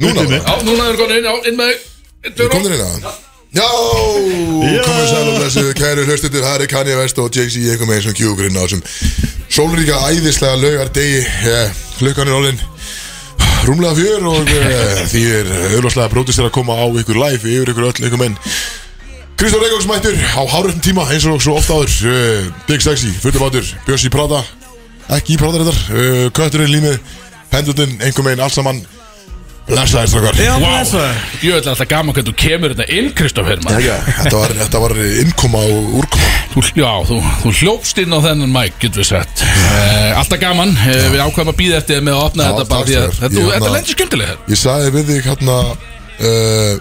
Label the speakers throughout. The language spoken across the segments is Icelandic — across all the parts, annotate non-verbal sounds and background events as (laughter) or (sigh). Speaker 1: Núna
Speaker 2: Núna.
Speaker 1: bara.
Speaker 3: Já, núna erum við komin inn, já, inn með þig. Einn,
Speaker 2: Þú
Speaker 3: tveir,
Speaker 2: komir inn að hérna. Já, komum við sæl og blessuð Kæru hlustendur, það er Kanye West og Jay-Z Ég kom eins og kjúkur inn á þessum Sólríka æðislega laugar degi Klukkan er orðin Rúmlega fjör og eh, því er Öðláslega brótistir að koma á ykkur live Yfir ykkur öll, ykkur menn Kristóf Reykjavíks mættur á háröfnum tíma eins og svo ofta áður uh, Big Sexy, Földabátur, Bjössi Prada Ekki í Prada reyndar uh, Kötturinn límið, Pendutinn, einhver megin Allt saman, blessaðir strakkar
Speaker 1: Já,
Speaker 3: Vá.
Speaker 1: blessa þér.
Speaker 3: Ég veit alltaf gaman hvernig þú kemur þetta inn, Kristoff Hermann.
Speaker 2: Já, þetta var, þetta var innkoma og úrkoma
Speaker 3: Þú, já, þú, þú hljópst inn á þennan mæk, getur við sett. Uh, alltaf gaman, uh, við ákvæmum að býða eftir þér með að opna
Speaker 2: Já,
Speaker 3: þetta bara
Speaker 2: takk
Speaker 3: því að
Speaker 2: fyrir.
Speaker 3: þetta,
Speaker 2: Ég
Speaker 3: þetta
Speaker 2: opna-
Speaker 3: lendir skemmtilega þér.
Speaker 2: Ég sagði við þig hérna uh,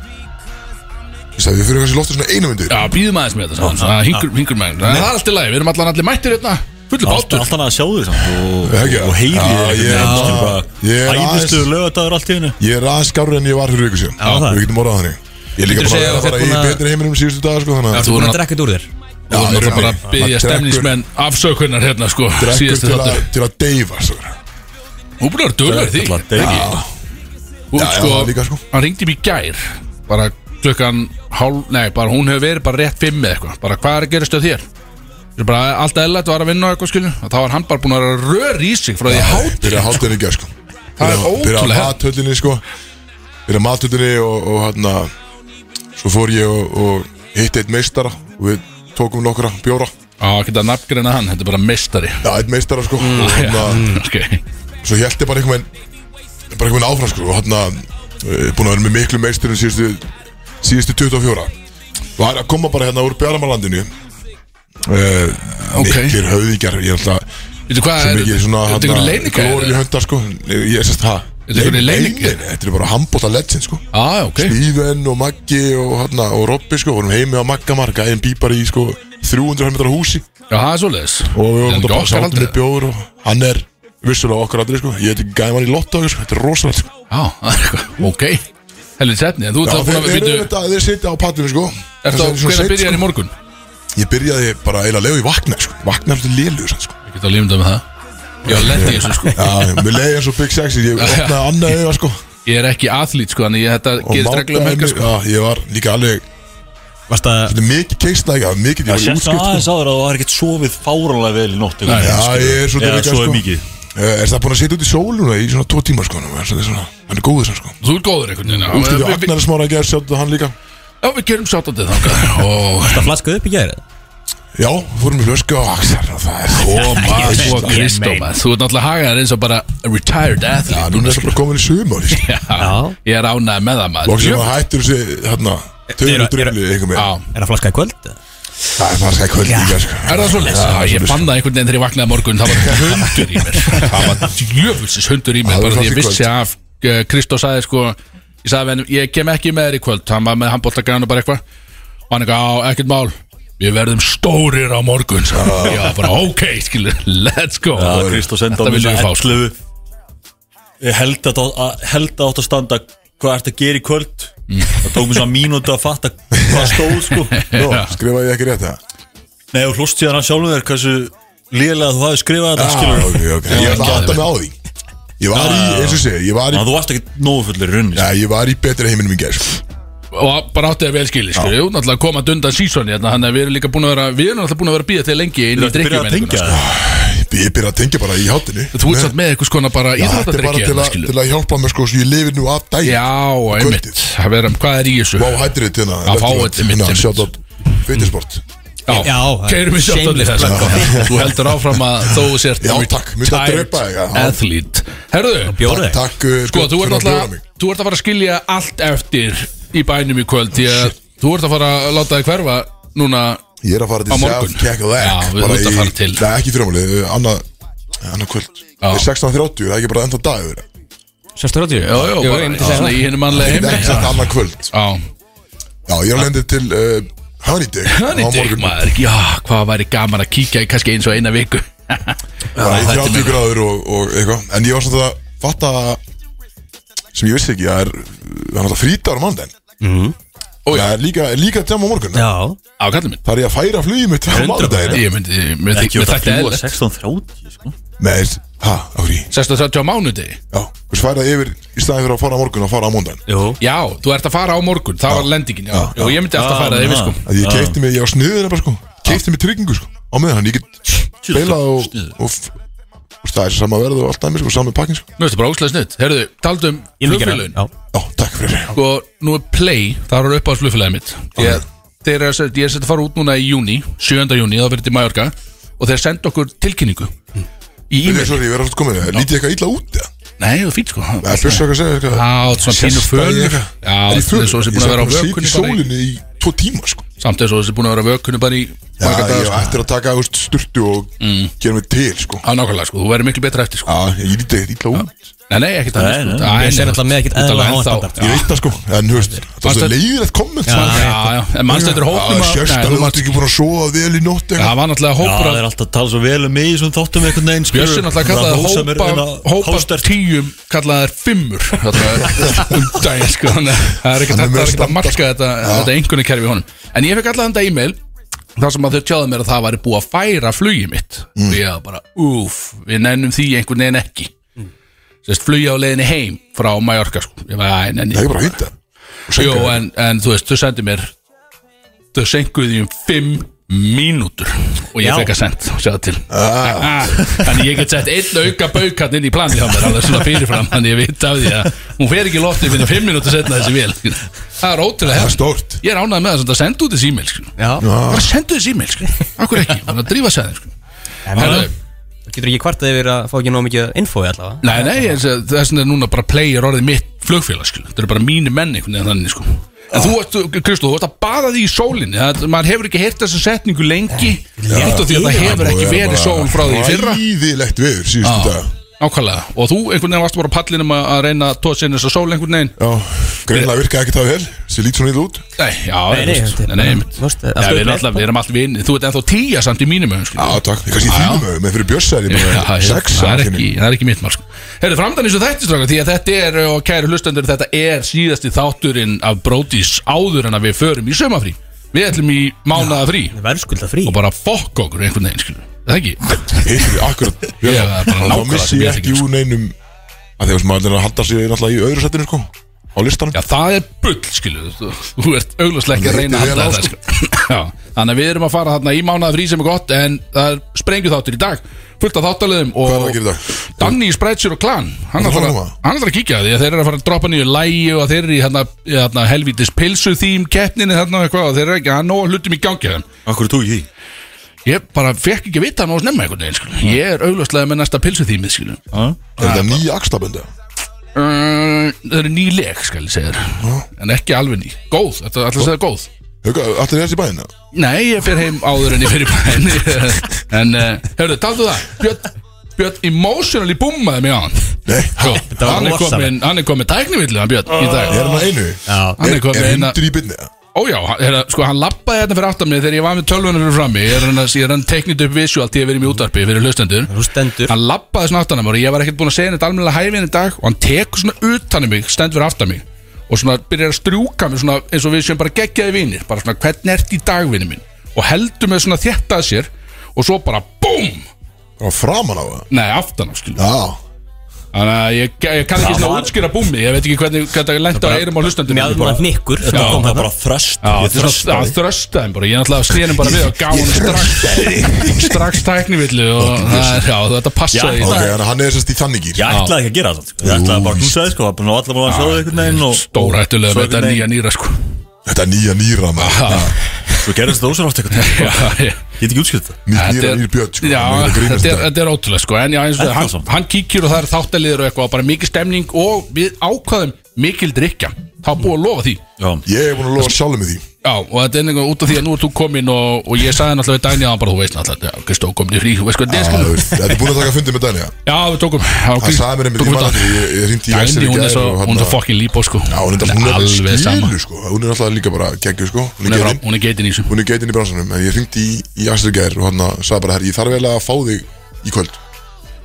Speaker 2: Ég sagði við fyrir kannski loftið svona einu myndir
Speaker 3: Já, býðum aðeins með þetta saman, svona hingur, hingur með þetta. Það er allt í lagi, við erum allan allir mættir hérna, fullu
Speaker 1: Alltaf
Speaker 3: bátur.
Speaker 1: alltaf að sjá þig samt og,
Speaker 2: Ekki,
Speaker 1: og heyri
Speaker 2: já,
Speaker 1: þig
Speaker 2: ég-
Speaker 1: einhvern
Speaker 2: já, ég er
Speaker 1: veginn, skilur bara.
Speaker 2: aðeins-
Speaker 1: Æðistu lögadagur allt í hennu
Speaker 2: Ég er aðeins skárri en ég var fyrir ykkur síðan
Speaker 1: Já, það er.
Speaker 2: Við getum orðað þannig Ég er líka
Speaker 4: Myndirðu
Speaker 2: bara
Speaker 4: segja
Speaker 2: að
Speaker 4: að
Speaker 2: fara í
Speaker 4: þú ert búin að-
Speaker 2: betri heiminum síðustu dag sko, þannig að
Speaker 3: Þú
Speaker 4: Þú
Speaker 2: Já,
Speaker 3: erum náttúrulega- þú erum náttúrulega
Speaker 4: erum að drekka þetta úr þér
Speaker 3: bara
Speaker 2: ég-
Speaker 3: að byggja
Speaker 2: maður drekkur-
Speaker 3: stemningsmenn afsökunar hérna, sko,
Speaker 2: Drekkur
Speaker 3: síðasti
Speaker 2: til, að-
Speaker 3: þáttur.
Speaker 2: til að deyfa sko. svo.
Speaker 3: Þú búin að vera dölur því.
Speaker 1: Alla degi
Speaker 3: Hún,
Speaker 2: Já, já,
Speaker 3: sko,
Speaker 2: líka, sko.
Speaker 3: hann ringdi mér í gær bara klukkan hálf, nei, bara hún hefur verið bara rétt fimm eða eitthvað, bara hvað er að gerast á þér Ég er bara allt eðlætt var að vinna á eitthvað skilju og þá var hann bara búin að vera rör í sig frá því hát
Speaker 2: Byrja að hátta henni gær sko
Speaker 3: Það er
Speaker 2: Byrja að
Speaker 3: ótrúlega.
Speaker 2: mathöllinni sko Byrja að mathöllinni og, og hérna Svo fór ég og, og hitti eitt meistara Og við tókum nokkra bjóra
Speaker 3: á að geta nafngreina hann, þetta er bara mestari
Speaker 2: Já, eitt meistara sko Og hérna
Speaker 3: ok,
Speaker 2: svo held ég bara einhvern veginn bara einhvern veginn áfram sko og hann búin að vera með miklu meisturum síðustu síðustu 24 var að koma bara hérna úr Bjaramalandinu uh,
Speaker 3: Ok.
Speaker 2: miklir höfðingjar ég er alltaf
Speaker 3: veitu hvað
Speaker 2: svo
Speaker 3: er
Speaker 2: mikið svona
Speaker 3: þetta er leinika
Speaker 2: glóri höndar sko ég er sérst það
Speaker 3: Þetta er einhver leinik-
Speaker 2: þetta er bara handbóta legend sko
Speaker 3: ah, ok,
Speaker 2: Steven og Maggi og, hana, og Robby sko vorum heimi á Maggamar gæðin bípar í sko 300 metra húsi
Speaker 3: já, það er svoleiðis
Speaker 2: og við vorum
Speaker 3: En
Speaker 2: bara
Speaker 3: okkar
Speaker 2: sátum
Speaker 3: aldrei.
Speaker 2: með bjóður og hann er vissulega okkar aldrei sko ég heiti Gæman í Lotto sko. þetta er rosalegt sko.
Speaker 3: já, það er eitthvað, ok helvið setni, en þú ert
Speaker 2: Já,
Speaker 3: það búin
Speaker 2: þeir,
Speaker 3: að
Speaker 2: þeir,
Speaker 3: býtu
Speaker 2: eru þetta, þeir sitja á pattinu sko
Speaker 3: Er
Speaker 2: Þess
Speaker 3: það
Speaker 2: vegna er svo
Speaker 3: hvernig
Speaker 2: seint,
Speaker 3: byrjar í morgun?
Speaker 2: sko. Ég byrjaði bara eiginlega að leiða í vakna sko. Vakna er alltaf lélugur sann sko.
Speaker 3: Ég get að lífnda með það Ég var lendið í þessu sko
Speaker 2: Já, mér leiði eins og Big Sexy Ég opnaði annað auða sko og
Speaker 3: Ég er ekki athlít sko, þannig ég þetta gerist reglulega um
Speaker 2: mátaði
Speaker 3: helgar
Speaker 2: mig-
Speaker 3: sko
Speaker 2: Já, ég var líka alveg
Speaker 1: Varst að
Speaker 2: Þetta er mikið keistna ekki, það er mikið
Speaker 1: Já,
Speaker 2: Ég var í
Speaker 1: sérst
Speaker 2: útskipt
Speaker 1: aðeins áður að þú har ekkert sofið fárónlega vel í nótt einhvern
Speaker 3: Nei,
Speaker 1: veginn,
Speaker 2: Já,
Speaker 1: skilur.
Speaker 2: ég
Speaker 1: Já,
Speaker 2: er svolítið mikið,
Speaker 1: svo
Speaker 2: sko.
Speaker 1: mikið
Speaker 2: Eh, Er það búin að sitja út í sóluna í svona tvo tíma sko Hann er svolítið svona- hann er góður sann sko
Speaker 3: Þú ert góður einhvern veginn já.
Speaker 2: Útskipt í
Speaker 3: Við- við-
Speaker 2: Agnar smára að gera sjáttu hann líka
Speaker 3: Já, við gerum sáttandi þangað Og
Speaker 4: Það flaskaði upp í gæri
Speaker 2: Já, fórum í flösku á Axar og það er
Speaker 3: (laughs) koma svo
Speaker 4: Ég
Speaker 3: Kristó
Speaker 4: mein.
Speaker 3: maður. Þú ert náttúrulega hagaðar eins og bara a Retired
Speaker 2: Já,
Speaker 3: athlete
Speaker 2: núna
Speaker 3: núna,
Speaker 2: er það
Speaker 3: sko.
Speaker 2: bara komin í sumar sko.
Speaker 3: Já, Ég er ánægð með það maður
Speaker 2: Lóksum
Speaker 3: Jú.
Speaker 2: að hættur þessi, hérna Töður
Speaker 4: eru-
Speaker 2: og drullu, einhver með
Speaker 3: Já
Speaker 4: Er það flaskaði kvöld?
Speaker 2: Það er fannst ekki kvöld líka sko.
Speaker 3: Er það svo
Speaker 2: Já,
Speaker 3: leys? Já, ég
Speaker 2: svoleiðis.
Speaker 3: fann það einhvern veginn þegar ég vaknaði morgun Það var hundur í mér Það var djöfulsis hundur í mér
Speaker 2: Það var
Speaker 3: Bara því ég
Speaker 2: fast í
Speaker 3: vissi af Kristó sagði sko Ég sagði við hann, ég kem ekki með þér í kvöld Hann var með handbóltagræðan og bara eitthvað Og hann eitthvað, á, ekkert mál Við verðum stórir á morgun sagði hann. Já, bara ok, skilur, let's go
Speaker 1: Já, Kristó senda á
Speaker 3: Þetta
Speaker 1: mig
Speaker 3: viljum við fá, sko.
Speaker 1: 11 Ég held að það að- held að átt að standa Hvað ert að gera í kvöld
Speaker 2: Mm.
Speaker 1: Það tók mér svona mínúti að fatta Hvað stóð sko
Speaker 2: (laughs) Nú, Skrifaði ég ekki rétt það?
Speaker 1: Nei, og hlust síðan hann sjálfur þér Hversu lélega þú hafið skrifað þetta
Speaker 2: Já,
Speaker 1: skilur
Speaker 2: ok, ok Ég ætla að átta mig á því Ég var í,
Speaker 1: Já, já, já.
Speaker 2: eins og segja, ég var í
Speaker 1: Þannig að þú varst ekki nógu fullir í sko. runni
Speaker 2: Já, ég var í betri heiminum í gær sko.
Speaker 3: og bara átti að vel skilji sko. Jú, náttúrulega koma að dunda sísoni hérna, þannig að við erum líka búin að vera við erum náttúrulega búin að vera að býða til lengi inn
Speaker 1: Þú
Speaker 3: í
Speaker 1: byrjar að
Speaker 3: drikkjumenninguna
Speaker 1: tengja
Speaker 3: sko.
Speaker 1: það
Speaker 2: Ég byrja að tengja bara í hátinu
Speaker 3: þú ert satt með eitthvað skona bara
Speaker 2: Þetta er bara til,
Speaker 3: íþróttadrykki
Speaker 2: a,
Speaker 3: hérna,
Speaker 2: til að hjálpa mér sko Svo ég lifir nú af dag
Speaker 3: Já, einmitt Það verður- Hvað er í þessu?
Speaker 2: Wow hydrate hérna
Speaker 3: Já, fá þetta, einmitt, einmitt.
Speaker 2: Sjátt átt Fytisport
Speaker 4: Já,
Speaker 3: keirum við sjátt allir
Speaker 4: shameless
Speaker 3: þess sko. Þú heldur áfram að þó þú sért
Speaker 2: Já,
Speaker 3: retired
Speaker 2: takk, myndi að drepa þig, já.
Speaker 3: Athlete Herðu,
Speaker 4: Bjóður þig?
Speaker 2: Takk uh,
Speaker 3: sko, þú
Speaker 2: fyrir
Speaker 3: ert
Speaker 2: að bjóða
Speaker 3: náttúrulega
Speaker 2: mig.
Speaker 3: Þú ert að fara að skilja allt eftir í bænum í kvöld Því að þú ert að fara að láta þig hverfa núna
Speaker 2: Ég er að fara
Speaker 3: á
Speaker 2: til
Speaker 3: morgun. Já,
Speaker 2: Self-Keck
Speaker 3: við
Speaker 2: Bara
Speaker 3: ert að fara
Speaker 2: í
Speaker 3: til-
Speaker 2: Nei, ekki fyrirmáli Annað Annað kvöld
Speaker 3: Já.
Speaker 2: Það er 16.30 Það er ekki bara enda dagur
Speaker 4: Sérstu ráttíu?
Speaker 3: Jó, jó, bara svona í henni mannlega
Speaker 2: Ég get
Speaker 3: heimi
Speaker 2: ekki sagt annað kvöld
Speaker 3: Já,
Speaker 2: Já, ég er að lendi til uh, Honeydick
Speaker 3: Þannig
Speaker 2: á
Speaker 3: deg
Speaker 2: morgun.
Speaker 3: maður, já, hvað væri gaman að kíkja í kannski eins og eina viku
Speaker 2: bara í
Speaker 3: þetta
Speaker 2: 30 gráður og, og eitthvað En ég var svona að fatta sem ég vissi ekki að er það er náttúrulega frítagur á mandan
Speaker 3: Mhm.
Speaker 2: og það er líka, líka tjáma á morgun
Speaker 4: Já
Speaker 3: Á kallum minn
Speaker 2: það er ég að færa flugið mitt á
Speaker 4: 100%.
Speaker 2: mandaginn
Speaker 3: Ég myndi, með
Speaker 1: Ekki út
Speaker 3: þetta
Speaker 1: að
Speaker 3: þetta
Speaker 1: fljúa
Speaker 3: eðlilegt
Speaker 1: 16.30 sko
Speaker 2: Nei, ha, á frí
Speaker 3: 630 á mánudegi
Speaker 2: Já, hversu færa yfir í staðin fyrir að fara á morgun og fara á múndan
Speaker 4: Jú
Speaker 3: Já, þú ert að fara á morgun, það var lendingin já. Já, ég myndi alltaf
Speaker 1: Já,
Speaker 3: fara það yfir
Speaker 1: já.
Speaker 3: sko
Speaker 2: að ég keipti mig, ég á sniðina bara sko keipti mig tryggingu sko, á meðan hann ég get beilað og,
Speaker 1: sniðugt.
Speaker 2: og, f- og það er sama verð og allt dæmi sko, sami pakkin sko
Speaker 3: Mér finnst það bara óslega snitt Herðu, taldu um
Speaker 4: Ég vil ekki gera
Speaker 3: flugfélagin
Speaker 4: það.
Speaker 2: já, takk fyrir
Speaker 3: Sko, nú er Play, það er upp á flugfélagin mitt Ég, þeir eru að segja- ég er sett að fara út núna í júni 7. júni, þá verður þetta í Mallorca Og þeir senda okkur tilkynningu Í
Speaker 2: Ég er
Speaker 3: e-mail
Speaker 2: sorry, ég verði alltaf komin, lítið eitthvað illa út eða?
Speaker 3: Nei, það er fínt sko
Speaker 2: Það er fyrst að segja eitthvað
Speaker 3: Já, þetta er svona pínu fölur. Já,
Speaker 2: Já,
Speaker 3: þetta er svo sem búin að
Speaker 2: Ég
Speaker 3: vera á vökunni bara
Speaker 2: sat
Speaker 3: í-
Speaker 2: bara sýtt í sólinni í tvo tíma sko
Speaker 3: Samt eins og þessi búin að vera vökunni bara í
Speaker 2: Já,
Speaker 3: marga daga,
Speaker 2: ég
Speaker 3: sko.
Speaker 2: ættir að taka ást sturtu og gera mig til sko
Speaker 3: Mm. Já, nákvæmlega sko, þú verður miklu betra eftir sko
Speaker 2: Já, ég lítið eitthvað illa út
Speaker 3: Nei, nei, ekkert sko.
Speaker 1: Nei, nei.
Speaker 4: Ég sé náttúrulega með ekkert eðla háan standard.
Speaker 2: Ég veit það sko, en þú veist, það er
Speaker 3: Varstu-
Speaker 2: svo leiðilegt komment sko.
Speaker 3: Já, já, já, en mannstættur hópnum að- Nei,
Speaker 2: Sjörstan,
Speaker 3: þú
Speaker 2: þú
Speaker 3: manst-
Speaker 2: ert ekki búin að sofa vel í nótt
Speaker 3: Já,
Speaker 2: eitthvað.
Speaker 3: Það var náttúrulega
Speaker 1: Já,
Speaker 3: hópur
Speaker 1: það
Speaker 3: af
Speaker 1: er alltaf að tala svo vel um mig í svona þáttum eitthvað neins
Speaker 3: Bjössi náttúrulega kallaði
Speaker 1: hérna,
Speaker 3: hópa, hópa tíum kallaði þær fimmur þarna (laughs) um daginn sko þannig að það er ekkert
Speaker 2: Hann er
Speaker 3: hægt- það
Speaker 2: með standard,
Speaker 3: er ekkert að marka þetta, þetta einhvernig kerfi honum en ég fekk allan þetta e-mail þar sem að þau tjáðu mér að það væri búið að færa flugið mitt
Speaker 2: Mm.
Speaker 3: og ég var bara, úf, við nennum því einhvern veginn ekki sérst flugið á leiðinni heim frá Mallorca sko ég var, æ, nenni
Speaker 2: Það er bara að hýta
Speaker 3: Jó, en, en þú veist, þau sendi mér þau senguði um fimm mínútur og ég
Speaker 4: Já.
Speaker 3: fekk að send og sjáðu til ah. þannig ég get sett einn auka baukarn inn í planið hjá mér, alveg svona fyrirfram þannig ég veit af því að hún fer ekki í loftið fyrir fimm mínútur setna þessi vel það er ótrúlega
Speaker 2: Það er
Speaker 3: hefn.
Speaker 2: stórt
Speaker 3: ég er ánægð með þess að senda út þessi e-mail sko.
Speaker 4: Já
Speaker 3: bara sendu þessi e-mail, sko. akkur ekki þannig að drífa sæðin sko.
Speaker 4: En
Speaker 3: Herðu,
Speaker 4: þú Getur ekki kvartað yfir að fá ekki nóg mikið infói allavega
Speaker 3: Nei, nei, ég- þess vegna er núna bara player orðið mitt flugfélag, skil Þetta eru bara mínu menn einhvern veginn þannig, sko En þú ert, Kristó, þú ert að baða því í sólinni það, Maður hefur ekki heyrt þessa setningu lengi Út af
Speaker 2: Ah,
Speaker 3: því að það hefur ekki verið sól frá því í fyrra Ah.
Speaker 2: Ræðilegt viður síðustu
Speaker 3: Já,
Speaker 2: dag
Speaker 3: Nákvæmlega, og þú einhvern veginn varst bara á pallinum að að reyna að tóða sinni þessa sól einhvern veginn
Speaker 2: Já, greinlega virka ekki það vel Sér lít svona illa út
Speaker 3: Nei, já,
Speaker 4: Nei, nei,
Speaker 3: veist,
Speaker 4: þetta er
Speaker 3: nei,
Speaker 4: bara-
Speaker 3: einmitt.
Speaker 4: þú veist,
Speaker 3: Já,
Speaker 4: aftur
Speaker 3: við erum
Speaker 4: upp-
Speaker 3: alltaf- við erum alltaf vinni Þú ert ennþá tíja samt í mínum augum, skilur.
Speaker 2: Já, takk, ég kannski
Speaker 3: Ah. Já, já.
Speaker 2: þínum með fyrir bjössar Ég
Speaker 3: Já,
Speaker 2: meina,
Speaker 3: ég-
Speaker 2: sex
Speaker 3: það er
Speaker 2: samkynni.
Speaker 3: ekki, það er ekki mitt marg Herðu, framdann eins og þetta stráka Því að þetta er, eh, og kæru hlustendur Þetta er síðasti þátturinn af Brodís Áður en að við förum í sömafrí Við ætlum í mánaða frí
Speaker 4: Verðskulda frí
Speaker 3: Og bara fokk okkur einhvern veginn, skilur Er Það ekki?
Speaker 2: Hittir akkurat
Speaker 3: (laughs) Ég er bara
Speaker 2: Þá
Speaker 3: nákvæmlega
Speaker 2: missi
Speaker 3: sem ég
Speaker 2: ég ekki
Speaker 3: þykir,
Speaker 2: úr neinum að því að maður er að halda sér náttúrulega í öðru settinu sko á listanum
Speaker 3: Já, það er bull, skilur Þú, þú ert augljóslega ekki að reyna að
Speaker 2: Lítið
Speaker 3: halda
Speaker 2: vel á,
Speaker 3: þetta sko. Já, þannig að við erum að fara þarna í mánaða frí sem er gott En það er sprengju þáttur í dag Fullt af þáttarlegum og
Speaker 2: Hvað er það að gera í dag?
Speaker 3: Danni í Spreadshirt og Klan Hann
Speaker 2: Það
Speaker 3: ætlar
Speaker 2: fór
Speaker 3: að,
Speaker 2: núna.
Speaker 3: hann ætlar að kíkja að því að þeir eru að fara að droppa nýju lægi og þeir eru í hérna, í hérna helvítis pilsu þým keppninni þarna og eitthvað og þeir eru ekki að nóga hlutum í gangi þann
Speaker 1: Akkur tók ég
Speaker 3: Ég bara fekk ekki að vita hann og snemma einhvern veginn skilur. Ég er auglöslega með næsta pilsu þýmið skilu
Speaker 1: Það
Speaker 2: Er þetta nýja axtabönda?
Speaker 3: uh, Það eru ný leg skal ég segja þér En ekki alveg ný Góð, þetta ætlar að segja góð
Speaker 2: Hauka, allir er þessi bæðina?
Speaker 3: Nei, ég fer heim áður en ég fer í bæinn (laughs) En, uh, hefurðu, taldu það Björn, Björn emotionally búmaði mig á hann
Speaker 2: Nei, (laughs)
Speaker 3: Jó,
Speaker 4: var
Speaker 3: hann, er
Speaker 4: rosalegt.
Speaker 3: komin, hann er komin tæknivillu hann Björn í dag
Speaker 2: er hann að einu?
Speaker 3: Hann er komin
Speaker 2: Er
Speaker 3: eina-
Speaker 2: hundur í byrni?
Speaker 3: Ójá, hérna, sko hann lappaði hérna fyrir aftan mig þegar ég var með tölvunum fyrir frammi ég er hann, að- ég er hann teknit upp visual til ég verið í útarpi fyrir hlustendur
Speaker 4: Þú stendur
Speaker 3: hann lappaði svona aftan að mér og ég var ekkert búin að segja þetta almennilega hæfin í dag og hann tekur svona utan í mig stendur fyrir aftan mig og svona byrjar að strjúka mig svona eins og við sem bara geggjaði vinir bara svona hvernig ert í dagvinni minn og heldur með svona þétt að sér og svo bara BOOM
Speaker 2: Á framan á það?
Speaker 3: Nei, aftan á skilu
Speaker 2: Já,
Speaker 3: Þannig að ég, ég kann ekki svona útskýra búmi Ég veit ekki hvernig, hvernig það lenda á eirum á hlustandum
Speaker 4: Mjálmar hnykkur sem
Speaker 3: Já,
Speaker 4: kom
Speaker 1: var
Speaker 4: hérna
Speaker 1: bara fröst
Speaker 3: Já,
Speaker 1: Ég
Speaker 3: þrösta,
Speaker 1: þröstaði.
Speaker 3: að þrösta þeim bara Ég náttúrulega snérum bara við og gaf hann strax strax tæknivillu og það er, já, þetta
Speaker 1: Já,
Speaker 3: passaði í
Speaker 2: ok,
Speaker 1: það-
Speaker 2: þannig að hann er sérst í þannig gýr
Speaker 1: Ég ætlaði ekki að gera það sko. Ég ætlaði bara að knúsa þig sko Það var allar bara að sjóða einhvern veginn og-
Speaker 3: Stórhættulega
Speaker 1: Svo
Speaker 3: með þetta
Speaker 1: einhvern
Speaker 3: nýja
Speaker 1: veginn-
Speaker 3: nýra sko
Speaker 2: Þetta er nýja nýra maður
Speaker 3: Já,
Speaker 1: Svo gerðist þetta ósar átt eitthvað
Speaker 3: (laughs) já, já.
Speaker 1: Ég get ekki útskilt það
Speaker 2: Nýja
Speaker 3: Þetta
Speaker 2: nýra
Speaker 3: er-
Speaker 2: nýr björn sko
Speaker 3: Já,
Speaker 2: Hann er að grínast
Speaker 3: þetta
Speaker 2: þetta.
Speaker 3: er, þetta er ótrúlega sko En já, eins og
Speaker 1: Þetta
Speaker 3: hann,
Speaker 1: samt.
Speaker 3: hann kíkir og það er þáttaliður og eitthvað Bara mikil stemning og við ákvaðum mikil drikja Það var búið að lofa því
Speaker 1: Já
Speaker 2: Ég er búin að lofa sjálfum með því
Speaker 3: Já, og þetta er einhvern út af því að nú ert þú komin og, og ég sagði náttúrulega við Dæni að hann bara, þú veist náttúrulega, Kristó komin í frí, þú veist hvað
Speaker 2: Já,
Speaker 3: þetta
Speaker 2: Ah, þú
Speaker 3: er
Speaker 2: veist,
Speaker 3: sko
Speaker 2: Þetta er búin að taka fundi með Dani
Speaker 3: Já, við tókum já,
Speaker 2: Það
Speaker 3: Krist-
Speaker 2: sagði mér einmitt
Speaker 3: tókum
Speaker 2: í
Speaker 3: þetta.
Speaker 2: manni Ég ég hringdi í
Speaker 3: Dæni,
Speaker 2: Axel í
Speaker 3: hún er
Speaker 2: gær
Speaker 3: svo,
Speaker 2: og hann
Speaker 3: hún er svo
Speaker 2: að-
Speaker 3: fokkin líbó sko
Speaker 2: Já, hún er þetta- hún er
Speaker 3: alveg sama
Speaker 2: skilu sko Hún er alltaf líka bara geggju sko Hún er
Speaker 3: Hún er,
Speaker 2: geggin
Speaker 3: frá- hún er geitin í þessu
Speaker 2: hún er geitin í bransanum en ég hringdi í, í Axel Gær og hann sagði bara herri, ég þarf vel að fá þig í kvöld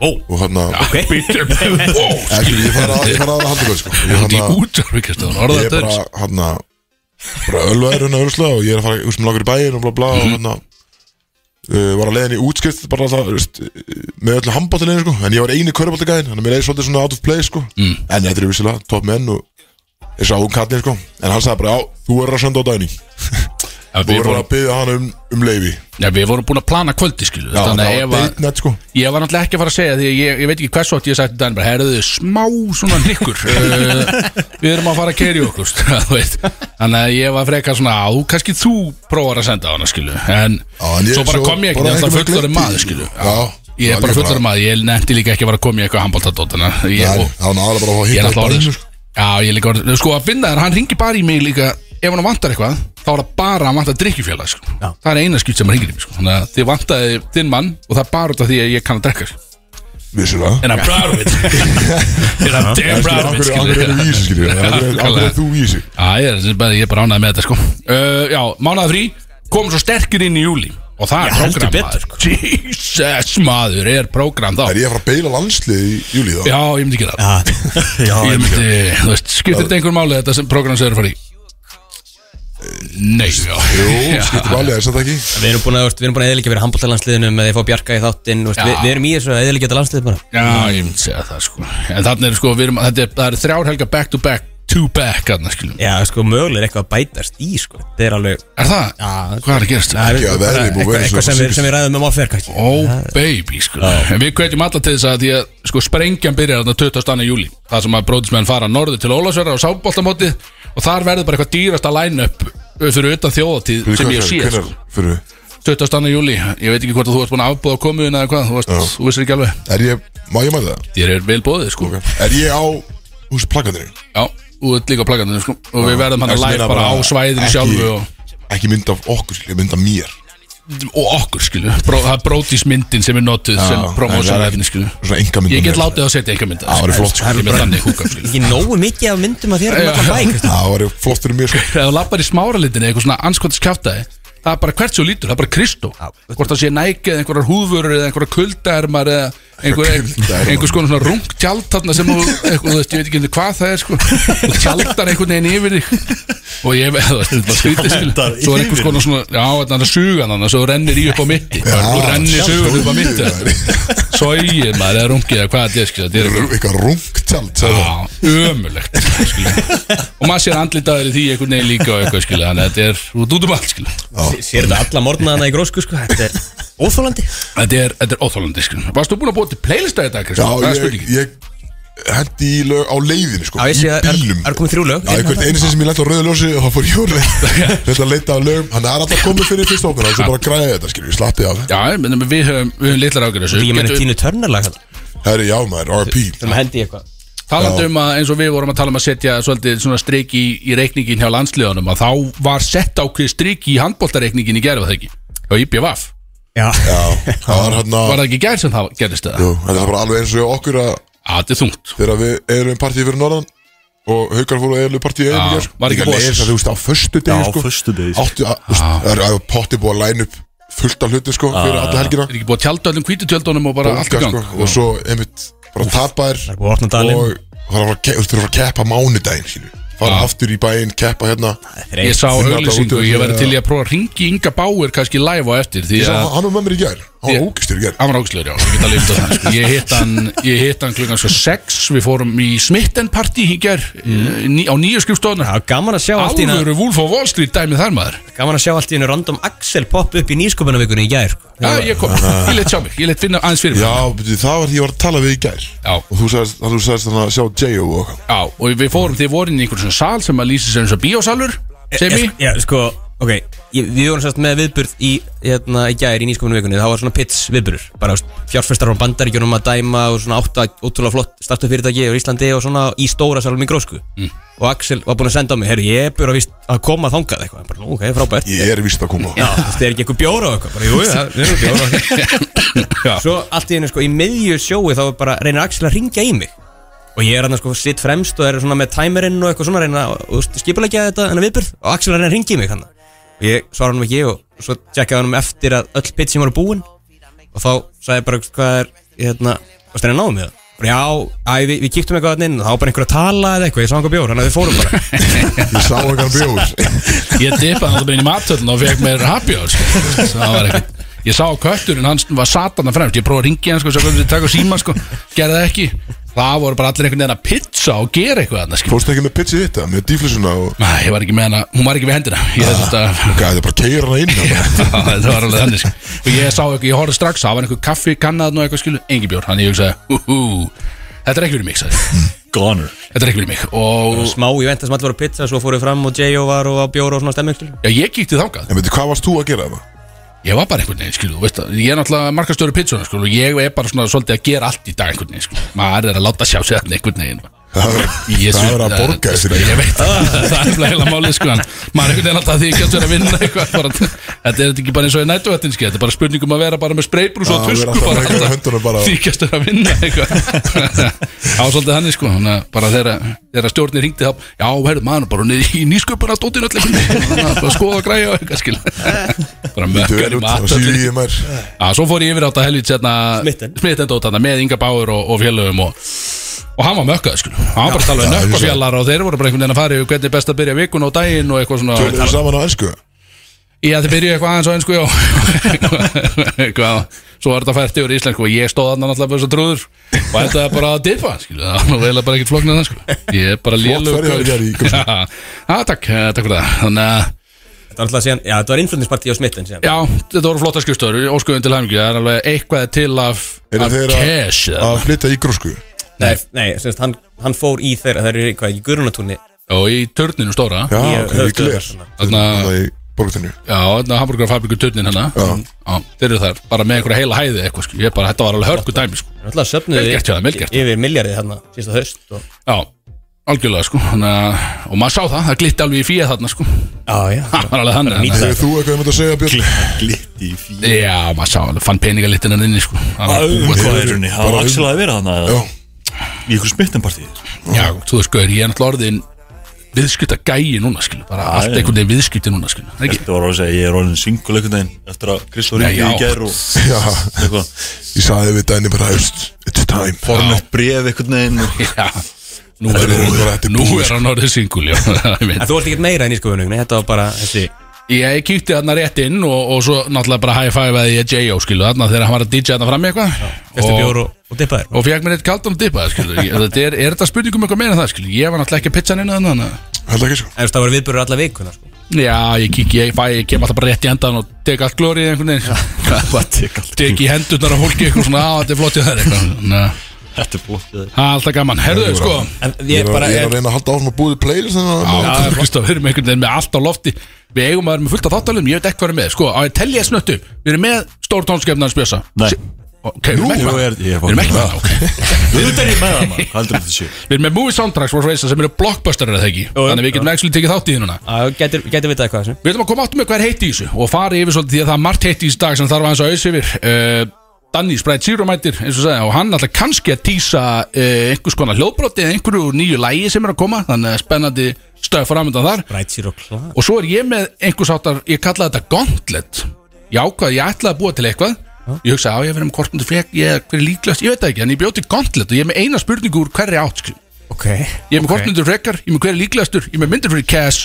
Speaker 1: Ó.
Speaker 2: og hann að
Speaker 4: Ok
Speaker 3: Bítur, ó,
Speaker 2: Ekki, ég þarf að ég þarf að halda kvöld sko ég,
Speaker 3: Þetta er
Speaker 2: þarna-
Speaker 3: útvarfi, Kristó, hún
Speaker 2: ég
Speaker 3: orðaði
Speaker 2: er
Speaker 3: þetta
Speaker 2: bara hérna, hann
Speaker 3: Mhm.
Speaker 2: að bara ölvaður hennar ölslega og ég er að fara úr sem lagur í bæin og bla bla og hann að uh, hérna, var að leiðin í útskrift bara það, þú veist, eh, með öllu handbóttilegin sko. en ég var eini körbóttigæðin, þannig að mér leiði svolítið svona out of place sko. mm. en þetta er vissilega topp menn og ég sá hún kallin sko. en hann sagði bara, já, þú verður að senda á dæning
Speaker 3: Já,
Speaker 2: þú
Speaker 3: við,
Speaker 2: verður
Speaker 3: vorum,
Speaker 2: að byggja hann um, um leiði já,
Speaker 3: já, við vorum búin að plana kvöldi skilu
Speaker 2: það
Speaker 3: Þannig
Speaker 2: var
Speaker 3: að ef að
Speaker 2: beitnett sko.
Speaker 3: Ég var náttúrulega ekki að fara að segja því að ég, ég veit ekki hversu átt ég sagt þannig bara, herðu smá svona
Speaker 2: (laughs)
Speaker 3: hryggur við erum að fara að keiri okkur st- (laughs) þú veist. þannig að ég var frekar svona á, kannski þú prófar að senda á hana skilu en,
Speaker 2: Já, en ég-
Speaker 3: svo bara kom ég ekki,
Speaker 2: bara einhvern
Speaker 3: ég er alltaf
Speaker 2: veginn
Speaker 3: fullari
Speaker 2: gleymdi
Speaker 3: maður
Speaker 2: því.
Speaker 3: skilu
Speaker 2: Já,
Speaker 3: ég
Speaker 2: það
Speaker 3: er bara
Speaker 2: líka
Speaker 3: fullari maður, ég nefndi líka ekki að fara að koma í eitthvað handbóltadótana ég,
Speaker 2: Nei,
Speaker 3: og-
Speaker 2: það var náttúrulega bara að fá að
Speaker 3: ég er
Speaker 2: hitta
Speaker 3: alltaf
Speaker 2: bara
Speaker 3: orðin
Speaker 2: einu,
Speaker 3: sko. já, ég er líka orðin, sko að finna þér, hann ringi bara í mig líka ef hann vantar eitthvað, þá er það bara að vantar drikkjufélag, sko.
Speaker 4: Já.
Speaker 3: það er eina skipt sem hann ringir í mig, sko. þannig að þið vantaði þinn mann og það er bara út af því að ég kann að drekka, sko.
Speaker 2: vissulega
Speaker 3: And I'm proud (laughs) of it And I'm damn
Speaker 2: Eftir
Speaker 3: proud of it
Speaker 2: akkur
Speaker 3: skilur.
Speaker 2: akkur er þú í þessu skilur Akkur er þú í þessu
Speaker 3: Já, ég er bara, ég er bara ánægð með þetta sko uh, Já, mánaða frí Komum svo sterkir inn í júli Og það
Speaker 4: Já,
Speaker 3: er
Speaker 4: heldur
Speaker 3: prógram
Speaker 4: betur,
Speaker 3: maður Jesus maður, er prógram þá
Speaker 2: Er ég að fara að beila landslið í júli þá?
Speaker 3: Já, ég myndi ekki það
Speaker 1: Já,
Speaker 3: Ég myndi, þú veist, skiptir þetta einhver máli þetta sem prógram sem eru að fara í Nei, já (laughs)
Speaker 2: Jú, skiptir valið, er þetta ekki?
Speaker 4: Við erum búin að, veist, við erum búin að eðilegja fyrir handbóltalandsliðinu með því að fá Bjarka í þáttinn veist,
Speaker 3: Já.
Speaker 4: við, við erum í þessu að eðilegja þetta landslið bara
Speaker 3: Já, ég myndi segja það sko En þannig er sko, við erum, þetta er, það er þrjár helga back to back Two back, þarna skilum
Speaker 4: Já, sko, mögulega er eitthvað að bætast í, sko Þetta er alveg
Speaker 3: Er það?
Speaker 4: Já.
Speaker 3: Hvað er að gerast?
Speaker 4: Það
Speaker 2: Já,
Speaker 4: er
Speaker 2: veðrið
Speaker 4: bara
Speaker 2: er búið að vera
Speaker 4: eitthvað,
Speaker 2: svo
Speaker 4: eitthvað sem, við, sem við ræðum um áferð kannski
Speaker 3: Ó baby sko En við kveitjum alla til þess að því að sko sprengjan byrjar þarna 22. júli Það sem að bróðismenn fara norður til Ólafsverðar á sáboltamótið og þar verður bara eitthvað dýrasta line-up fyrir utan þjóðatíð sem ég sé sko.
Speaker 2: Fyrir,
Speaker 3: 22. júli, ég veit ekki hvort að þú ert búin að afbúða komiðuna eða hvað, þú, varst, þú vissir ekki alveg
Speaker 2: er ég, má ég mæta það?
Speaker 3: Þér er vel bóðið sko
Speaker 2: Er ég á, þú veist, plakandurinn?
Speaker 3: Já, þú ert líka á plakandinu sko og við verðum hann að live bara á svæðinu
Speaker 2: Ekki-
Speaker 3: sjálfu og,
Speaker 2: Ekki mynd af okkur, skilur, mynd af mér
Speaker 3: og okkur skilu, Bró, það er bróðismyndin sem er notuð
Speaker 2: Ah,
Speaker 3: sem
Speaker 2: en það er-
Speaker 3: promósjónleginni skilu
Speaker 2: Svona enga mynd
Speaker 3: Ég get látið að setja eitthvað mynda
Speaker 2: Það væri flott, sko.
Speaker 3: Það er bara þannig húkað skilu
Speaker 4: Ekki nógu mikið af myndum að þér um
Speaker 3: Já.
Speaker 4: allan bæk veist.
Speaker 2: Það var flott fyrir mér, sko
Speaker 3: þegar þú lappar í smáralitinni eitthvað svona anskotis kjátaði það er bara hvert svo lítur, það er bara Kristó hvort það sé nækið eða einhverjar húfurur eða einhverjar kuldaermar eða einhver,
Speaker 2: Kuldaermar.
Speaker 3: einhver skona svona rung tjald þarna sem þú, eitthvað, þú veist, ég veit ekki hvað það er sko, þú tjaldar einhvern veginn yfir þig og ég (laughs) veit, þú veist, þetta var skrítið skil
Speaker 1: Tjaldar
Speaker 3: svo er einhvers konar svona, já, þetta er sugan þannig svo þú rennir í upp á mitti
Speaker 2: Ah,
Speaker 3: þú rennir sugan upp á mitti sóið maður eða rungið eða hvað þetta er skil þetta er
Speaker 2: (laughs) Eitthvað rungtjald, sagði það
Speaker 3: Já, ömulegt skilur. og maður sér andlitaður í því einhvern veginn líka og eitthvað skilja þannig að þetta er út út um allt skilja
Speaker 2: Ah.
Speaker 4: S- Sér þetta alla morgnaðana í grósku, sko Þetta er óþólandi
Speaker 3: þetta er, þetta er óþólandi skilja varst þú búin að búa til playlista í dag Kristján?
Speaker 2: Já,
Speaker 3: það er
Speaker 2: ég,
Speaker 3: spurningin
Speaker 2: ég hendi í lög á leiðinu, sko
Speaker 4: Já, ég sé
Speaker 2: Í
Speaker 4: að er,
Speaker 2: bílum
Speaker 4: er komið þrjú lög
Speaker 2: Já, einhvern einu sem ég lenti á rauðu ljósi og það fór Jóri
Speaker 3: (laughs)
Speaker 2: Þetta að leita af lögum Hann er alltaf komið fyrir fyrst okkur og svo bara græði þetta, skilur, ég slappi af
Speaker 3: já, ég meina, við höfum, við höfum litlar ágjörð þessu
Speaker 4: Ég meina
Speaker 3: Getum-
Speaker 4: tínu törnarlag
Speaker 2: Herri, já maður, RP
Speaker 4: Þannig að hendi í eitthvað
Speaker 3: talandi um að eins og við vorum að tala um að setja svolítið svona strik í, í reikningin hjá landsliðunum að þá var sett ákveð strik í handbóltareikningin í gerð var það ekki hjá IPVF
Speaker 4: Já,
Speaker 2: Já, það var hann að
Speaker 3: var það ekki í gerð sem það gerðist það
Speaker 2: Jú, þetta er bara alveg eins og hjá okkur að
Speaker 3: að þetta er þungt
Speaker 2: þegar við erum partíð fyrir norðan og haukar fóru að erum partíð
Speaker 3: Já,
Speaker 2: erum
Speaker 3: var ekki boss.
Speaker 2: Þú veist, á föstu
Speaker 1: Já,
Speaker 2: degi,
Speaker 1: á
Speaker 2: sko
Speaker 1: föstudegi, sko.
Speaker 2: Áttu, að- þú veist, það er að potti búið að læna upp fullt af hluti, sko, fyrir alla helgina
Speaker 3: er ekki búið að tjálta öllum kvítutjöldunum og bara allt í
Speaker 2: Bólga,
Speaker 3: gang
Speaker 2: sko, og svo, einmitt, bara tapaðir
Speaker 4: það er búið að um opna dalinn
Speaker 2: og það er að ke- þú þurfir að fara að keppa mánudaginn, skilur Fara aftur í bæinn, keppa hérna
Speaker 3: Ég sá
Speaker 2: Þeir eru
Speaker 3: auðlýsingu,
Speaker 2: alltaf út í
Speaker 3: ég
Speaker 2: þessu,
Speaker 3: væri
Speaker 2: já.
Speaker 3: til í að prófa að ringi Inga Báir kannski live á eftir því
Speaker 2: Ég sá
Speaker 3: að
Speaker 2: hann- hann var með mér í gær, hann
Speaker 3: Ég-
Speaker 2: var ógistur í gær
Speaker 3: hann var ákslegur, já, ég get að lifta það sko. ég hitt hann, ég hitt hann klukkan svo 6 við fórum í smittenparti í ger mm. á nýju skrifstofunar
Speaker 4: Já, gaman að sjá allt í einu-
Speaker 3: alvöru Wolf of Wall Street dæmið þar maður
Speaker 4: Gaman að sjá allt í hennu random Axel popp upp í nýsköpunavikunni í gær sko.
Speaker 3: já, ég kom, ég let sjá mig, ég let finna aðeins fyrir mig já.
Speaker 2: Já, beti, það var því ég var að tala við í gær Og þú sagðist að þú sagðist þannig að sjá J.O. og okkar
Speaker 3: og við fórum, þið voru inn í einhvern svona sal sem að lýsa sér eins og bíósalur sem
Speaker 4: Ég-
Speaker 3: ég,
Speaker 4: ég- Já, sko, ok ég, Við vorum sérst með viðburð í, hérna, í gær í nýsköpunavikunni Það var svona pits viðburður Bara þú veist, fjárfestar frá bandaríkjunum að dæma Og svona átta, ótrúlega flott startup fyrirtæki á Íslandi Og svona í stóra salum í grósku Og Axel var búinn að senda á mig Herru, ég er búin að, víst, að koma þangað eitthvað Ég bara, "Nú, Ok, frábært
Speaker 2: Ég er vist að koma
Speaker 4: Já, þú veist, það er ekki eitthvað bjóra og eitthvað bara, Jú, jú, það er bjóra og
Speaker 3: Já.
Speaker 4: Svo allt í hennu sko í miðju sjói þá bara reynir Axel að ringja í mig Og ég er hann sko sitt fremst og er svona með timerinn og eitthvað svona reynir að þú veist, skipulegja þetta en að viðbyrð og Axel reynir að ringja í mig hann Og ég svara hann ekki og svo tjekkaði hann eftir að öll pitchin var búin Og þá sagði ég bara hvað er, hérna, varst það að náðum við það? Bara, Já, æ, við, við kíktum eitthvað þarna inn og það var bara einhver að tala eða eitthvað, ég sá einhver bjór, þannig að við fórum bara
Speaker 2: Ég sá
Speaker 3: (laughs)
Speaker 2: einhvern bjóður
Speaker 3: ég dipaði náttúrulega inn í matöldun og fekk mér happy hour sko. það var ekkert Ég sá kötturinn, hann var satana fremst Ég prófaði að ringja hann, sko, svo hvernig þið taka síma, sko Gerði það ekki Það voru bara allir einhvern veginn að pizza og gera eitthvað þarna, sko
Speaker 2: Fórstu ekki með pitchið þetta, með dýflisuna og
Speaker 3: Næ, ég var ekki með hana, hún var ekki við hendina Ég þess að
Speaker 2: gæði bara að keira hana inn þarna.
Speaker 3: það var alveg þannig sko. og ég sá ekki, ég horfði strax, það var einhver kaffi kannað og eitthvað skilu, engi bjór, þannig ég hugsaði hú, hú, þetta er ekki fyrir mig, sagði ég.
Speaker 1: Goner
Speaker 3: þetta er ekki fyrir mig og
Speaker 4: Smá, ég veit að sem allir voru að pizza Svo fóru fram og J.O. var og á bjóra og svona stemming skilur.
Speaker 3: já, ég kíkti þákað,
Speaker 2: En veitir, hvað varst þú að gera það?
Speaker 3: ég var bara einhvern veginn skilu, þú veist það, ég er náttúrulega markastöru pizzuna skilu, og ég er bara svona svolítið að gera allt í dag einhvern veginn, skilu, maður er að láta sjá sér þarna einhvern veginn
Speaker 2: Það var-
Speaker 3: Ég
Speaker 2: það
Speaker 3: sé-
Speaker 2: var að borga þessi
Speaker 3: Ég veit, það (laughs) það er nefnilega heila málið sko en Maður einhvern veginn alltaf því ekki að vera að vinna eitthvað bara, Þetta er ekki bara eins og í nætuvættin Þetta er bara spurningum að vera bara með spreybrús og
Speaker 2: Já, vera
Speaker 3: tusku
Speaker 2: alltaf með
Speaker 3: bara
Speaker 2: einhverja höndunum bara á-
Speaker 3: Þykjast vera að vinna eitthvað (laughs) Það var svolítið þannig sko þannig að Bara þegar þegar stjórnir ringdi þá Já, herðu maður bara niður í nýsköpuna Dóttir öll eitthvað Skoða og græja og eitthvað skil Bara mökkar í mat
Speaker 2: Sýri ég mær
Speaker 3: Já, svo fór ég yfir hérna átt að helvit sérna
Speaker 4: Smitten.
Speaker 3: smittendótt hann með Inga Báur og, og félögum og, og hann var mökkað, sko Hann var bara að
Speaker 2: Já,
Speaker 3: tala um
Speaker 2: ég sé.
Speaker 3: nökkafjallar og þeir voru bara einhvern veginn að fara yfir hvernig er best að byrja vikun og daginn og eitthvað
Speaker 2: Tölum
Speaker 3: svona
Speaker 2: við saman á ennsku
Speaker 3: Já, þeir byrjuðu eitthvað aðeins og enn, sko, já (laughs) Eitthvað, Svo var þetta fært yfir í Ísland, sko Ég stóð hann alltaf fyrir þess að trúður og þetta er bara að dipa, skilu Það var eiginlega bara ekkert flóknir það, sko Ég er bara
Speaker 2: Flott
Speaker 3: lélugur
Speaker 2: ferð hjá þér, Gary, í
Speaker 3: gaur. (laughs) Já, já, takk, eh, takk fyrir það Þannig að
Speaker 4: Þetta var alltaf síðan Já, þetta var innflutningspartí á smitten síðan
Speaker 3: Já, þetta voru flotta skjöfstöður, óskuðum til hæmingi Það er alveg eitthvað til af,
Speaker 2: Eru
Speaker 3: af
Speaker 2: þeir að-
Speaker 3: cash eða-
Speaker 2: Að flytta í grósku
Speaker 4: Nei, nei semst, hann, hann fór í þeirra Það eru í- hvað, í gurunatúni
Speaker 3: Já, í törninu stóra
Speaker 2: Já,
Speaker 4: Ég-
Speaker 2: ok, í gler
Speaker 4: höfuðstöðvar.
Speaker 3: Þarna,
Speaker 2: Það í borgatinu
Speaker 3: já, þarna hamburgerfabrikur törnin hana
Speaker 2: Já.
Speaker 3: Já, þeir eru þar, bara með einhverja heila hæði eitthvað sko. Ég bara, þetta var alveg hörku dæmi sko.
Speaker 4: Alltaf söfnuðu
Speaker 3: Vel gert hjá þeim, vel gert.
Speaker 4: yfir miljardið hérna Síðasta haust og...
Speaker 3: Já, algjörlega sko. Þannig, að- Og maður sá það, það glitti alveg í fíja þarna sko. (laughs)
Speaker 4: Já, já
Speaker 3: Það var alveg þannig þannig að-
Speaker 2: Hefur þú eitthvað um þetta að segja Björn?
Speaker 1: Glitti í fíl
Speaker 3: Já, maður sá alveg, fann peningalitinn hann inni sko. Það var búið.
Speaker 1: Hvað er henni? Það
Speaker 2: Bara
Speaker 1: var Axel að vera hann
Speaker 2: Já.
Speaker 1: Í ykkur smittenpartíð
Speaker 3: Já, þú veist sko, ég er náttúrulega orðin viðskipta gæi núna skilu. Bara allt
Speaker 1: já.
Speaker 3: einhvern veginn viðskipti núna skilu. Það er ekki
Speaker 1: Þetta var að segja Ég er orðin singul einhvern veginn Eftir að Kristóf
Speaker 3: Já,
Speaker 1: ringdi
Speaker 3: já.
Speaker 1: í ger og
Speaker 2: Já,
Speaker 1: eitthvað
Speaker 2: ég sagði við Dæni bara "Haust, It's time
Speaker 1: Formett bref einhvern veginn og-
Speaker 3: Já, nú
Speaker 2: Þetta er
Speaker 3: er,
Speaker 2: búið, þetta er
Speaker 3: nú
Speaker 2: búið,
Speaker 3: er
Speaker 2: sko.
Speaker 3: hann orðið singul Já, (laughs) ég veit
Speaker 4: En þú varst ekkert meira en í skoðunum Þetta var bara þessi
Speaker 3: Ég kíkti þarna rétt inn og, og svo náttúrulega bara high five að ég J.O. skilu þarna þegar hann var að DJ þarna fram í eitthvað
Speaker 4: Fyrstu
Speaker 3: og,
Speaker 4: bjór og, og dippaðir
Speaker 3: og fekk mér eitt kaldan og dipaði skilu ég, þetta er, er þetta spurningum eitthvað meina það skilu ég var náttúrulega ekki að pitcha hann inn þarna þannig að-
Speaker 2: Held ekki sko
Speaker 4: En þú veist, það voru viðbörur alla vikuna sko.
Speaker 3: Já, ég kík, ég fæ, ég kem alltaf bara rétt í endan og tek allt glórið einhvern (laughs) veginn tek í hendurnar af fólki eitthvað svona á, þetta er flott í þær eitthvað Þannig að
Speaker 1: Þetta er flott í þér.
Speaker 3: það er alltaf gaman, herðu sko
Speaker 4: En
Speaker 2: Ég
Speaker 4: ég
Speaker 2: var
Speaker 4: bara
Speaker 2: ég var
Speaker 4: er,
Speaker 2: að reyna að halda áfram að búið playlist hérna
Speaker 3: Já,
Speaker 2: þennan
Speaker 3: það er Kristof, við erum einhvern veginn með allt á lofti Við eigum að vera með fullt af þáttalum, ég veit ekki hvað er með Sko, á ég telja snöttu, við erum með stór tónskefnaðan spjösa
Speaker 1: Nei.
Speaker 3: Ok, við erum ekki
Speaker 1: Jú,
Speaker 3: með
Speaker 1: er-
Speaker 3: það
Speaker 1: ég er
Speaker 3: Við erum ekki með það,
Speaker 1: Auðvitað er ég með það maður
Speaker 3: ok
Speaker 1: Hvað heldur þetta sé?
Speaker 3: Við erum með movie soundtracks frá Freysa sem eru blockbusterar eða ekki Þannig að við getum actually tekið þátt í því núna
Speaker 4: að, getur, getur vitað eitthvað sem.
Speaker 3: Við ætlum að koma áttum með hver heiti í þessu Og fara yfir svolítið því að það er margt heiti í þessu dag sem þarf aðeins að auðs yfir uh, Danny Sprite Zero mætir, eins og segja Og hann alltaf kannski að týsa uh, einhvers konar hljóðbroti Eða einhverju nýju lægi sem er að koma Þannig að spennandi stöð framöndan þar
Speaker 4: Bright Zero Club
Speaker 3: Og svo er ég með einhvers áttar, ég kalla þetta gauntlet Ég ákvað, ég ætlaði að búa til eitthvað Ég hugsa, á ég verið með kortmundu fekk, ég hver er líklegast, ég veit það ekki En ég bjóti gauntlet og ég er með eina spurningu úr hverri átt skil.
Speaker 4: Ok
Speaker 3: Ég er með okay. kortmundu frekar, ég er með hverri líklegastur, ég er með myndir fyrir cash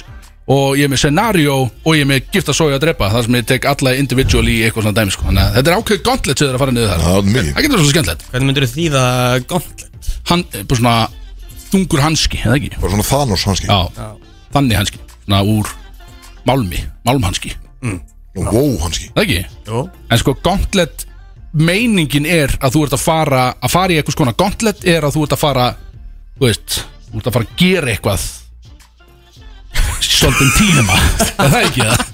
Speaker 3: Og ég er með scenario og ég er með gift að soja að drepa Þar sem ég tek alla individual í eitthvað svona dæmi sko. Þannig að þetta er ákveð gauntlet sem þeir að fara niður þar
Speaker 2: Það er mikið
Speaker 3: Það getur verið svo skemmtilegt
Speaker 4: Hvernig myndur þú þýða gauntlet?
Speaker 3: Hann, eh, bara svona þungur hanski, eða ekki?
Speaker 2: Bara svona Thanos hanski
Speaker 3: Já, þannig hanski, svona úr málmi, málmhanski,
Speaker 2: Nú, Wow hanski
Speaker 3: eða ekki?
Speaker 4: Jó
Speaker 3: En sko gauntlet Meiningin er að þú ert að fara Að fara í eitthvað skona Gauntlet er að þú ert að fara Þú veist, þú ert að fara að gera eitthvað Svolítum tíma Er það ekki það?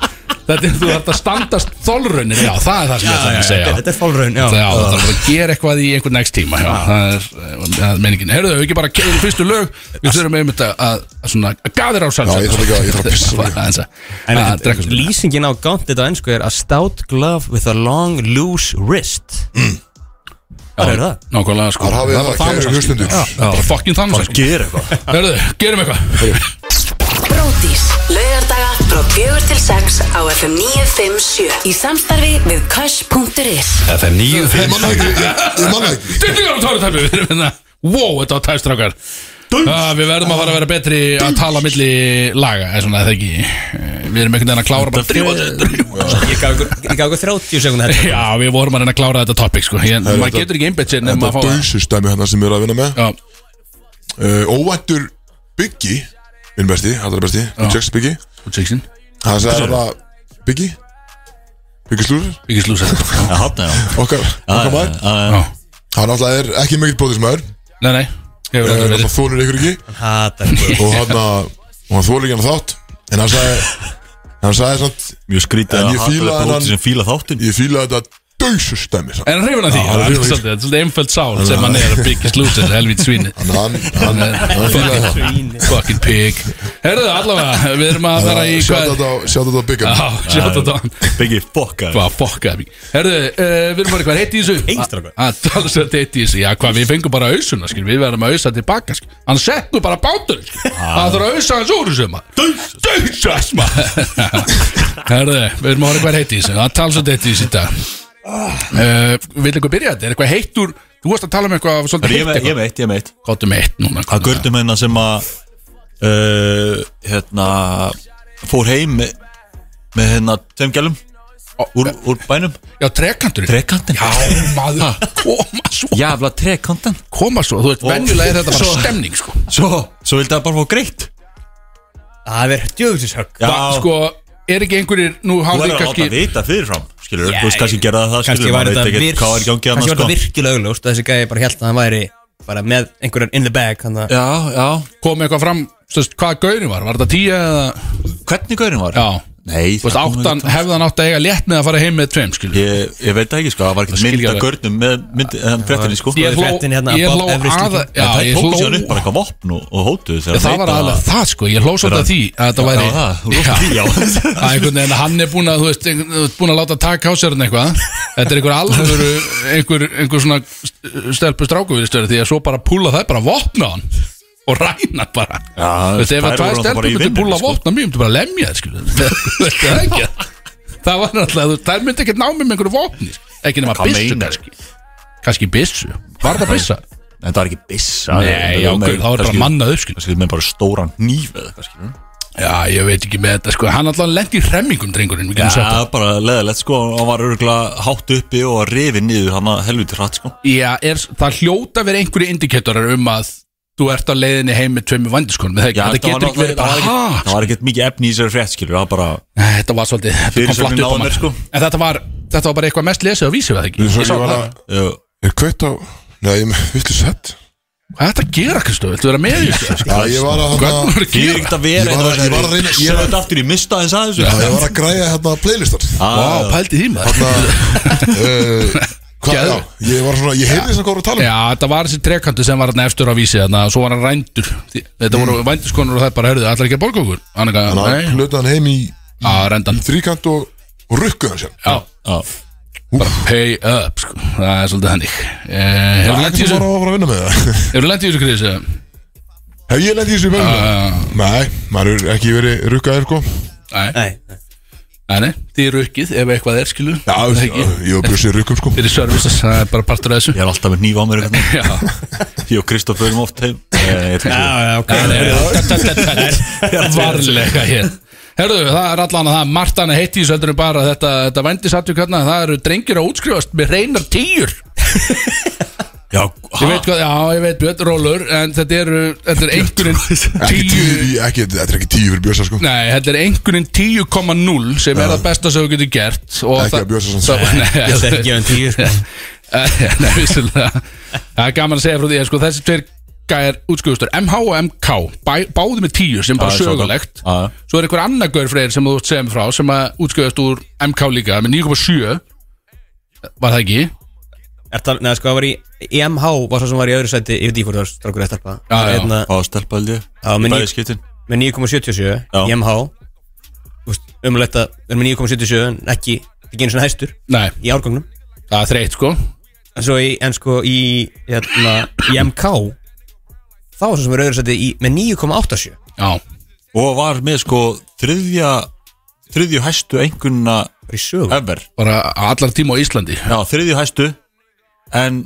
Speaker 3: Þetta er þú ert að standast þolrunir Já, það er það sem ég ætla að segja
Speaker 4: Þetta er fólraun, já
Speaker 3: Það- Já, það þarf bara að gera eitthvað í einhvern next tíma Já, það er, eh, það er meiningin Herðu, við ekki bara kegðum fyrstu lög Við þurfum einmitt að, að, að, svona, að gaðir á sjálf
Speaker 2: Já, ég þarf ekki að- ég þarf að
Speaker 3: (laughs)
Speaker 2: pissa.
Speaker 4: En
Speaker 3: pissa
Speaker 4: þetta- lýsingin á gauntlet á ennsku er a stout glove with a long loose wrist
Speaker 1: Mm.
Speaker 4: Hvað er það?
Speaker 3: Nákvæmlega sko
Speaker 2: Þar hafið það,
Speaker 3: Thanos
Speaker 2: kæru
Speaker 3: hanski.
Speaker 2: hlustendur.
Speaker 3: Já, Bara fucking þannig hanski
Speaker 1: Gera eitthvað
Speaker 3: Hörðu, gerum eitthvað
Speaker 5: Bródís. Laugardaga frá 4 til 6 á FM 957. Í samstarfi við Kösh.is.
Speaker 6: FM
Speaker 2: Ég
Speaker 6: 957
Speaker 2: manna ekki, ég- ég manna ekki
Speaker 3: Dillingar og tárutæpi Við erum hérna Wow, þetta var tæstrákar uh, Við verðum að fara að vera betri að tala milli laga eða svona, eða ekki Eh, Við erum einhvern veginn að klára bara
Speaker 1: Þetta fer-
Speaker 3: drífa- drífa-
Speaker 4: Ég gaf ykkur, ég gaf ykkur 30 sekund þetta
Speaker 3: Já, við vorum að reyna að klára þetta topic sko Ég, Maður getur ekki einbett sér nema
Speaker 2: Þetta
Speaker 3: að fá það.
Speaker 2: döysustæmi hérna sem við erum að vinna með
Speaker 3: Já,
Speaker 2: uh, Óvæntur Byggi Minn besti, allra besti Checks Byggi
Speaker 3: út sexin
Speaker 2: Hann sagði þetta Byggi Byggi slúður
Speaker 3: Ekki slúsa þetta
Speaker 1: Já, hann er
Speaker 2: Okkar, okkar maður
Speaker 1: já
Speaker 3: Já.
Speaker 2: Hann alltaf er ekki mikill bóðismæður
Speaker 3: Nei, nei, ég hefur aldrei
Speaker 2: Það
Speaker 3: verið
Speaker 2: þónur ykkur ekki
Speaker 4: Hatar ykkur.
Speaker 2: og hann og hann þólir ekki hann þátt en hann sagði hann sagði samt
Speaker 1: Mjög skrítið
Speaker 2: En
Speaker 1: að
Speaker 2: ég
Speaker 1: hata
Speaker 2: fílaði
Speaker 1: þetta
Speaker 2: hann-
Speaker 1: út sem fíla þáttin
Speaker 2: ég fíla þetta döysustæmi samt
Speaker 3: En hrifin að því,
Speaker 2: Já,
Speaker 3: það er
Speaker 2: hrifinn.
Speaker 3: svolítið, þetta er svolítið einföld sál sem hann er að byggja slúsa helvít svíni
Speaker 2: hann hann hann, hann fílaði það
Speaker 4: Svíni.
Speaker 3: Fucking pig Herðu, allavega, við erum að vera í
Speaker 2: sjátt
Speaker 3: hvað
Speaker 2: þetta á sjátt þetta á byggum
Speaker 3: Já, sjátt þetta á hann
Speaker 1: Beggi, fokka
Speaker 3: Hvað fokkaði mig Herðu, uh, við erum bara eitthvað heitt í þessu Ah,
Speaker 4: Engstrákar.
Speaker 3: Að tala svo heitt í þessu Já, hvað, við fengum bara ausuna, skil Við verðum að ausa tilbaka, skil Hann settu bara bátur, skil
Speaker 1: Ah.
Speaker 3: Það þarf að ausa hans úr þessu, maður Döysast, maður Herðu, við erum að vera eitthvað heitt í þessu Það tala svo heitt í þessu í dag
Speaker 1: Ah.
Speaker 3: uh, Vil eitthvað byrja þetta? Er eitthvað heitt úr Þú varst að tala um eitthvað svolítið
Speaker 1: Ég
Speaker 3: heitt
Speaker 1: með- ég
Speaker 3: eitthvað
Speaker 1: með eitt, ég með eitt
Speaker 3: Kottum heitt núna
Speaker 1: að gurnum hérna sem að uh, hérna fór heim með, með hérna tveim gælum úr, úr bænum
Speaker 3: Já, trekantur
Speaker 1: trekantin
Speaker 3: Já, maður, koma svo
Speaker 1: jafla trekantin
Speaker 3: Koma svo, þú veist,
Speaker 1: Og-
Speaker 3: venjulega er þetta bara
Speaker 1: Svo-
Speaker 3: stemning, sko
Speaker 1: svo, svo vildi það bara fá greitt
Speaker 4: Það er djöfusins högg
Speaker 1: já,
Speaker 3: Ba- sko, er ekki einhverjir nú
Speaker 1: þú
Speaker 3: hafa
Speaker 1: er
Speaker 3: þið
Speaker 1: að láta
Speaker 3: kannski
Speaker 1: vita fyrirfram skilur,
Speaker 4: Já,
Speaker 1: þú veist kannski gera það
Speaker 4: Kanski
Speaker 1: skilur,
Speaker 4: var
Speaker 1: maður
Speaker 4: þetta
Speaker 1: veit
Speaker 4: virs-
Speaker 1: ekkert hvað er í gangi
Speaker 4: kannski
Speaker 1: annars
Speaker 4: var þetta
Speaker 1: sko.
Speaker 4: virkilega augljóst Þessi gæði bara held að hann væri bara með einhverjar in the bag hann að-
Speaker 1: já, já,
Speaker 3: komið eitthvað fram stöðst, hvað gaurin var, var þetta tíu eða
Speaker 1: hvernig gaurin var
Speaker 3: já,
Speaker 1: nei,
Speaker 3: þú veist,
Speaker 1: það kom
Speaker 3: áttan,
Speaker 1: ekki-
Speaker 3: hefðan átt að eiga létt með að fara heim með tveim, skilur
Speaker 1: ég, ég veit það ekki sko, það var
Speaker 3: Það
Speaker 1: ekkert
Speaker 3: skil
Speaker 1: mynd
Speaker 3: ég
Speaker 1: að
Speaker 3: alveg.
Speaker 1: gaurnum með mynd, en fréttinni sko
Speaker 3: ég hló,
Speaker 4: fréttin hérna,
Speaker 3: ég
Speaker 4: Bob
Speaker 3: hló
Speaker 4: Everest
Speaker 3: að
Speaker 4: líka.
Speaker 3: já,
Speaker 1: það
Speaker 3: ég
Speaker 1: tók sér upp
Speaker 3: hló
Speaker 1: bara eitthvað vopn og, og hótuðu þegar
Speaker 3: það
Speaker 1: hann
Speaker 3: var
Speaker 1: leit að-
Speaker 3: alveg það, sko, ég hló svolítið
Speaker 1: Þegar-
Speaker 3: að því að þetta
Speaker 1: Já,
Speaker 3: væri
Speaker 1: það, þú hlóst að því,
Speaker 3: (laughs)
Speaker 1: já.
Speaker 3: Það er einhvern veginn að hann er búin að, þú veist, einhvern- þú ert búin að láta taka á sér hann eitthvað Þetta er einhver alvöru, einhver, einhver svona stelpu strákuviðstöri Því að svo bara púla það, bara vopna hann og ræna hann bara
Speaker 1: Já,
Speaker 3: Þú veist, ef
Speaker 1: þær
Speaker 3: að tvær
Speaker 1: voru náttúrulega
Speaker 3: stelpur
Speaker 1: bara í
Speaker 3: myndi
Speaker 1: vinnunni,
Speaker 3: púla
Speaker 1: sko.
Speaker 3: vopna mér, myndi bara lemja það, skilu (laughs) Þú veist, það er ekki að- Það var náttúrulega, þú- þær myndi ekkert ná mér með einhverju vopni sko. Ekki nema
Speaker 1: Hvað
Speaker 3: byssu,
Speaker 1: meinar?
Speaker 3: kannski Kannski byssu, var það byssa?
Speaker 1: En það er ekki byssa
Speaker 3: Nei, já, gaur, þá er bara mannað upp, skilu
Speaker 1: Það skilur með bara stóran nýf eða eitthvað skilur
Speaker 3: Já, ég veit ekki með þetta sko Hann alltaf lendi í hremmingum drengurinn Við getum
Speaker 1: Já,
Speaker 3: sagt það
Speaker 1: bara leðilegt sko Hann var örgulega hátt uppi og rifið niður hann að helviti hratt sko
Speaker 3: Já, er, það hljóta verið einhverju indikatorar um að Þú ert á leiðinni heim með tveimur vandiskonum eða ekki?
Speaker 1: Já,
Speaker 3: Þetta
Speaker 1: var
Speaker 3: getur ekki
Speaker 1: náttúrulega-
Speaker 3: verið
Speaker 1: það
Speaker 3: bara
Speaker 1: var ekkert-
Speaker 3: ha?
Speaker 1: Það var ekkert mikið efni í sér frétt skilur Það var bara
Speaker 3: Nei, Þetta var svolítið Þetta kom
Speaker 1: Fyrirsögnin náði
Speaker 3: flatt upp á mann
Speaker 1: mér, sko.
Speaker 3: En þetta var, þetta var bara eitthvað mest lesið á vísi við það ekki
Speaker 2: svo
Speaker 3: Ég sá
Speaker 2: ég var
Speaker 3: það.
Speaker 2: að
Speaker 1: uh,
Speaker 2: er kveitt á nei ég viltu sett
Speaker 3: Hvað er þetta að gera, Kristof? Viltu vera með í þessu?
Speaker 2: já ég var að
Speaker 3: Hvað er
Speaker 2: hérna
Speaker 3: þetta að
Speaker 1: Því er
Speaker 3: gera?
Speaker 1: ekkert að vera
Speaker 2: Ég var að- ég var að reyna- ég var-
Speaker 1: Sjöðu þetta aftur í mista eins aðeins Ah,
Speaker 2: já, ég var að græja hérna playlistar
Speaker 3: Vá, pældi því maður
Speaker 2: hérna uh, hvað já
Speaker 3: Geðveikt.
Speaker 2: ég var svona ég heyrði þess að hvað voru að tala um
Speaker 3: Já, þetta var þessi trekantu sem var hann eftir á vísi Þannig að svo var hann rændur Því- Þetta voru vændiskonur og það bara, herðu, allar ekki að borga okkur Hann ekki
Speaker 2: hann að
Speaker 3: nei,
Speaker 2: hluta hann heim í
Speaker 3: að rændan
Speaker 2: þríkant og og rukkuð hann sér
Speaker 3: Já,
Speaker 1: Já
Speaker 3: bara pay up sko. það er svolítið hannig
Speaker 2: það
Speaker 3: eh, hefur
Speaker 2: er
Speaker 3: lendið
Speaker 2: ekki bara
Speaker 3: í þessu
Speaker 2: að fara að vinna með það (laughs)
Speaker 3: hefur lendið í þessu Eh, kriðis nei,
Speaker 2: Hef ég lendið í þessu í
Speaker 3: já,
Speaker 2: bæðinu? Nei, maður hefur ekki verið rukkaðir sko
Speaker 4: Nei, nei.
Speaker 3: nei, nei, þið eru ekkið ef eitthvað er skilu
Speaker 2: Já,
Speaker 3: það er
Speaker 2: ég
Speaker 3: ekki
Speaker 2: hefur brjósið rukkum sko
Speaker 3: fyrir services, það er bara partur af þessu
Speaker 1: Ég er alltaf með nýf á mér
Speaker 3: (laughs)
Speaker 1: hérna.
Speaker 3: já,
Speaker 1: Ég og Kristoff förum oft heim Eh, ég-
Speaker 4: Já, Ah, já, ok
Speaker 3: Eh, varlega hér Herðu, það er allan að það Martana heitti í þessu heldur en bara að þetta, þetta vendisatvík hérna, það eru drengir að útskrifast með reynar tíur
Speaker 1: Já,
Speaker 3: ég veit hvað, já, ég veit, björn, rólur en þetta eru, þetta er einhverjum
Speaker 2: Ekki
Speaker 3: tíu
Speaker 2: tíu, ekki, þetta er ekki tíu fyrir bjósa sko
Speaker 3: Nei, þetta er einhvern veginn 10,0 sem er það besta sem þú getur gert og
Speaker 2: Ekki
Speaker 3: það-
Speaker 2: að bjósa svona.
Speaker 3: það- Nei,
Speaker 4: Ég ætla ekki að gefa hann tíu sko.
Speaker 3: Eh, (laughs) Nei, vissulega Það er gaman að segja frá því að sko, þessi tveir gæjar útskjöfustur MH og MK, bæ, báði með tíu sem bara
Speaker 1: Já, ég sá það.
Speaker 3: sögulegt
Speaker 1: Já, já.
Speaker 3: Svo er einhver annar gaur freyr sem þú ert segja mig frá sem að útskjöfust úr MK líka með 9,7 Var það ekki?
Speaker 4: Er það- Nei, sko, það var í í MH var svo sem var í öðru sæti Ég veit ekki hvort það var strákur eða stelpa
Speaker 3: Já, já.
Speaker 4: Hérna,
Speaker 1: Fá að stelpa held ég
Speaker 4: Já,
Speaker 1: Í
Speaker 4: menn
Speaker 1: bæði
Speaker 4: ég-
Speaker 1: skiptin
Speaker 4: með 9,77
Speaker 1: Já.
Speaker 4: í MH umulegt að vera með 9,77 en ekki, ekki einu svona hæstur
Speaker 3: Nei,
Speaker 4: í árgangnum
Speaker 3: það er þreytt sko
Speaker 4: en svo í, en sko í, hérna, í MK þá var svo sem er öðru í með 9,87
Speaker 3: Já,
Speaker 1: Og var með sko þriðja Þriðju hæstu einkunna
Speaker 4: bara í sögum
Speaker 1: ever
Speaker 3: bara allar tíma á Íslandi
Speaker 1: Já, þriðju hæstu En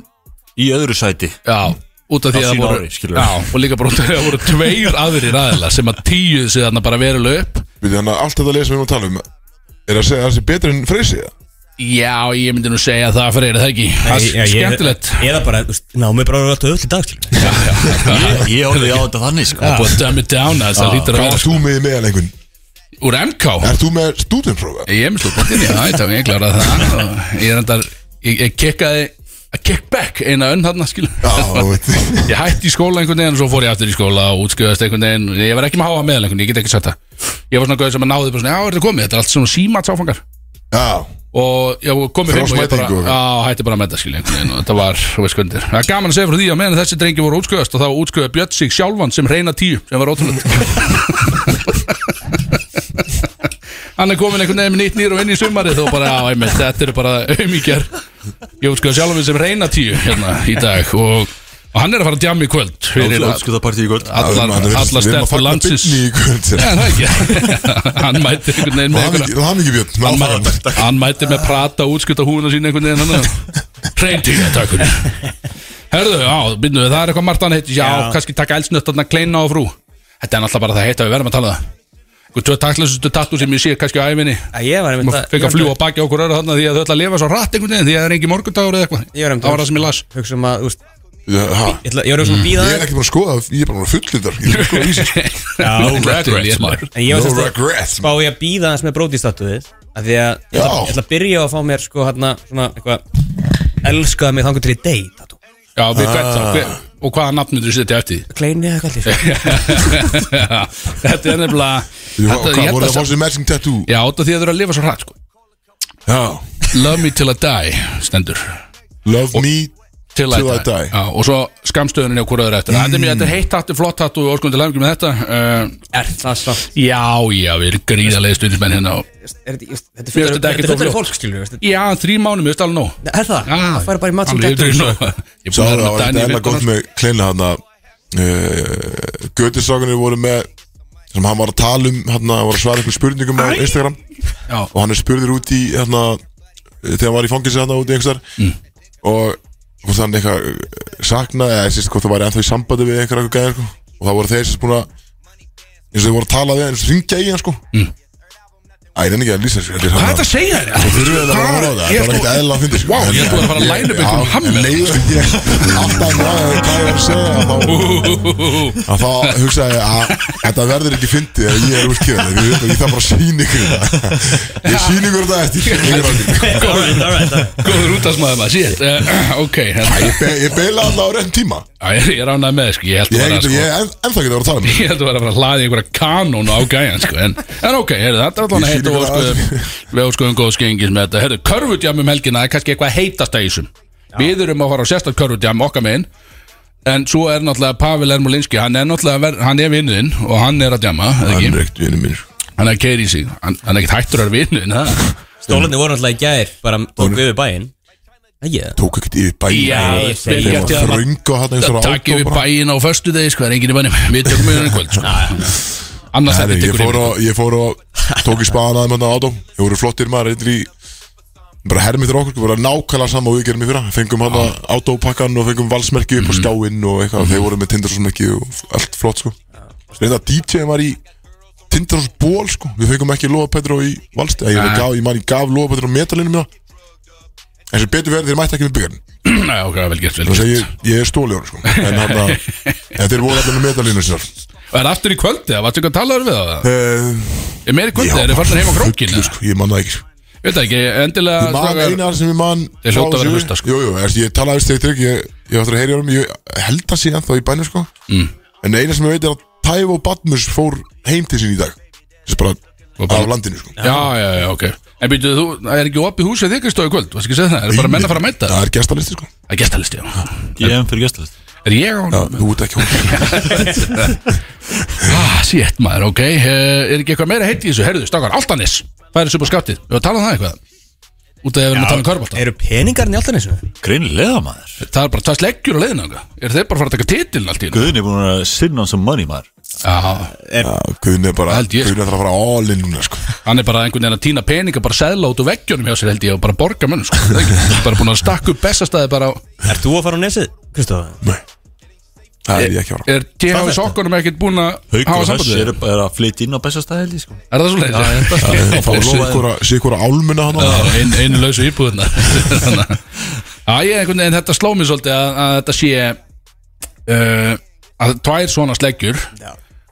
Speaker 1: í öðru sæti
Speaker 3: Já, út af
Speaker 1: Á
Speaker 3: því að það
Speaker 1: sínu
Speaker 3: voru
Speaker 1: ári, skilur við.
Speaker 3: Já, og líka bara út af því að það voru tveir aðrir aðilar sem að tíu sig þarna bara veruleg upp
Speaker 2: Við þannig að allt þetta lesa við erum að tala um Er að segja að hans er betur en freysi það?
Speaker 3: Já, ég myndi nú segja það fyrir það ekki Það
Speaker 4: Já,
Speaker 3: er
Speaker 4: ég-
Speaker 3: skemmtilegt
Speaker 4: Eða bara, þú veist, námi bara eru alltaf öll í dag til
Speaker 1: Ég, ég horfði á þetta þannig sko
Speaker 3: Búið að dömi down að það lítur að
Speaker 2: Hvað
Speaker 3: vera
Speaker 2: erst þú með í meðalengun?
Speaker 3: sko- Úr MK
Speaker 2: Erst þú með stúdinprófa?
Speaker 3: Ég er með slúkbóttin, já, ég tók ég klarað það og Ég er endar, ég, ég kekkaði að kickback eina önn þarna, skilu
Speaker 2: Já, veit
Speaker 3: (laughs) Ég hætti í skóla einhvern veginn og svo fór ég aftur í skóla og útskjöðast einhvern veginn Ég var ekki með háa meðal einhvern, ég get ekki sagt það Ég var svona gauð sem að náði bara svona, já, er þetta komið, þetta er allt svona símats áfangar
Speaker 2: Já,
Speaker 3: og ég var komið fimm og ég bara
Speaker 2: Frostmæting og-
Speaker 3: á, hætti bara að metta skilja einhvern veginn og þetta var, þú veist hvernig þetta er. það er gaman að segja frá því að meðan þessi drengi voru útskjöðast og þá útskjöða Björn sig sjálfan sem reyna tíu sem var ótrúlega (laughs) hann er komin einhvern veginn með nýtt nýr og inn í sumarið og bara, á, einmitt, þetta eru bara auðmíkjar ég útskjöða sjálfan sem reyna tíu hérna í dag og, og hann er að fara að djama í kvöld fyrir að-
Speaker 1: Útskjöðapartí í kvöld
Speaker 3: allar, allar stelpur landsins
Speaker 2: Við erum
Speaker 3: (laughs)
Speaker 2: að fagna
Speaker 3: Já, það er ekki. (laughs) hann mæti einhvern veginn með
Speaker 2: byrni í kvöld
Speaker 3: einhverja
Speaker 2: Það hafði ekki björn, með
Speaker 3: hann,
Speaker 2: áfram
Speaker 3: mæ, hann mætti með prata útskipta húna sín einhvern veginn hann reyndýra takkunni herðu, já, byrnu, það er eitthvað margt hann heitir já, kannski taka elsnött að kleina á frú þetta er náttúrulega bara það heita við verðum að tala um það einhvern tvö taktlæsustu tattu sem ég sé kannski á æfinni
Speaker 4: Ég var einmitt
Speaker 3: maður fekk að fljúa baki á okkur öru þarna því að þau ætla að lifa svo rætt einhvern veginn því að það er engin morgundagur eða eitthvað
Speaker 4: Ég um var einmitt
Speaker 3: það var það sem ég las
Speaker 4: Hugsa um að, þú veist,
Speaker 2: Já, ha.
Speaker 4: ég ætla- ég var
Speaker 2: Ég er
Speaker 4: einhvern veginn að býða
Speaker 2: ekki bara að skoða, ég er bara að sko. fullindar Ég er bara að skoða vísir
Speaker 3: no
Speaker 1: regrets, maður.
Speaker 4: En ég var
Speaker 2: No
Speaker 4: semst að-
Speaker 2: regrets
Speaker 4: spá ég að býða aðeins með brótistatúðið að því að ég ætla,
Speaker 2: Já.
Speaker 4: ég ætla að byrja á að fá mér sko hérna svona eitthvað elskaði mig þangur til í deg tatú
Speaker 3: já, við hvert
Speaker 4: Ah.
Speaker 3: þá hver- og hvaða nafn myndir þú setja
Speaker 4: (laughs)
Speaker 3: eftir því? (laughs)
Speaker 4: kleini eða eitthvað allir
Speaker 3: þetta er nefnilega
Speaker 2: Ég-
Speaker 3: (laughs) þetta- ég
Speaker 2: Hvað
Speaker 3: held
Speaker 2: voru
Speaker 3: að-
Speaker 2: það að fá sér matching tattoo?
Speaker 3: já, út af því að þau eru að lifa svo rætt sko
Speaker 2: Já
Speaker 3: Love me till I die stendur
Speaker 2: Love me
Speaker 3: Till,
Speaker 2: Till I die.
Speaker 3: Já, Og svo skamstöðunin hjá hvoraður eftir Þetta er mjög, þetta er heitt hattu, flott hattu og orkundir langi með þetta uh,
Speaker 4: er það svo
Speaker 3: Já, já, við erum gríðarlega stundinsmenn hérna og,
Speaker 4: er þetta þetta
Speaker 3: Mér finnst þetta ekki
Speaker 4: er
Speaker 3: þó
Speaker 4: fullar
Speaker 3: fljótt.
Speaker 4: fólk skilur við,
Speaker 3: Já, þrí mánum, ég veist alveg nóg
Speaker 4: þetta- er það það fær bara í matching
Speaker 3: alveg yfir
Speaker 4: tattoo
Speaker 3: í
Speaker 4: svo.
Speaker 3: nóg. Ég er
Speaker 2: Sá
Speaker 3: búin
Speaker 2: það
Speaker 3: að
Speaker 2: var
Speaker 3: vera
Speaker 2: þetta
Speaker 3: með
Speaker 2: enna gott
Speaker 3: Daniel
Speaker 2: með Kleina hann að Götisákanir voru með sem hann var að tala um hann var að svara einhver spurningum á Instagram
Speaker 3: Já.
Speaker 2: og hann er spurður út í hérna, þegar hann var í fangilsi hann út í einhversar mm. og hvort hann eitthvað eh, saknaði eða sérst hvort það væri ennþá í sambandi við einhverja gæðir sko. og það voru þeir sérst búin að eins og þeir voru að tala við hann, eins og ringja í hann sko mm. Æ, ég nefnir ekki að lýsa þessu þetta er
Speaker 3: Hvað er
Speaker 2: svona-
Speaker 3: þetta að segja þér?
Speaker 2: Þú þurfið að vera að horfa á það,
Speaker 3: Ég
Speaker 2: þetta var
Speaker 3: sko-
Speaker 2: ekkert eðla að fyndi
Speaker 3: Vá, ég ætla að fara að line up einhverjum hammer.
Speaker 2: Alltaf maður, hvað ég var að segja þá- að þá hugsaði ég að þetta verður ekki fyndi ef ég er úrskjöðan ég, ég þarf bara að sína ykkur það Ég sína ykkur það eftir Ykkur aldrei.
Speaker 4: All right, all right, all right.
Speaker 3: Góður út að smaður maður, síðan uh, Ok, hérna,
Speaker 2: Ég be- Ég beila alltaf á rétt tíma
Speaker 3: Já, ég ég er ánægð með, þig, sko, ég held
Speaker 2: Ég
Speaker 3: að vera
Speaker 2: hef
Speaker 3: sko,
Speaker 2: ekki- ég hef enn- ennþá getur að vera að tala um þetta.
Speaker 3: (laughs) ég held að vera að fara að hlaða í einhverja kanón á gæjan sko. en, en ok, heyrðu, þetta er allan
Speaker 2: Ég
Speaker 3: heitt
Speaker 2: sýni
Speaker 3: og
Speaker 2: hvað það
Speaker 3: óskuðum- við óskuðum góð skengis með þetta heyrðu, körfudjám um helgina er kannski eitthvað heitast að ísum við erum að fara á sérstætt körfudjám okkar megin en svo er náttúrulega Pavel Ermolinski hann er náttúrulega, ver, hann er vinnuðinn og hann er að djama, eða
Speaker 2: Hann
Speaker 3: ekki
Speaker 2: er ekkert vinur minn
Speaker 3: hann er að keiri í sig, hann, hann er ekkert hættur að vinnuðinn
Speaker 4: stólarnir voru náttúrulega í gær bara tók við bæinn ekki það
Speaker 2: Tók ekkert yfir bæinn
Speaker 3: Já, ég segi
Speaker 2: Þeir
Speaker 3: ekki
Speaker 2: var
Speaker 3: að-
Speaker 2: þröng og hann eins og
Speaker 3: takk
Speaker 2: átó
Speaker 3: yfir
Speaker 2: bara.
Speaker 3: bæin á föstu degi sko, það er enginn í bænum, við tökum við hann í kvöld sko. annars
Speaker 2: Herri,
Speaker 3: þetta
Speaker 2: ég
Speaker 3: tekur
Speaker 2: fór
Speaker 3: yfir
Speaker 2: og, ég fór og tók í spaðan aðeins með átó Ég voru flottir maður eitthvað í bara hermiður okkur, sko, bara nákvæmlega sama og við gerum í fyrra, fengum hann að átópakkan og fengum valsmerki upp á skjáinn og eitthvað þeir voru með tindarsonsmerki og f- allt flott sko reynda að DJ var í tindarsonsból sko, við fengum ekki Lóa Petró í valst, ég,
Speaker 3: Nei.
Speaker 2: gaf, ég man ég gaf Lóa Petró medalinu mína en sem betur verið þeir mætti ekki með byggjarn
Speaker 3: (clears throat) Nei, ok, vel gert, vel
Speaker 2: þannig að
Speaker 3: gert
Speaker 2: ég, ég er stólið hann sko en, hana, en þeir voru allir með medalinu sinnar
Speaker 3: Og er aftur í kvöldi, það var þetta eitthvað að tala við það
Speaker 2: uh,
Speaker 3: Er meiri kvöldið, er það farnir heim á krókinu?
Speaker 2: sko, ég man það ekki sko
Speaker 3: Veit það ekki, endilega
Speaker 2: Ég man
Speaker 3: strákar-
Speaker 2: eina sem ég man
Speaker 3: Þeir hljóta
Speaker 2: frá
Speaker 3: að vera
Speaker 2: þessu.
Speaker 3: að hlusta, sko.
Speaker 2: Jú, jú, veist, ég talaði við stegur trygg Ég, ég ætla að heyra um Ég held að sé ennþá í bænum sko mm. En eina sem ég veit er að Tævo Badmus fór heim til sín í dag Þess bara
Speaker 3: bara-
Speaker 2: af landinu sko
Speaker 3: Já, já, já, ok En býtu, þú, það er ekki opið húsið þig Kristó í kvöld, varstu ekki að segja það? Er það bara menn að fara að mæta?
Speaker 2: Það er gestalisti sko
Speaker 3: Það er gestalisti, já
Speaker 1: Ég hef fyrir gestalist
Speaker 3: Er ég á?
Speaker 2: Já, Þú ert ekki hún
Speaker 3: (laughs) Ah, sétt maður, ok Eh, Er ekki eitthvað meira heitt í þessu? Herðu, stakkar, Altanis Það er þessu upp á skattið, við varum að tala um það eitthvað Út af að við erum að tala um körbólta
Speaker 4: eru peningarnir alltaf neins já
Speaker 1: Greinilega maður
Speaker 3: Það er bara að tæst leggjur á leiðinu þangað. Eru þeir bara að fara að taka titilin allt í einu?
Speaker 1: Guðin er búin að sinna hans um money maður
Speaker 3: Já,
Speaker 2: Guðin er bara
Speaker 3: Held ég, sko.
Speaker 2: Guðin er að fara all in núna sko
Speaker 3: Hann er bara einhvern veginn að týna peninga bara seðla út úr veggjónum hjá sér held ég og bara borga mönnum sko, það er ekki bara búin að stakka upp bestastæði bara á
Speaker 4: Ert þú að fara á nesið, Kristof?
Speaker 2: Nei Það er ég ekki að fara
Speaker 3: Er TH í sokkunum ekkert búin að hafa
Speaker 1: Haukur og
Speaker 3: samband
Speaker 1: Höss
Speaker 3: við
Speaker 1: er,
Speaker 3: þig?
Speaker 1: er að flytja inn á bestastæðili sko.
Speaker 3: Er (laughs) það svo
Speaker 2: Það fá
Speaker 3: leiðis?
Speaker 2: sikkura- sikkura álmuna hann
Speaker 3: ein, einu lausu íbúðuna (laughs) Þannig að- Já, ég einhvern veginn þetta sló mér svolítið að, að þetta sé uh, að tvær svona sleggjur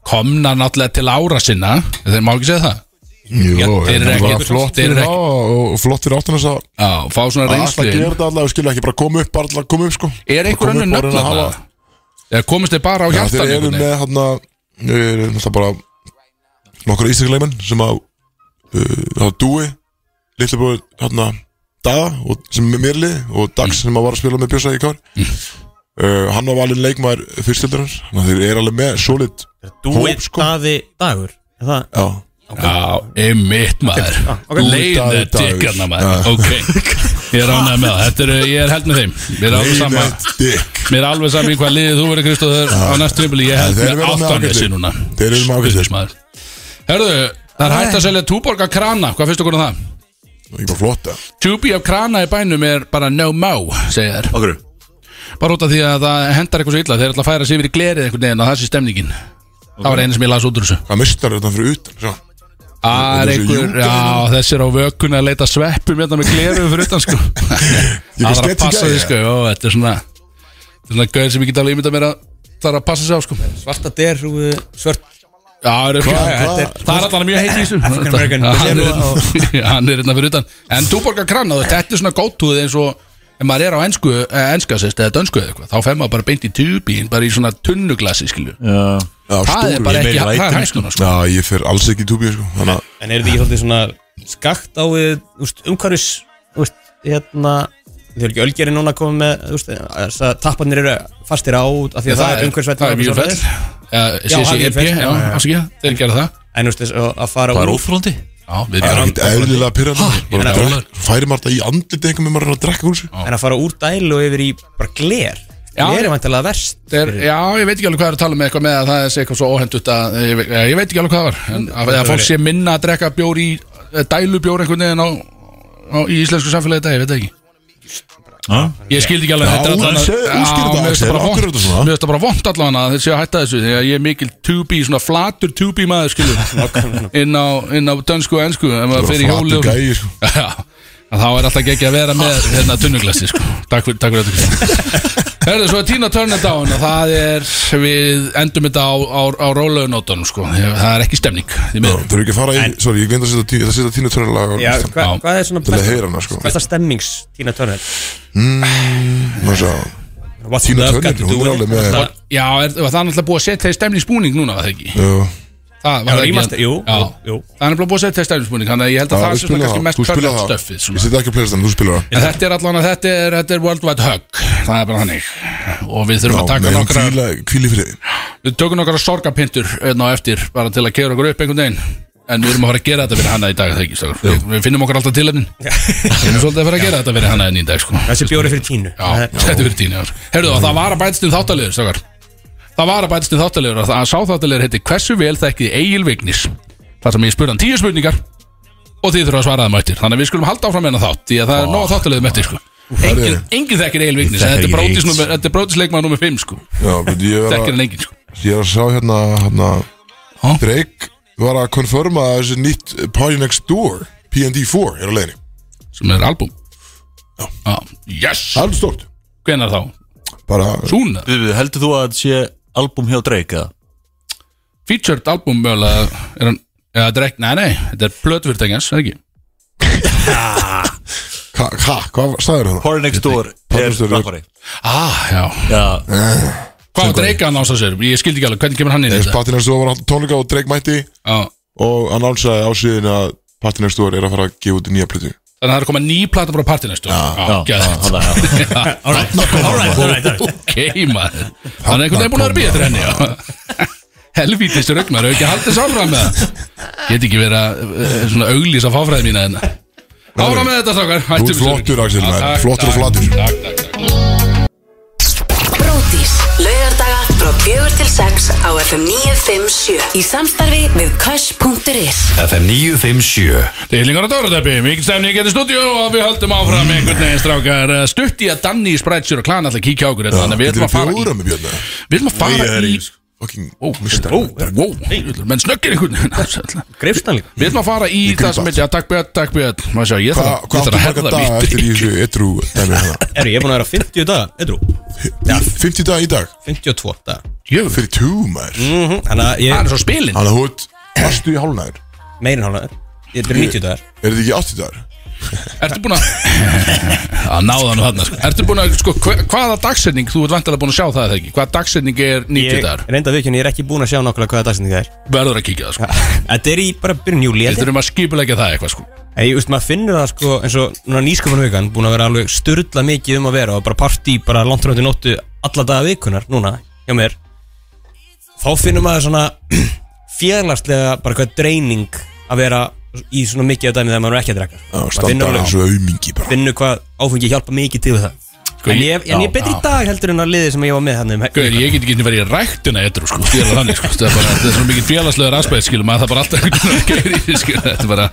Speaker 3: komna náttúrulega til ára sinna þeir má ekki segja það
Speaker 2: Jó,
Speaker 3: þeir eru
Speaker 2: það
Speaker 3: ekki-
Speaker 2: var flott
Speaker 3: þeir
Speaker 2: fyrir
Speaker 3: eru
Speaker 2: þá og flott fyrir áttunars að
Speaker 3: Já, fá svona
Speaker 2: alltaf
Speaker 3: reynslu
Speaker 2: gera
Speaker 3: inn.
Speaker 2: þetta allavega, skilja ekki bara koma upp bara alltaf koma upp sko
Speaker 3: Er einhver
Speaker 2: Koma upp
Speaker 3: önnur
Speaker 2: og reyna
Speaker 3: nöfn
Speaker 2: að
Speaker 3: að
Speaker 2: hafa-
Speaker 3: Eða komist þeir bara á
Speaker 2: Já,
Speaker 3: hjartan
Speaker 2: þeir eru
Speaker 3: einhvern veginn?
Speaker 2: með hérna, hann að náttúrulega bara nokkur íslenskleimenn sem að uh, hafa dúi litlu bróður hann að Daga hérna, og, sem er Mirli og
Speaker 3: Mm.
Speaker 2: Dags sem að var að spila með Björsa í kár uh, hann var valinn leikmaður fyrstildarans þannig að þeir eru alveg með solid
Speaker 4: Dúið
Speaker 2: Hóp, sko.
Speaker 4: daði dagur Er það
Speaker 2: já
Speaker 3: Já, einmitt maður
Speaker 4: ok.
Speaker 3: Leiðu
Speaker 2: Dagur, Dagur. Ah.
Speaker 3: tikkarna maður Ok, ég er ánægð með það Þetta er, ég er held með þeim Mér er alveg sama
Speaker 2: Dick.
Speaker 3: Mér er alveg sama í hvað liðið þú verður Kristóður á næstu tímpili Ég held
Speaker 2: Ah. þeir eru
Speaker 3: með
Speaker 2: með
Speaker 3: áttanleysi
Speaker 2: ágætli.
Speaker 3: núna
Speaker 2: Þeir eru með ágætli.
Speaker 3: Stuðlis, maður. Herðu, það er hægt að selja túborga krana Hvað finnst okkur um það?
Speaker 2: ekki bara flott eða?
Speaker 3: Tubi af krana í bænum er bara no mo segir þær
Speaker 1: Okkur
Speaker 3: Bara út af því að það hendar eitthvað svo illa Þeir ætla að færa sig yfir í glerið einhvern veginn og það sé stemningin Það var einu sem ég las út úr þessu
Speaker 2: hvað mistar þetta fyrir utan sjá.
Speaker 3: Það er
Speaker 2: Þetta er hérna. svo
Speaker 3: einhver,
Speaker 2: júka
Speaker 3: já þessi er á vökunni að leita sveppum hérna með gleru fyrir utan sko
Speaker 2: (laughs) Ég
Speaker 3: Það
Speaker 2: finnst
Speaker 3: er að
Speaker 2: þetta
Speaker 3: passa
Speaker 2: gæja.
Speaker 3: því sko, jó, þetta er svona Þetta er svona gauðir sem ég get alveg ímynda mér að það er að passa sig á sko Já,
Speaker 4: Svarta derrúi Svört
Speaker 3: það er ekki
Speaker 2: hvað-
Speaker 3: Það er alltaf mjög heitt í þessu
Speaker 4: African American
Speaker 3: Þetta- hann er-
Speaker 4: Brazilian
Speaker 3: (laughs) Hann er hérna fyrir utan En túborgar kranna, þetta er svona góttúð eins og Ef maður er á ensku, eh, enska sérst eða dönsku eða eitthvað Þá fer maður bara beint í tubín, bara í svona tunnuglasi skilju
Speaker 2: Já,
Speaker 3: Það er
Speaker 2: stóru.
Speaker 3: bara
Speaker 1: Ég
Speaker 3: ekki,
Speaker 1: meira
Speaker 3: það er
Speaker 1: lætin,
Speaker 3: hægt núna sko
Speaker 2: já, ég fer alls ekki í túbíu sko þannig að
Speaker 4: En eru þið ekki svolítið svona skakt á við úst, umhverfis úst, hérna, þau eru ekki ölgeri núna að koma með úst, þess að tappanir eru fastir á út af því að það, er umhverfisvætt
Speaker 3: Það er mjög Eh, fell
Speaker 4: Já, það er
Speaker 3: CCEP,
Speaker 4: Mýrfell,
Speaker 3: E já,
Speaker 4: já, já.
Speaker 3: afsakið, þeir gera það
Speaker 4: en úst, þess, að að fara
Speaker 1: Það er
Speaker 4: úr
Speaker 1: óþrólandi
Speaker 3: Já, við
Speaker 2: það er
Speaker 3: gerum
Speaker 2: ekkert eðlilega pyrrandi
Speaker 4: meina,
Speaker 2: Svo færi maður þetta í andlit einhver með maður er að drekka úr sig
Speaker 4: en að fara úr dælu og yfir í bara gler
Speaker 3: Já.
Speaker 4: gler er vantilega
Speaker 3: (laughs)
Speaker 4: verst
Speaker 3: Þetta er, já, ég veit ekki alveg hvað er að tala með eitthvað með að það sé eitthvað svo óhendut að ég, veit- ég veit ekki alveg hvað það var en að, að fólk sé minna að drekka bjór í eh, dælubjór einhvern veginn á, á í íslensku samfélagi þetta, ég veit það ekki
Speaker 1: Já.
Speaker 3: Ég skildi ekki alveg
Speaker 2: Já,
Speaker 3: þetta er allavega-
Speaker 2: segðu- útskýrðu
Speaker 3: Já,
Speaker 2: þetta,
Speaker 3: mér finnst
Speaker 2: Axel,
Speaker 3: bara
Speaker 2: af hverju er
Speaker 3: vont-
Speaker 2: þetta svona?
Speaker 3: Mér finnst það bara vont allavega að þeir séu að hætta þessu því að ég er mikil tubi, svona flatur tubi maður skilur (laughs) inn á, inn á dönsku og ensku ef maður
Speaker 2: bara
Speaker 3: fer í
Speaker 2: flatur
Speaker 3: hjóli og-
Speaker 2: gæi, sko.
Speaker 3: Já, en þá er alltaf ekki að vera með hérna tunnuglasti sko. Takk fyrir, takk fyrir þetta Herðu, svo er Tina Turner dáin og það er, við endum þetta á, á, á rólaunótanum sko. Það er ekki stemning því miður.
Speaker 2: Það er ekki að fara í, sorry, ég glemt að setja tí- að setja tínu törnulega
Speaker 4: Já, hva,
Speaker 3: Já.
Speaker 4: hvað er svona
Speaker 2: Til að heyra
Speaker 4: besta,
Speaker 2: hana, sko.
Speaker 4: besta stemmings Tína Turner
Speaker 2: Má sjá,
Speaker 4: What
Speaker 2: Tina
Speaker 4: love
Speaker 2: Turner,
Speaker 4: got to
Speaker 2: hún
Speaker 4: do
Speaker 2: er
Speaker 4: with
Speaker 2: alveg
Speaker 4: it?
Speaker 2: með-
Speaker 4: Það-
Speaker 3: Já, er, var það er náttúrulega búið að setja í stemningsbúning núna, var það ekki?
Speaker 2: jú,
Speaker 3: Það
Speaker 4: Já,
Speaker 3: var það
Speaker 4: remaster,
Speaker 3: ekki
Speaker 4: jú,
Speaker 3: Já.
Speaker 4: jú, jú.
Speaker 3: Það er náttúrulega búið að setja í stemningsbúning Þannig að ég held að
Speaker 2: já,
Speaker 3: það
Speaker 2: við
Speaker 3: sé svona
Speaker 2: spilum
Speaker 3: kannski
Speaker 2: það,
Speaker 3: mest
Speaker 2: þú spilar
Speaker 3: törnett
Speaker 2: það
Speaker 3: stöffið
Speaker 2: Ég setja ekki að playlist en þú spilar það
Speaker 3: En þetta er allan að þetta er, þetta er worldwide hug Það er bara þannig Og við þurfum að
Speaker 2: Já,
Speaker 3: taka
Speaker 2: megum
Speaker 3: nokkra
Speaker 2: hvíla- hvíl í fyrir þig
Speaker 3: Við tökum nokkra sorgapintur enn á eftir Bara til að kera okkur upp einhvern veginn En við erum að fara að gera þetta fyrir hana í dag er það ekki, strákar? við, við finnum okkur alltaf tilefnin Við erum svolítið að fara að gera þetta fyrir hana enn í dag sko.
Speaker 4: Þessi bjóri fyrir Tínu
Speaker 3: Já, þetta er fyrir tíni ár Herðu það, það var að bætast um þáttalegur stakar. Það var að bætast um þáttalegur að það sá þáttalegur heiti Hversu vel þekkið Egil Vignis Það sem ég spurði hann tíu spurningar Og þið þurfa að svara það mættir Þannig að við skulum halda áfram enn að þátt Því að það er nóg þáttalegur með sko. Engin, engin þekkir Egil Vignis en Þetta er
Speaker 1: Ég þekki
Speaker 3: brótis
Speaker 1: Egil.
Speaker 3: númer- þetta er brótisleikmaður nummer 5 sko.
Speaker 2: Já, veit, ég er
Speaker 3: Þekkir
Speaker 2: að-
Speaker 3: hann engin sko.
Speaker 2: ég er að sjá hérna, hérna
Speaker 3: Ha?
Speaker 2: Drake var að konfirma að þessi nýtt Party Next Door, PND4, er á leiðinni
Speaker 3: Sem er albúm Já, yes
Speaker 2: Það er stort
Speaker 3: Hvenær þá?
Speaker 2: Bara,
Speaker 3: Súna
Speaker 1: Við- við- Heldur þú að þetta sé album hjá Drake eða?
Speaker 3: Featured albúm mögulega Er hann Já, þetta er ekki, nei, nei, þetta er plötvirtengjans, er það ekki?
Speaker 2: ha, ha, hvað sagðir hérna?
Speaker 1: Party Next Door er
Speaker 2: Next Door er-
Speaker 1: rappari
Speaker 3: Ah, já,
Speaker 1: Já,
Speaker 3: hvað var Drake að nása sér? Ég skildi ekki alveg, hvernig kemur hann inn í
Speaker 2: Yes,
Speaker 3: þetta?
Speaker 2: Party Next Door hérna var alltaf tónleika og Drake mætti
Speaker 3: Já,
Speaker 2: og annálsaði á síðin að Party Next Door er að fara að gefa út nýja plötu
Speaker 3: Þannig að það er að koma ný plata bara á partí næstu Já,
Speaker 1: já,
Speaker 3: gæðið (laughs)
Speaker 1: já, já.
Speaker 3: Alright, alright Ok, maður Þannig að einhvern veginn er búin að vera býða til henni já. Helvítist rauk maður, hefur ekki haldið samfram með það Get ekki verið að eh, svona auglýsa fáfræði mína hérna Áfram með þetta, strákar Ah,
Speaker 2: Þú ert flottur, Axel, maður. Flottur og flatur.
Speaker 3: Takk, takk, takk
Speaker 5: Bróðís, laugardaga frá fjögur til 6 á FM 957 Í samstarfi við Kösh.is
Speaker 6: FM 957
Speaker 3: Deilingar og Dórateppi, mikið stefni ekki í stúdíu og við höldum áfram einhvern veginn strákar Eh, stutt í að Danni, Sprætsjur og Klan alltaf kíkja á okkur þetta, þannig að við ætlum að fara í
Speaker 2: bjóra með Björn eða? sko.
Speaker 3: við ætlum að fara
Speaker 1: er
Speaker 3: í
Speaker 1: í-
Speaker 2: Fucking
Speaker 3: Ó,
Speaker 2: mistar
Speaker 3: ó, ó, menn snöggir einhvern veginn
Speaker 4: Greifst hann líka
Speaker 3: Við ætlum að fara í
Speaker 2: Ég
Speaker 3: það sem
Speaker 2: gríp
Speaker 3: heitir að takk björn, takk björn Má sjá, ég
Speaker 2: Hvað
Speaker 3: þarf
Speaker 2: hvað áttu
Speaker 3: ég þarf að
Speaker 2: marga
Speaker 3: herða
Speaker 2: daga
Speaker 3: mitt
Speaker 2: eftir í þessu edru
Speaker 3: (laughs)
Speaker 2: dæmi hana?
Speaker 4: Eru ég er búin að vera 50 daga, eitthrú
Speaker 2: Í 50 daga í dag
Speaker 4: 52 daga
Speaker 3: Jöfull,
Speaker 2: Fyrir tú
Speaker 3: Mm.
Speaker 2: maður
Speaker 4: Þannig að ég
Speaker 3: Það
Speaker 4: er
Speaker 3: er svo spilin
Speaker 2: Þannig að þú
Speaker 3: (clears throat)
Speaker 2: ert Vastu í hálfnaður
Speaker 4: meirin hálfaður Ég er 90 dagar
Speaker 2: Er þetta ekki 80 dagar?
Speaker 3: Ertu búin að (laughs) Það náða nú þarna sko. Ertu búin að, sko, hver, hvaða dagsetning Þú ert vantilega búin að sjá það eða ekki Hvaða dagsetning er 90
Speaker 4: Ég
Speaker 3: dagar
Speaker 4: reynda að viðkjörn, ég er ekki búin að sjá nákvæmlega hvaða dagsetning það er
Speaker 3: Verður að kíkja það sko
Speaker 4: Þetta er í bara byrjun júli
Speaker 3: Við þurfum að skipulegja það eitthvað sko
Speaker 4: Ég veist, maður finnur það sko eins og núna nýsköpunarvikan búin að vera alveg styrla mikið um að vera og bara partí bara langt röndi nóttu alla daga vikunar núna hjá mér þá finnur maður svona (clears throat) fjarlagslega bara hvað dreining að vera í svona mikið af dæmi þegar maður er ekki að drekka
Speaker 2: Já,
Speaker 4: Maður
Speaker 2: Standa
Speaker 4: finnur alveg-
Speaker 2: eins og aumingi bara
Speaker 4: finnur hvað áfengi hjálpa mikið til við það en, ég, en ég er
Speaker 3: Sko, já,
Speaker 4: betri
Speaker 3: já.
Speaker 4: í dag heldur en að liði sem ég var með hann um
Speaker 3: Gauður, ég get ekki verið í ræktina eitthvað sko, ég er alveg þannig sko, það er bara, það er svona mikið félagslegar aspekt skilum að það er bara alltaf einhvern veginn að gera í því sko, þetta er bara,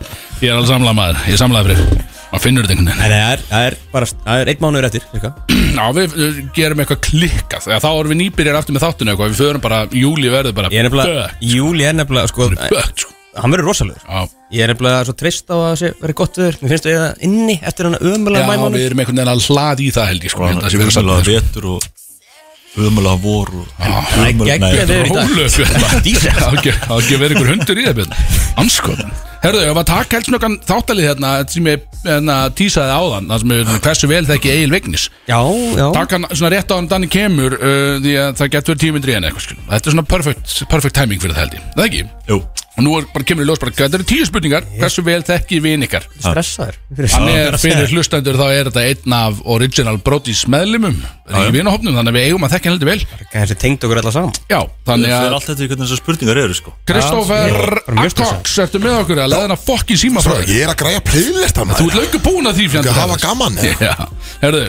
Speaker 3: ég er alveg samlað maður, ég er samlað fyrir, maður finnur þetta einhvern veginn.
Speaker 4: en það er, það er bara það er einn mánuður eftir cirka.
Speaker 3: Já, við uh, gerum eitthvað klikkað, þegar þá erum við nýbyrjar aftur með þáttinu eitthvað, við förum bara, júli verður bara,
Speaker 4: ég er nefnilega júli er nefnilega sko,
Speaker 3: bött sko,
Speaker 4: hann verður rosalegur
Speaker 3: já,
Speaker 4: ég er nefnilega svo trist á að það sé verið gott viður mér finnst það eiginlega inni eftir hann
Speaker 3: já,
Speaker 4: ömulega
Speaker 3: við
Speaker 4: mæmánu
Speaker 3: erum einhvern veginn að hlaði í það held ég sko, held að það sé verið
Speaker 1: Umlaða
Speaker 3: samlað sko.
Speaker 1: vetur og Umlaða vor og
Speaker 3: Ah,
Speaker 4: Nei, geggjað
Speaker 1: Nei,
Speaker 4: veður í dag.
Speaker 3: Rólöf,
Speaker 4: Dísa.
Speaker 3: það ekki að vera ykkur hundur í það Björn. anskoðan Herðu, ég var að taka heldsnökan þáttalið hérna sem ég hérna, tísaði áðan það sem er hversu vel þekki Egil Vignis
Speaker 4: já, já
Speaker 3: taka hann svona rétt á hann Danni kemur uh, því að það getur verið tímindri en eitthvað skilum þetta er svona perfect, perfect timing fyrir það held ég það ekki?
Speaker 1: Jú.
Speaker 3: og nú er bara kemur í ljós bara þetta eru tíu spurningar hversu vel þekki vin ykkar
Speaker 4: stressaður fyrir
Speaker 3: hann
Speaker 4: Já,
Speaker 3: er fyrir hlustendur þá er þetta einn af original Brodís meðlimum í vinahopnum þannig að við eigum að þekki hann heldur vel
Speaker 4: þessi tengd okkur alla saman
Speaker 3: já, þannig
Speaker 1: Það
Speaker 3: að
Speaker 1: er allt þetta í hvernig þessar spurningar eru sko
Speaker 3: Kristófer
Speaker 4: bara mjög
Speaker 3: Akkox, ertu með okkur að leðina fokkin síma frá
Speaker 2: Svo,
Speaker 3: þig
Speaker 2: Ég er að græja playlista
Speaker 3: Þú
Speaker 2: maður
Speaker 3: ert löngu búin að því fjandi
Speaker 2: Ég hafa gaman eða?
Speaker 3: (laughs) Já, herðu,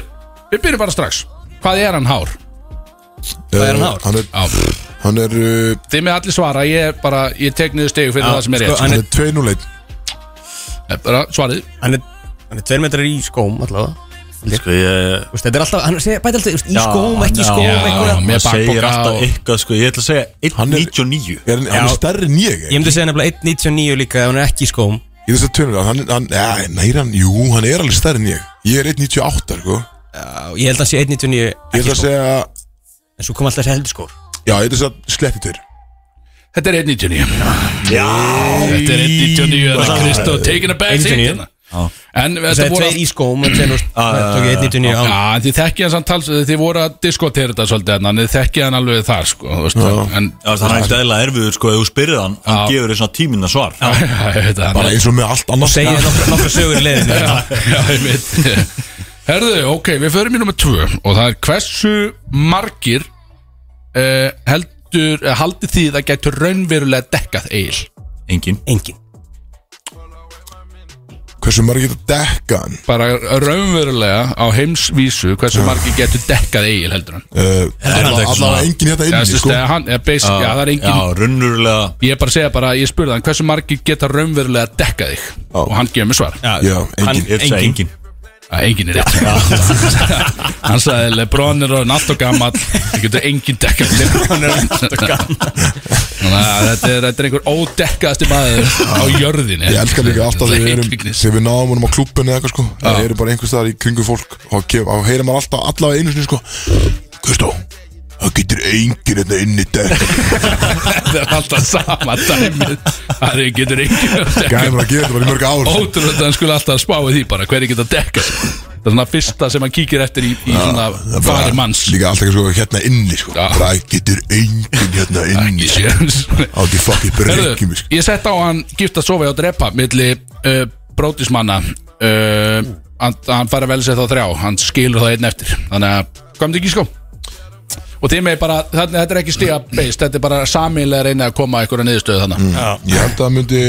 Speaker 3: við byrjum bara strax Hvað er hann hár?
Speaker 2: Hvað
Speaker 4: er hann
Speaker 2: Eh,
Speaker 4: hár?
Speaker 2: Hann er,
Speaker 3: Já,
Speaker 2: hann er, uh,
Speaker 3: þið með allir svara, ég bara, ég tek niður stegu fyrir
Speaker 4: Já,
Speaker 3: það sem er
Speaker 4: sko,
Speaker 3: rétt
Speaker 4: hann
Speaker 2: hann er 201
Speaker 3: sko. bara, Svarið,
Speaker 4: hann er, hann er tveir metrar í skóm allavega
Speaker 1: Sko ég
Speaker 4: Þú veist, þetta er alltaf hann segir bæti alltaf þú veist, í skóm, ekki í skóm
Speaker 3: já,
Speaker 4: einhverja-
Speaker 3: já, með
Speaker 1: Mér segir
Speaker 3: bakpoka
Speaker 1: alltaf
Speaker 3: og-
Speaker 1: eitthvað sko Ég ætla að segja 1.99
Speaker 2: Er hann- Hann er
Speaker 4: Já.
Speaker 2: stærri en ég eh?
Speaker 4: Ég
Speaker 2: Ég
Speaker 4: myndi segja nefnilega 1.99 líka ef hann er ekki í skóm
Speaker 2: þess að 200 Hann, hann, ja, nei, hann, jú, hann er alveg stærri en ég Ég er 198, sko
Speaker 4: Já, Ég held að hann sé 1.99
Speaker 2: Ég ætla að
Speaker 4: ekki í skóm
Speaker 2: segja
Speaker 4: En svo kom alltaf þessi heldur skór
Speaker 2: Já, ég ætla að segja sleppi tveir
Speaker 3: þetta er 1.99 Þetta er 1.99, þetta er Kristó taking a bad seat
Speaker 4: 1.99.
Speaker 3: hérna. En þetta
Speaker 4: Það er
Speaker 3: voru
Speaker 4: tveir í skóm en þegar hann tók ég 1.99
Speaker 3: Já,
Speaker 4: án
Speaker 3: en þið þekkja hann samt tals Þið voru að diskotera þetta svolítið hérna, En þið þekkja hann alveg þar sko, þú veist, en,
Speaker 1: Já, Það er ekkert eðla erfiður sko Ef þú spyrir hann, hann
Speaker 3: Já.
Speaker 1: gefur þér svona tíminna svar
Speaker 3: (laughs) þetta, hann
Speaker 2: Bara eins og með allt annars
Speaker 4: Segir nokkra- nokkra sögur í leiðinu
Speaker 3: Já, ég veit (laughs) Herðu, ok, við förum í nummer 2 og það er hversu margir uh, heldur uh, haldið þið að gætu raunverulega dekkað eil
Speaker 1: Engin
Speaker 4: Engin
Speaker 2: Hversu margir þetta dekka hann
Speaker 3: bara raunverulega á heimsvísu hversu margir getur dekkað eil heldur hann
Speaker 2: Uh,
Speaker 1: er
Speaker 2: alla-
Speaker 1: alveg svona-
Speaker 2: Allavega enginn hérna
Speaker 3: Já,
Speaker 2: inni,
Speaker 3: þú veist,
Speaker 2: sko
Speaker 3: eða hann, eða basic, já, það er engin
Speaker 1: Já, runnurlega
Speaker 3: Ég er bara að segja bara, ég spurði hann hversu margir geta raunverulega dekkað þig og hann gefur mér svar
Speaker 2: Já, enginn
Speaker 1: Ég ætla að segja engin
Speaker 3: að engin er rétt (laughs) Hann sagði Lebron er orðin allt og gammal það getur engin dekkað Lebron er orðin allt og gammal þetta er, þetta er einhver ódekkaðasti maður á jörðinni
Speaker 2: Ég elska líka alltaf þegar við erum
Speaker 3: Leiknis.
Speaker 2: Þegar við náum honum á klubbunni eða eitthvað sko Það eru bara einhvers staðar í kringum fólk Og gef- og heyrir maður alltaf allavega einu sinni sko Kristó Það getur enginn hérna inni dekk
Speaker 3: Það er alltaf sama dæmið Það er- getur engin að dekka
Speaker 2: Gæmur að gera þetta bara í mörg ár
Speaker 3: Ótrúlega að hann skulle alltaf spáið því bara hverju geta dekkað Það er svona fyrsta sem hann kíkir eftir í, í svona
Speaker 2: Það er bara
Speaker 3: fari manns
Speaker 2: Líka alltaf sko hérna inni sko
Speaker 3: Já.
Speaker 2: Það getur enginn hérna inni
Speaker 3: Ekki séns
Speaker 2: Á því fokkið breykjum
Speaker 3: Herðu,
Speaker 2: sko
Speaker 3: ég sett á hann gift að sofa hjá drepa milli uh, brótismanna uh, hann, hann fær að velja sér þá þrjá hann skilur það einn eftir þannig að komdu ekki í skó og þeim er bara, þannig, þetta er ekki stiga beist þetta er bara samílega reyna að koma að einhverja niðurstöðu þannig
Speaker 2: Ég held að það myndi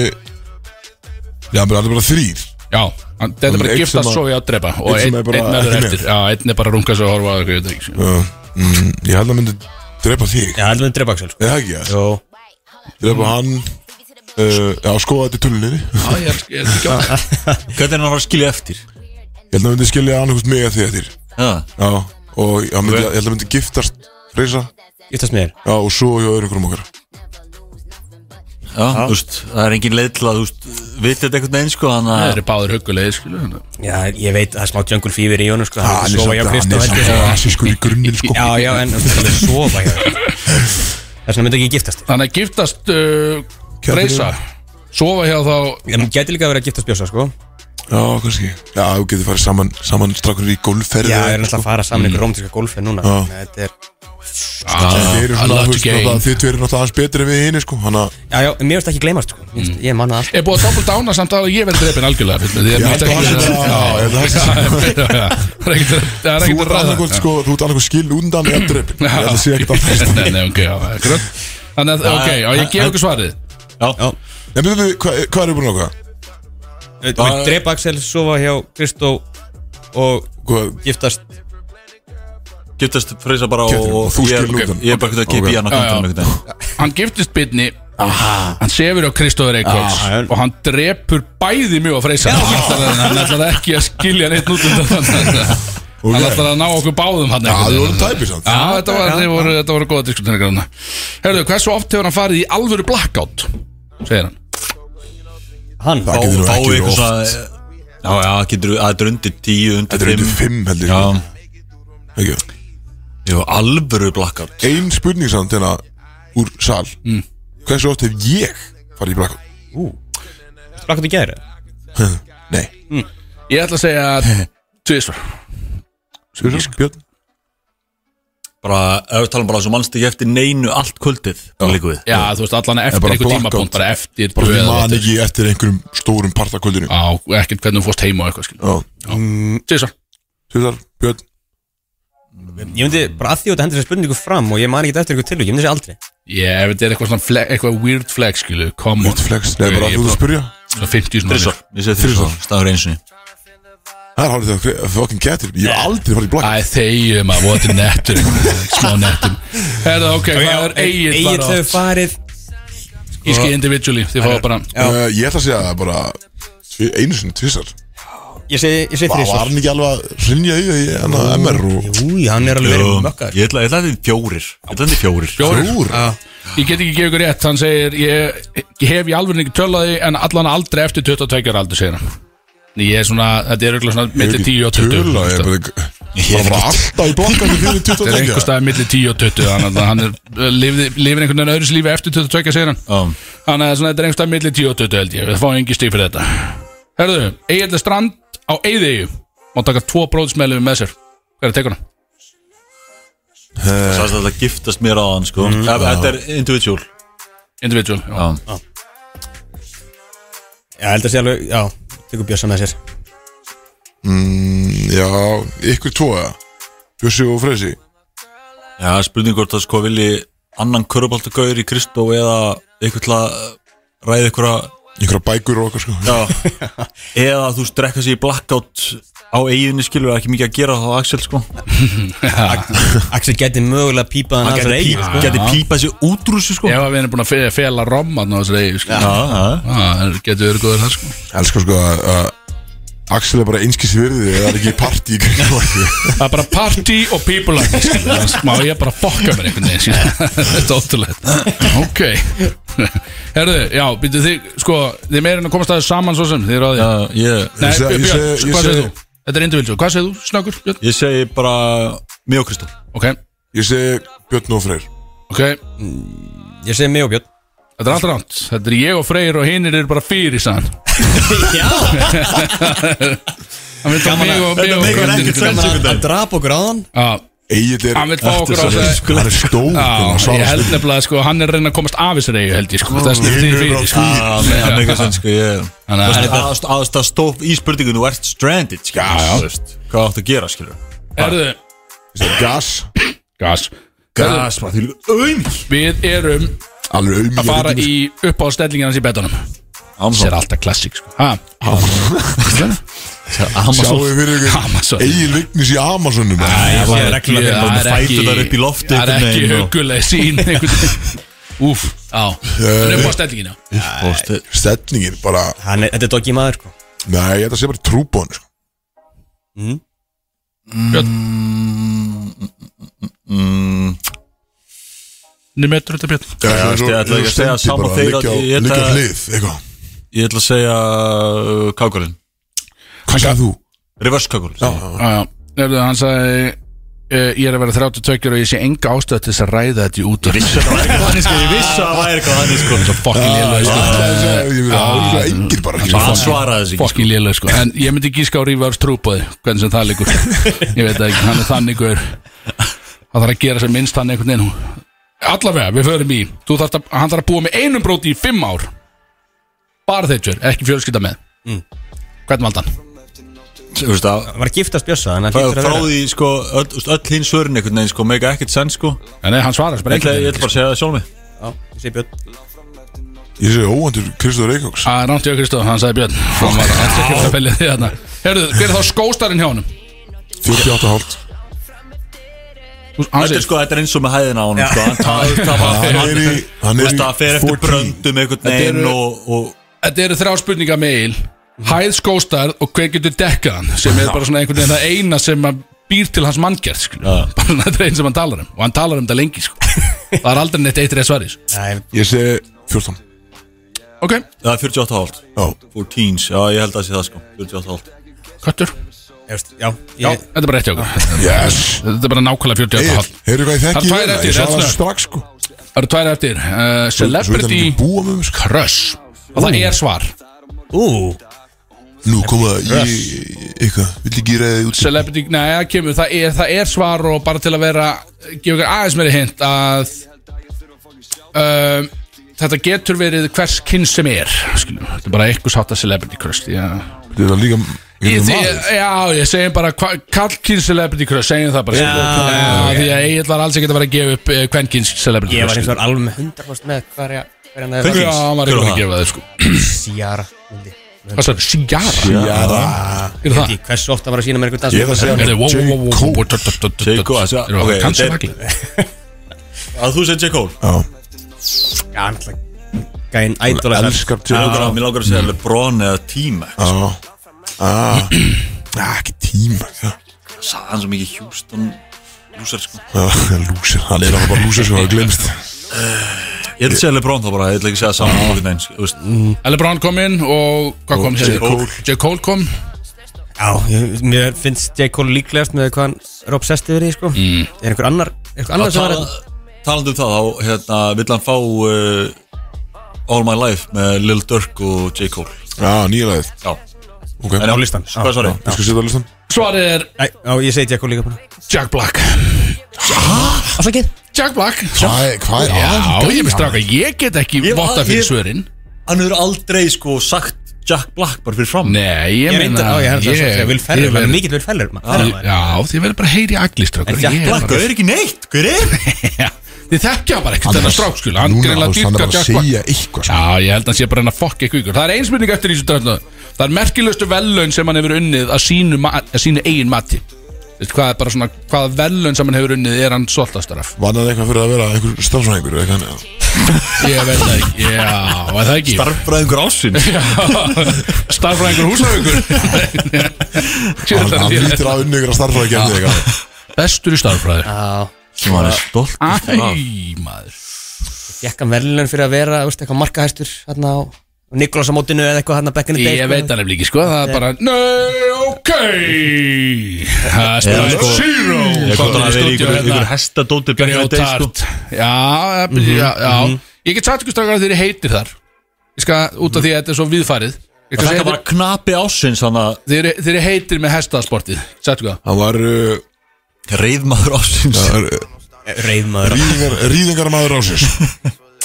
Speaker 2: Já, menn það er bara þrýr
Speaker 3: já, hann, þetta
Speaker 2: Og
Speaker 3: er bara
Speaker 2: einn
Speaker 3: gift
Speaker 2: sem
Speaker 3: að
Speaker 2: að-
Speaker 3: sofa hjá drepa og
Speaker 2: einn sem er
Speaker 3: einn ein,
Speaker 2: bara
Speaker 3: ein verður
Speaker 2: ekki með.
Speaker 3: eftir já, einn er bara að runga sig og horfa á eitthvað, ég veit ekki.
Speaker 2: Já, mm, Ég held að myndi drepa þig
Speaker 4: Já, heldur við drepa Axel sko.
Speaker 2: Er það ekki það?
Speaker 4: Jó
Speaker 2: Drepa hann uh, Já, skoða þetta í tunnuninni Ég
Speaker 3: Já, ég er- ég er ekki á
Speaker 1: Hvernig er hann að fara að skilja eftir?
Speaker 2: held að hann myndi skilja annarkvist mig að því eftir
Speaker 1: Já,
Speaker 2: Já, og ég, myndi, ég held að hann myndi giftast Reisa,
Speaker 4: Giftast mér
Speaker 2: já, og svo hjá öðru einhverjum okkar
Speaker 1: já, þú veist, það er engin leið til að, þú veist, vitið þetta einhvern veginn, sko, þannig
Speaker 3: (laughs) Það
Speaker 1: að
Speaker 3: eru báður huggulegir, skilu
Speaker 4: Já, ég veit, það er smá jungle fever í honum sko Það
Speaker 2: Hann
Speaker 4: er
Speaker 2: er
Speaker 4: sofa hjá
Speaker 2: samt- hann
Speaker 4: Kristó
Speaker 2: er
Speaker 4: held ég.
Speaker 2: samt rasiskur í grunninn sko
Speaker 4: Já, já, en það er sofa hjá honum. Þess vegna myndi ekki giftast
Speaker 3: Þannig að giftast uh, Reisa Sofa hjá þá
Speaker 4: En gæti líka að vera að giftast bjósa sko
Speaker 2: Já, kannski Já, þú getur farið saman, saman strakkur í golfferð
Speaker 4: Já,
Speaker 2: eða
Speaker 4: það er
Speaker 2: eitthvað,
Speaker 4: náttúrulega að fara saman ykkur romantíska golfi núna
Speaker 2: Já.
Speaker 4: Nei, Þetta er
Speaker 2: Þeir eru
Speaker 3: I
Speaker 2: svona,
Speaker 3: love
Speaker 2: þú
Speaker 3: to
Speaker 2: veist, náttúrulega,
Speaker 3: game
Speaker 2: þið tveir eru náttúrulega aðeins betri en við hinn, sko Hanna,
Speaker 4: Já, já, en mér finnst ekki gleymast sko Mér finnst- Ég manna allt
Speaker 3: Er búið að doppel dána samt að ég verði drefin algjörlega fyrir mig, því
Speaker 2: Ég
Speaker 3: að
Speaker 2: held að hann sé bara-
Speaker 3: mér
Speaker 2: já, ég held að hann sé-
Speaker 3: Það er ekkert að- það er
Speaker 2: þú
Speaker 3: ekkert að
Speaker 2: ert
Speaker 3: ræða
Speaker 2: annarkvöld, sko, þú ert annarkvöld skil undan eða drefn Ég held að sé ekkert alltaf
Speaker 3: Nei, nei, ok, já, það er grunn Þannig að, ok, já, ég gef ykkur svarið
Speaker 2: Nei, betur við, hvað hvað eru búin að okkar?
Speaker 4: Ég Drepa Axel, sofa hjá Kristó Og
Speaker 2: Hvað,
Speaker 4: giftast
Speaker 1: getast freysa bara og,
Speaker 2: Getur-
Speaker 1: og
Speaker 2: þú
Speaker 1: ég,
Speaker 2: skilur
Speaker 1: ég,
Speaker 2: utan.
Speaker 1: er bara ekkert að kipa
Speaker 2: Ok.
Speaker 1: í hann á
Speaker 3: Já, já.
Speaker 1: kantinum einhvern veginn.
Speaker 3: Hann giftist bitni Hann sefur á Kristóður Eikóls Og hann drepur bæði mjög að freysa Hann ætlar að- hann ætlar ekki að skilja neitt nút undan
Speaker 2: (laughs)
Speaker 3: þannig Hann ætlar að ná okkur báðum hann
Speaker 2: Já, þú voru tæpið samt
Speaker 3: Já, þetta var, þið voru, þetta voru góða diskutunir granna Herðu, hversu oft hefur hann farið í alvöru blackout? Segir hann
Speaker 4: hann
Speaker 2: Það getur nú
Speaker 1: Fá
Speaker 2: ekki verið
Speaker 1: eitthvað svona,
Speaker 2: oft
Speaker 1: já, já, getur, það er undir tíu,
Speaker 2: Þetta
Speaker 1: undir
Speaker 2: er
Speaker 1: fimm.
Speaker 2: undir fimm, held ég
Speaker 1: Já,
Speaker 2: sko. Ekki.
Speaker 1: jú, alvöru blackout.
Speaker 2: Ein spurning samt, hérna, úr sal Hversu oft hef ég farið í blakkum?
Speaker 4: Blakkaði gæri
Speaker 2: (laughs) Nei,
Speaker 3: Ég ætla að (laughs) segja tvisvar
Speaker 2: Sjöfum, Björn
Speaker 1: Bara, ef við talum bara svo mannst ekki eftir neinu allt kvöldið, líku við.
Speaker 3: Já, þú veist, allan
Speaker 2: En
Speaker 3: eftir
Speaker 2: bara
Speaker 3: einhver
Speaker 2: blackout.
Speaker 3: tímabónd Bara eftir
Speaker 2: Bara
Speaker 3: tvö
Speaker 2: við
Speaker 3: eða
Speaker 2: man
Speaker 3: eftir-
Speaker 2: ekki eftir einhverjum stórum partakvöldinu
Speaker 3: Á, ekkert hvernig þú fórst heim og eitthvað skil
Speaker 2: Um.
Speaker 3: Tvisvar
Speaker 2: Sjöfum, Björn
Speaker 4: Ég myndi bara að því að þetta hendur sér spurningu fram Og ég man ekki eftir ykkur tilvík, ég myndi segja aldrei
Speaker 3: Ég, ef þetta er eitthvað svona fle- eitthvað weird flex skilu Come on
Speaker 2: Björn Flex, nei,
Speaker 3: Ég-
Speaker 2: bara
Speaker 3: ég
Speaker 2: þú
Speaker 3: bara-
Speaker 2: að spyrja
Speaker 3: Svona 50 svona
Speaker 1: Þrísvar, ég segi þrísvar, staður einsinni.
Speaker 2: Það er hálfrið þegar það fucking getur Ég hef aldrei farið í blakk
Speaker 3: Æ, þegjum að voru þetta er
Speaker 2: (laughs)
Speaker 3: nettur Smá nettum Herðu, ok, hvað er eigið
Speaker 4: Egil
Speaker 3: bara
Speaker 4: þau
Speaker 3: oft?
Speaker 4: farið
Speaker 3: Íski individually, þið fáið bara
Speaker 2: uh, Ég ætla að segja það bara tvi- Einu sinni tvisar
Speaker 4: Ég segi, ég segi
Speaker 2: Var
Speaker 4: þrísvar
Speaker 2: hann ekki alveg að rinja í því hann að MR og
Speaker 4: Új, hann er alveg verið
Speaker 1: Jú,
Speaker 4: mökkar
Speaker 1: Ég ætla ég ætla að þetta er fjórir, ég ætla að þetta er fjórir.
Speaker 2: Þrúr?
Speaker 3: Ég get ekki gefið ykkur rétt, hann segir Ég, ég hef í alveg ekki tölaði En allan aldrei eftir 22 ára aldur, segir hann Þannig Ég er svona, þetta er auðvitað svona Millir 10 og 20
Speaker 2: Tula ég
Speaker 3: Þetta
Speaker 2: bara Það var alltaf (laughs) í blakkandi fyrir 20
Speaker 3: er einhver
Speaker 2: tækja
Speaker 3: staðið millir 10 og 20 Þannig að hann er, eh, lifði, lifir einhvern veginn öðru lífi Eftir 22, segir hann
Speaker 1: Já.
Speaker 3: Þannig að svona, þetta er einhver staðið millir 10 og 20 held ég Við fáum engi stíf fyrir þetta Herðu, Egil Strand á Eiðeyju Má taka tvo bróðsmeðlum með sér Hver er tekunum?
Speaker 1: Sæðist að þetta giftast mér á hann sko Eh. mm, Þetta er individual
Speaker 3: Individual já.
Speaker 1: já.
Speaker 4: Já, held að segja alveg, já, tekur Björsa með sér
Speaker 2: Mm, Já, ykkur tvo eða Bjössi og Freysi
Speaker 1: já, spurning hvort það sko vilji annan köruboltagaur í Kristó eða eitthvað til að eh, ræða einhverja
Speaker 2: Einhverja bækur og okkar sko
Speaker 1: (laughs) já, eða þú strekka sig í blackout á eiginni skilur það er ekki mikið að gera þá Axel sko
Speaker 4: Axel geti mögulega pípað hann
Speaker 1: hann
Speaker 4: að
Speaker 1: geti,
Speaker 4: þessar eigin
Speaker 1: pí, geti pípað sér út úr þessu sko
Speaker 3: Ef að við erum búin að fe- fela romma Þannig að þessari Eiðeyju, skilur.
Speaker 1: Já, já.
Speaker 3: Já, það getur verið góður það sko
Speaker 2: Elskar sko að að Axel er bara einskis virði Það er ekki partí í kringum okkur.
Speaker 3: Það er bara party og people like this, skilur. Þannig Má ég bara fokka mér einhvern veginn skilur.
Speaker 2: (laughs)
Speaker 3: Þetta er ótrúlega Ok Herðu, já, býttu þið Sko, þið meira en að komast aðeins saman svo sem Þið eru að því
Speaker 1: Já, ég,
Speaker 3: Nei,
Speaker 2: Ég seg- ég
Speaker 3: Björn, Björn,
Speaker 2: seg-
Speaker 3: sko,
Speaker 2: ég
Speaker 3: hvað
Speaker 2: seg-
Speaker 3: segir þú? Þetta er individual, sko. hvað segir þú? Snöggur, Björn?
Speaker 1: ég segi bara mig og Kristó
Speaker 3: Ok,
Speaker 2: (laughs) Ég segi Björn og Freyr
Speaker 3: ok Þetta
Speaker 4: Ég segi mig og Björn
Speaker 3: er allt ránt Þetta er ég og Freyr og hinir eru bara fyrir sann
Speaker 4: Já,
Speaker 3: Hann vil fá mig og mig og Kristinn.
Speaker 4: hann drap okkur á hann
Speaker 3: Já,
Speaker 2: Egil er
Speaker 3: Hann vill fá okkur á
Speaker 2: Hann er
Speaker 3: þessu-
Speaker 2: stór hann
Speaker 3: Já, ég
Speaker 2: svarar
Speaker 3: held
Speaker 2: stundum.
Speaker 3: nefnilega sko, hann er að reyna að komast af þessari eigu held ég sko, það er
Speaker 2: Hinir
Speaker 3: snurðið
Speaker 2: eru á
Speaker 3: fyrir sko.
Speaker 2: skýr.
Speaker 1: Já, með það meika senn sko ég
Speaker 3: Þannig að-
Speaker 1: aðstað stóf í spurningun þú ert stranded skilur
Speaker 3: Já, já.
Speaker 1: þú veist. hvað áttu að gera skilur
Speaker 3: Erðu,
Speaker 2: Ég segi Gas
Speaker 3: gas
Speaker 1: gas maður því líka auðvitað
Speaker 3: Við erum
Speaker 2: Alveg
Speaker 3: að fara
Speaker 2: auðvitað
Speaker 3: í uppáhaldstellingarnas í betunum
Speaker 1: Ámsson
Speaker 3: Sér alltaf klassik sko. Ha?
Speaker 2: Sjáu fyrir ykkur
Speaker 3: Amazon.
Speaker 2: Egil Vignis í Amazonum
Speaker 3: Æ,
Speaker 1: Ég
Speaker 3: það
Speaker 1: sé
Speaker 3: er
Speaker 1: reglulega
Speaker 3: ekki-
Speaker 1: hérna bara með
Speaker 3: það er
Speaker 1: fæturnar
Speaker 3: ekki-
Speaker 1: upp í loft
Speaker 3: Það er
Speaker 1: einhvern
Speaker 3: ekki
Speaker 1: veginn og-
Speaker 3: huguleg sín einhvern
Speaker 1: (laughs)
Speaker 3: veginn. Úf, á Það er upp á stellingina
Speaker 1: Uppbóðstil
Speaker 2: Stefningin bara
Speaker 4: Hann er, þetta er doggi maður sko
Speaker 2: Nei, ég held að sé bara trúbón sko.
Speaker 4: mm.
Speaker 3: Nú metur þetta björn
Speaker 2: Já, já,
Speaker 1: veist,
Speaker 2: svo-
Speaker 1: ég ætla ekki að
Speaker 2: svo
Speaker 1: segja
Speaker 2: stendur
Speaker 1: sama
Speaker 2: bara,
Speaker 1: þeir
Speaker 2: liggja
Speaker 1: að
Speaker 2: á-
Speaker 1: ég ætla-
Speaker 2: Liggja á hlið, eitthvað
Speaker 1: Ég ætla að segja uh, Kákulinn
Speaker 2: Hvað sagði þú?
Speaker 1: Reverse Kákulinn
Speaker 3: Já, já. Nefndu, hann sagði uh, Ég er að vera 32 og ég sé enga ástöð til þess að ræða þetta í út Ég vissi þetta var eitthvað þannig sko, ég vissi
Speaker 1: Það væri eitthvað þannig sko
Speaker 3: Svo fokkin lélega sko
Speaker 2: Ég vil áhuga engir bara ekki
Speaker 1: Hann svaraði þessi ekki
Speaker 3: Fokkin lélega sko En ég myndi gíska á Rífars trúbóði Hvernig sem það líkur Ég veit það ekki, hann er þannig gaur Það þarf að gera sem minnst hann einhvern veginn Allavega, við förum í Þú þarft að, Hann þarf að búa með einum bróti í fimm ár Bara þeir ekki fjölskylda með
Speaker 1: Mm.
Speaker 3: Hvernig valda hann?
Speaker 1: sko, Þú veist að
Speaker 4: Hann var að giftast bjössa Þannig að
Speaker 1: frá
Speaker 4: hann hlýtur að
Speaker 1: frá
Speaker 4: vera
Speaker 1: því sko öll, þú veist, öll hinn svörin einhvern veginn sko mega ekkert senn sko
Speaker 3: En nei, hann svarar
Speaker 1: Ég
Speaker 3: bara
Speaker 1: ætla,
Speaker 3: einhvern
Speaker 1: ég ætla bara að segja það sjálf mig
Speaker 4: Já, ég sé björn
Speaker 2: Ég sé óhandur Kristóður
Speaker 1: Ah.
Speaker 2: Reykjóks
Speaker 3: Það Ah, er rámt ég að Kristof, hann sagði Björn Hann var alls ekki að pelja því þarna Herðu, hver er þá skóstarinn hjá honum?
Speaker 2: 48,5
Speaker 3: Þú- Hann
Speaker 1: Þetta er
Speaker 3: segir,
Speaker 1: sko, þetta er eins og með hæðina á honum sko Hann talar-
Speaker 3: (laughs)
Speaker 1: það var-
Speaker 2: Hann er í
Speaker 1: Þú
Speaker 2: Hann er
Speaker 1: veist að það fer
Speaker 2: í
Speaker 1: eftir
Speaker 2: 14
Speaker 1: bröndum einhvern
Speaker 3: Þetta
Speaker 1: veginn
Speaker 3: eru-
Speaker 1: og, og
Speaker 3: þetta eru þrjá spurningar með eil Hæð skóstarð og hver getur dekkað hann sem er bara svona einhvern veginn það eina sem að býr til hans manngjart bara þetta er einn sem hann talar um og hann talar um þetta lengi sko. það er aldrei neitt eitt reið svaris
Speaker 4: Nei,
Speaker 2: Ég sé 14
Speaker 3: Ok,
Speaker 1: Það er 48 hálft
Speaker 2: Já
Speaker 1: 14, já ég held að það sé það sko 48 hálft
Speaker 3: köttur
Speaker 4: ég veist, já,
Speaker 3: Já,
Speaker 4: ég,
Speaker 3: þetta er bara rétt hjá okkur
Speaker 2: Yes
Speaker 3: Þetta er bara nákvæmlega 48
Speaker 2: Egil,
Speaker 3: hálf
Speaker 2: heyrðu hvað ég
Speaker 3: Hann
Speaker 2: þekki
Speaker 3: tvær
Speaker 2: hérna?
Speaker 3: eftir,
Speaker 2: Ég svara
Speaker 3: elsnöð.
Speaker 2: strax sko
Speaker 3: Það eru tvær eftir uh,
Speaker 2: Svo veit hann
Speaker 3: Celebrity
Speaker 2: ekki búa með mig sko
Speaker 3: Crush og það er svar
Speaker 4: Ú,
Speaker 2: Nú koma ég Eitthvað Vill ekki ræða þið út
Speaker 3: Celebrity, nei, það kemur, það er, það er svar og bara til að vera, gefa ykkur aðeins meiri hint að um, þetta getur verið hvers kyn sem er, skiljum, þetta er bara eitthvað sátt að celebrity crush, já.
Speaker 2: Þetta er líka
Speaker 3: Ég,
Speaker 2: Ég
Speaker 3: ég, já, ég segjum bara hva- karlkyn celebrity crush, segjum það bara,
Speaker 4: Já,
Speaker 3: skiljum, já, því að ég var alls ekki að vera að gefa upp uh, kvenkyn celebrity
Speaker 4: ég var
Speaker 3: crush.
Speaker 4: eins og var alveg með 100% með hverja Hverja hann
Speaker 1: Hver-
Speaker 4: hefði
Speaker 3: Já, hann var
Speaker 1: Hver
Speaker 3: ekki
Speaker 1: var það?
Speaker 3: að gefa það, sko.
Speaker 4: Sjara myndi
Speaker 3: Hvað sagði, Sigara?
Speaker 2: Jara
Speaker 3: Er það?
Speaker 4: Því hversu ofta var að sína mér einhvern sko. dans
Speaker 2: Ég ætla að segja
Speaker 3: Er það, wow, wow, wow,
Speaker 2: J.
Speaker 3: wow, wow,
Speaker 1: J.
Speaker 2: Cole
Speaker 1: Cole, þessi- ok,
Speaker 3: wow,
Speaker 1: þetta er-
Speaker 3: kannski
Speaker 1: Að þú segir J. Cole
Speaker 2: Já
Speaker 4: Já, hann ætla Gæinn ædol
Speaker 2: Ég
Speaker 4: að
Speaker 2: Elskar
Speaker 1: Mér
Speaker 2: J.
Speaker 1: langar að- Mér langar að segja Lebron eða Tíma
Speaker 2: Já Ah Ah, ekki tíma Já
Speaker 1: Sæðan hann svo mikið Houston Lúsar sko
Speaker 2: Já, Ah, Lúsir, hann er alveg bara lúsir sem hafa glemst
Speaker 1: Ég ætla að segja Lebron þá bara Ég ætla ekki að segja saman einhvern veginn sko, þú veist.
Speaker 3: Ellie Brown kom inn og hvað kom
Speaker 2: J.
Speaker 3: hér?
Speaker 2: Cole.
Speaker 3: J. Cole kom
Speaker 4: Já, ég- mér finnst J. Cole líklegast með hvað hann er obsessið verið, sko
Speaker 3: Mm.
Speaker 4: Er einhver annar, einhver annar
Speaker 1: Að
Speaker 4: sem var hérna?
Speaker 1: tala- Talandi um það þá hérna, Vill hann fá uh, All My Life með Lil Durk og J. Cole
Speaker 2: Já, nýja lagið
Speaker 1: Já
Speaker 2: Ok,
Speaker 1: En á
Speaker 2: ég
Speaker 1: listan Hvað svarið?
Speaker 2: skal setja á listan
Speaker 3: Svarið er
Speaker 4: Æ, Já, ég segi J. Cole líka bara
Speaker 3: Jack Black
Speaker 4: Afsakið
Speaker 3: Jack Black
Speaker 2: Hvað er, hvað er
Speaker 3: Já, ég er með stráka, ég get ekki
Speaker 1: Ég var-
Speaker 3: votta fyrir
Speaker 1: ég-
Speaker 3: svörin
Speaker 1: Hann hefur aldrei sko sagt Jack Black bara fyrir fram
Speaker 3: Nei, ég
Speaker 4: Ég
Speaker 3: meina
Speaker 4: reyndar, á, ég er að segja Vil
Speaker 3: ég
Speaker 4: Ferrer,
Speaker 3: verð-
Speaker 4: maður mikill Vil Ferrer maður. Ferrer, maður.
Speaker 3: Já, þið verður bara að heyri agli strákur
Speaker 4: En Jack
Speaker 3: Ég er
Speaker 1: Black
Speaker 3: bara-
Speaker 1: er ekki neitt Hver er?
Speaker 3: (laughs) Já, Þið þekkja bara ekkert þennan strák skil Hann
Speaker 2: Núna,
Speaker 3: greinlega
Speaker 2: þú veist, hann er
Speaker 3: dýrka
Speaker 2: bara að
Speaker 3: Jack Black
Speaker 2: segja eitthvað sko.
Speaker 3: Já, ég held að hann sé bara að reyna að fokka eitthvað ykkur Það er einspurning eftir í þessu dröfna Það er merkilegustu vellaun sem hann hefur unnið að sínu, ma- að sínu eigin mati Veistu, hvað er bara svona, hvaða vellaun sem hann hefur unnið er hann soltastar af
Speaker 2: Vann hann eitthvað fyrir að vera einhver starfsvæðingur eða eitthvað annað?
Speaker 3: Ég veit það ekki, já, er það ekki
Speaker 1: Starfræðingur ásinn
Speaker 3: (laughs) Starfræðingur húsræðingur
Speaker 2: Hann hann lítur að unni ykkur að starfsvæði gerði eitthvað
Speaker 3: Bestur í starfræði
Speaker 4: Já,
Speaker 1: Sem hann er stolt
Speaker 3: Æ, maður
Speaker 4: fekk hann verðlun fyrir að vera, veist, eitthvað markahæstur Þarna á Nikolásamótinu eða eitthvað hann að bekkinu
Speaker 3: Ég veit það nefnilega ekki, sko, það er bara Nei, ok Það er
Speaker 1: Já,
Speaker 3: spilað
Speaker 1: sko.
Speaker 3: Zero
Speaker 1: Ég kom
Speaker 3: Komið
Speaker 1: það að vera
Speaker 3: í stúdíu
Speaker 1: ykkur, ykkur
Speaker 3: hérna
Speaker 1: hestadóti back in the day, sko.
Speaker 3: Grjótart Já,
Speaker 1: Mhm,
Speaker 3: já, já Ég get sagt ykkur strákar að þeir heitir þar Ég skal, út af því að þetta er svo viðfarið
Speaker 1: Það
Speaker 3: Ég skal
Speaker 1: er
Speaker 3: segja
Speaker 1: bara knapi ásins hann að
Speaker 3: þeir- þeir- Þeir heitir með hestasportið Sagt ykkur það
Speaker 2: Hann var uh,
Speaker 1: reyðmaður ásins
Speaker 2: það er, uh,
Speaker 4: Eh, Reyðmaður,
Speaker 2: rýðingar, rýðingar maður ásins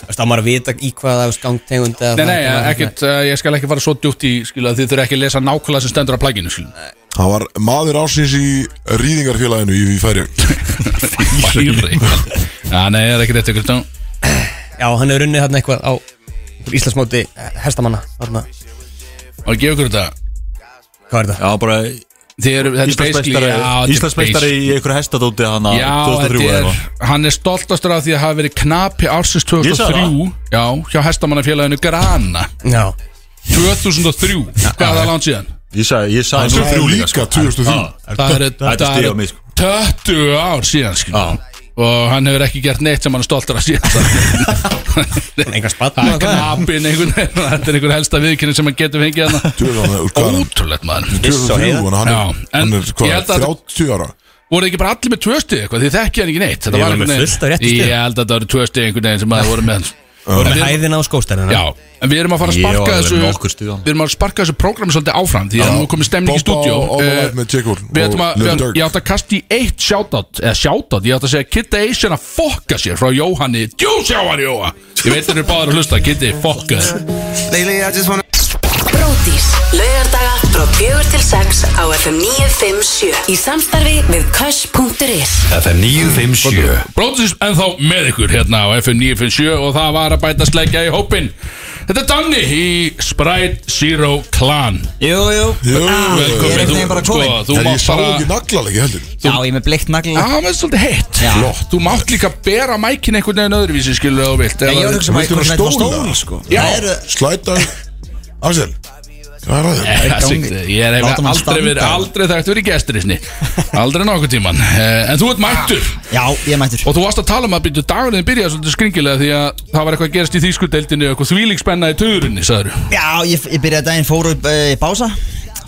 Speaker 4: veist, á maður að vita í hvað það er skangtegund
Speaker 3: Nei,
Speaker 4: eða það-
Speaker 3: nei, ekkert, uh, ég skal ekki fara svo djúpt í skilu að þið þurfa ekki að lesa nákvæmlega sem stendur á plaginu skilu
Speaker 2: Hann var maður ásins í rýðingarfélaginu í, í færi
Speaker 3: Færi Já, nei, það er ekki rétt ekkert Já,
Speaker 4: Já, hann hefur unnið þarna eitthvað á Íslandsmóti eh, hestamanna þarna.
Speaker 3: og gefa ykkur þetta
Speaker 4: Hvað er það?
Speaker 1: Já, bara
Speaker 3: Þið eru, þetta er basically
Speaker 1: Íslandsmeistari
Speaker 3: já, þetta er
Speaker 1: Íslandsmeistari í einhverju hestadóti hana
Speaker 3: Já,
Speaker 1: 2003
Speaker 3: þetta
Speaker 1: eða
Speaker 3: er,
Speaker 1: eitthvað.
Speaker 3: hann er stoltastur af því að hafa verið knapi ársins
Speaker 1: Ég sagði
Speaker 3: 2003 Já, hjá hestamannafélaginu Grana
Speaker 4: Já
Speaker 3: 2003, hvað er það langt síðan?
Speaker 1: Ég sagði, ég sagði
Speaker 2: Það er
Speaker 1: 2003
Speaker 2: líka 2003
Speaker 3: Það eru
Speaker 1: Þetta er stig á mig, sko.
Speaker 3: 20 ár síðan skilur
Speaker 1: Já.
Speaker 3: Og hann hefur ekki gert neitt sem hann er stoltur af síðan
Speaker 4: Engar
Speaker 3: Það er
Speaker 4: spatna
Speaker 3: knapin einhvern veginn Þetta er einhver helsta viðkynning sem hann getur fengið hann
Speaker 2: Ótrúlega
Speaker 3: Ótrúlegt maður
Speaker 2: Hann
Speaker 3: Já,
Speaker 2: er, hann
Speaker 3: en
Speaker 2: er
Speaker 3: ég
Speaker 2: hvað,
Speaker 3: held að-
Speaker 2: 30 ára
Speaker 3: voru ekki bara allir með tvö stig eitthvað því þekki hann ekki neitt þetta
Speaker 4: Ég var
Speaker 3: einhvern
Speaker 4: með
Speaker 3: veginn-
Speaker 4: fullt af réttu stigum.
Speaker 3: ég held að þetta voru tvö stig einhvern veginn sem maður voru með
Speaker 4: Voru með hæðina á skóstærðina
Speaker 3: já en við erum að fara að
Speaker 1: Ég var
Speaker 3: sparka
Speaker 1: alveg
Speaker 3: þessu
Speaker 1: nokkur stig á.
Speaker 3: við erum að sparka þessu prógram svolítið áfram því að nú er komið stemning í
Speaker 2: Bobba
Speaker 3: stúdíu
Speaker 2: og Oliver Light með Jekyll
Speaker 3: við ætlum
Speaker 2: og
Speaker 3: að við
Speaker 2: Lil
Speaker 3: ætlum-
Speaker 2: Durk.
Speaker 3: ég átt að kasta í eitt shoutout eða shoutout ég átt að segja Kitty Asian að fokka sér frá Jóhanni djús á hann Jóa ég veit þeir eru báðir að hlusta Kitty fokka þér
Speaker 5: Bródís, laugardaga frá fjögur til sex á FM 957 í samstarfi við Kösh.is
Speaker 6: FM 957
Speaker 3: Bróðsins ennþá með ykkur hérna á FM 957 og það var að bæta sleggja í hópin Þetta er Danni í Sprite Zero Clan
Speaker 7: Jú, jú
Speaker 3: Ah,
Speaker 2: Jú,
Speaker 7: Ég er einhvern veginn bara
Speaker 3: sko,
Speaker 7: kominn.
Speaker 3: þú
Speaker 2: En ég
Speaker 3: mátt
Speaker 2: sá
Speaker 3: bara
Speaker 2: ekki naglalegi heldur
Speaker 7: Já, ég er með bleikt nagla
Speaker 3: Já, það er svolítið heitt
Speaker 7: Já.
Speaker 3: Flott. Þú mátt líka bera mækin einhvern veginn öðruvísi skilu og vilt
Speaker 7: En ég var að
Speaker 3: (laughs)
Speaker 7: hugsa um
Speaker 2: Viltu
Speaker 7: maður
Speaker 2: vera stór,
Speaker 7: eitthvað stóra
Speaker 2: eða?
Speaker 7: sko
Speaker 3: Já.
Speaker 7: Það eru
Speaker 2: Slæta Axel Hvað er að
Speaker 7: Eh.
Speaker 2: þér?
Speaker 3: Ég er hef
Speaker 7: Láta mann
Speaker 3: aldrei verið
Speaker 7: standa.
Speaker 3: aldrei þekkt verið
Speaker 7: (laughs)
Speaker 3: gesturisni Aldrei nokkuð tíman En þú ert mættur
Speaker 7: Já, ég er mættur
Speaker 3: Og þú varst að tala um að byrja dagurinn byrjaði svolítið skringilega því að það var eitthvað að gerast í þýskudeldinni og eitthvað þvílíkspenna í töðurinni, sagður
Speaker 7: Já, ég, ég byrjaði daginn fór upp eh, í bása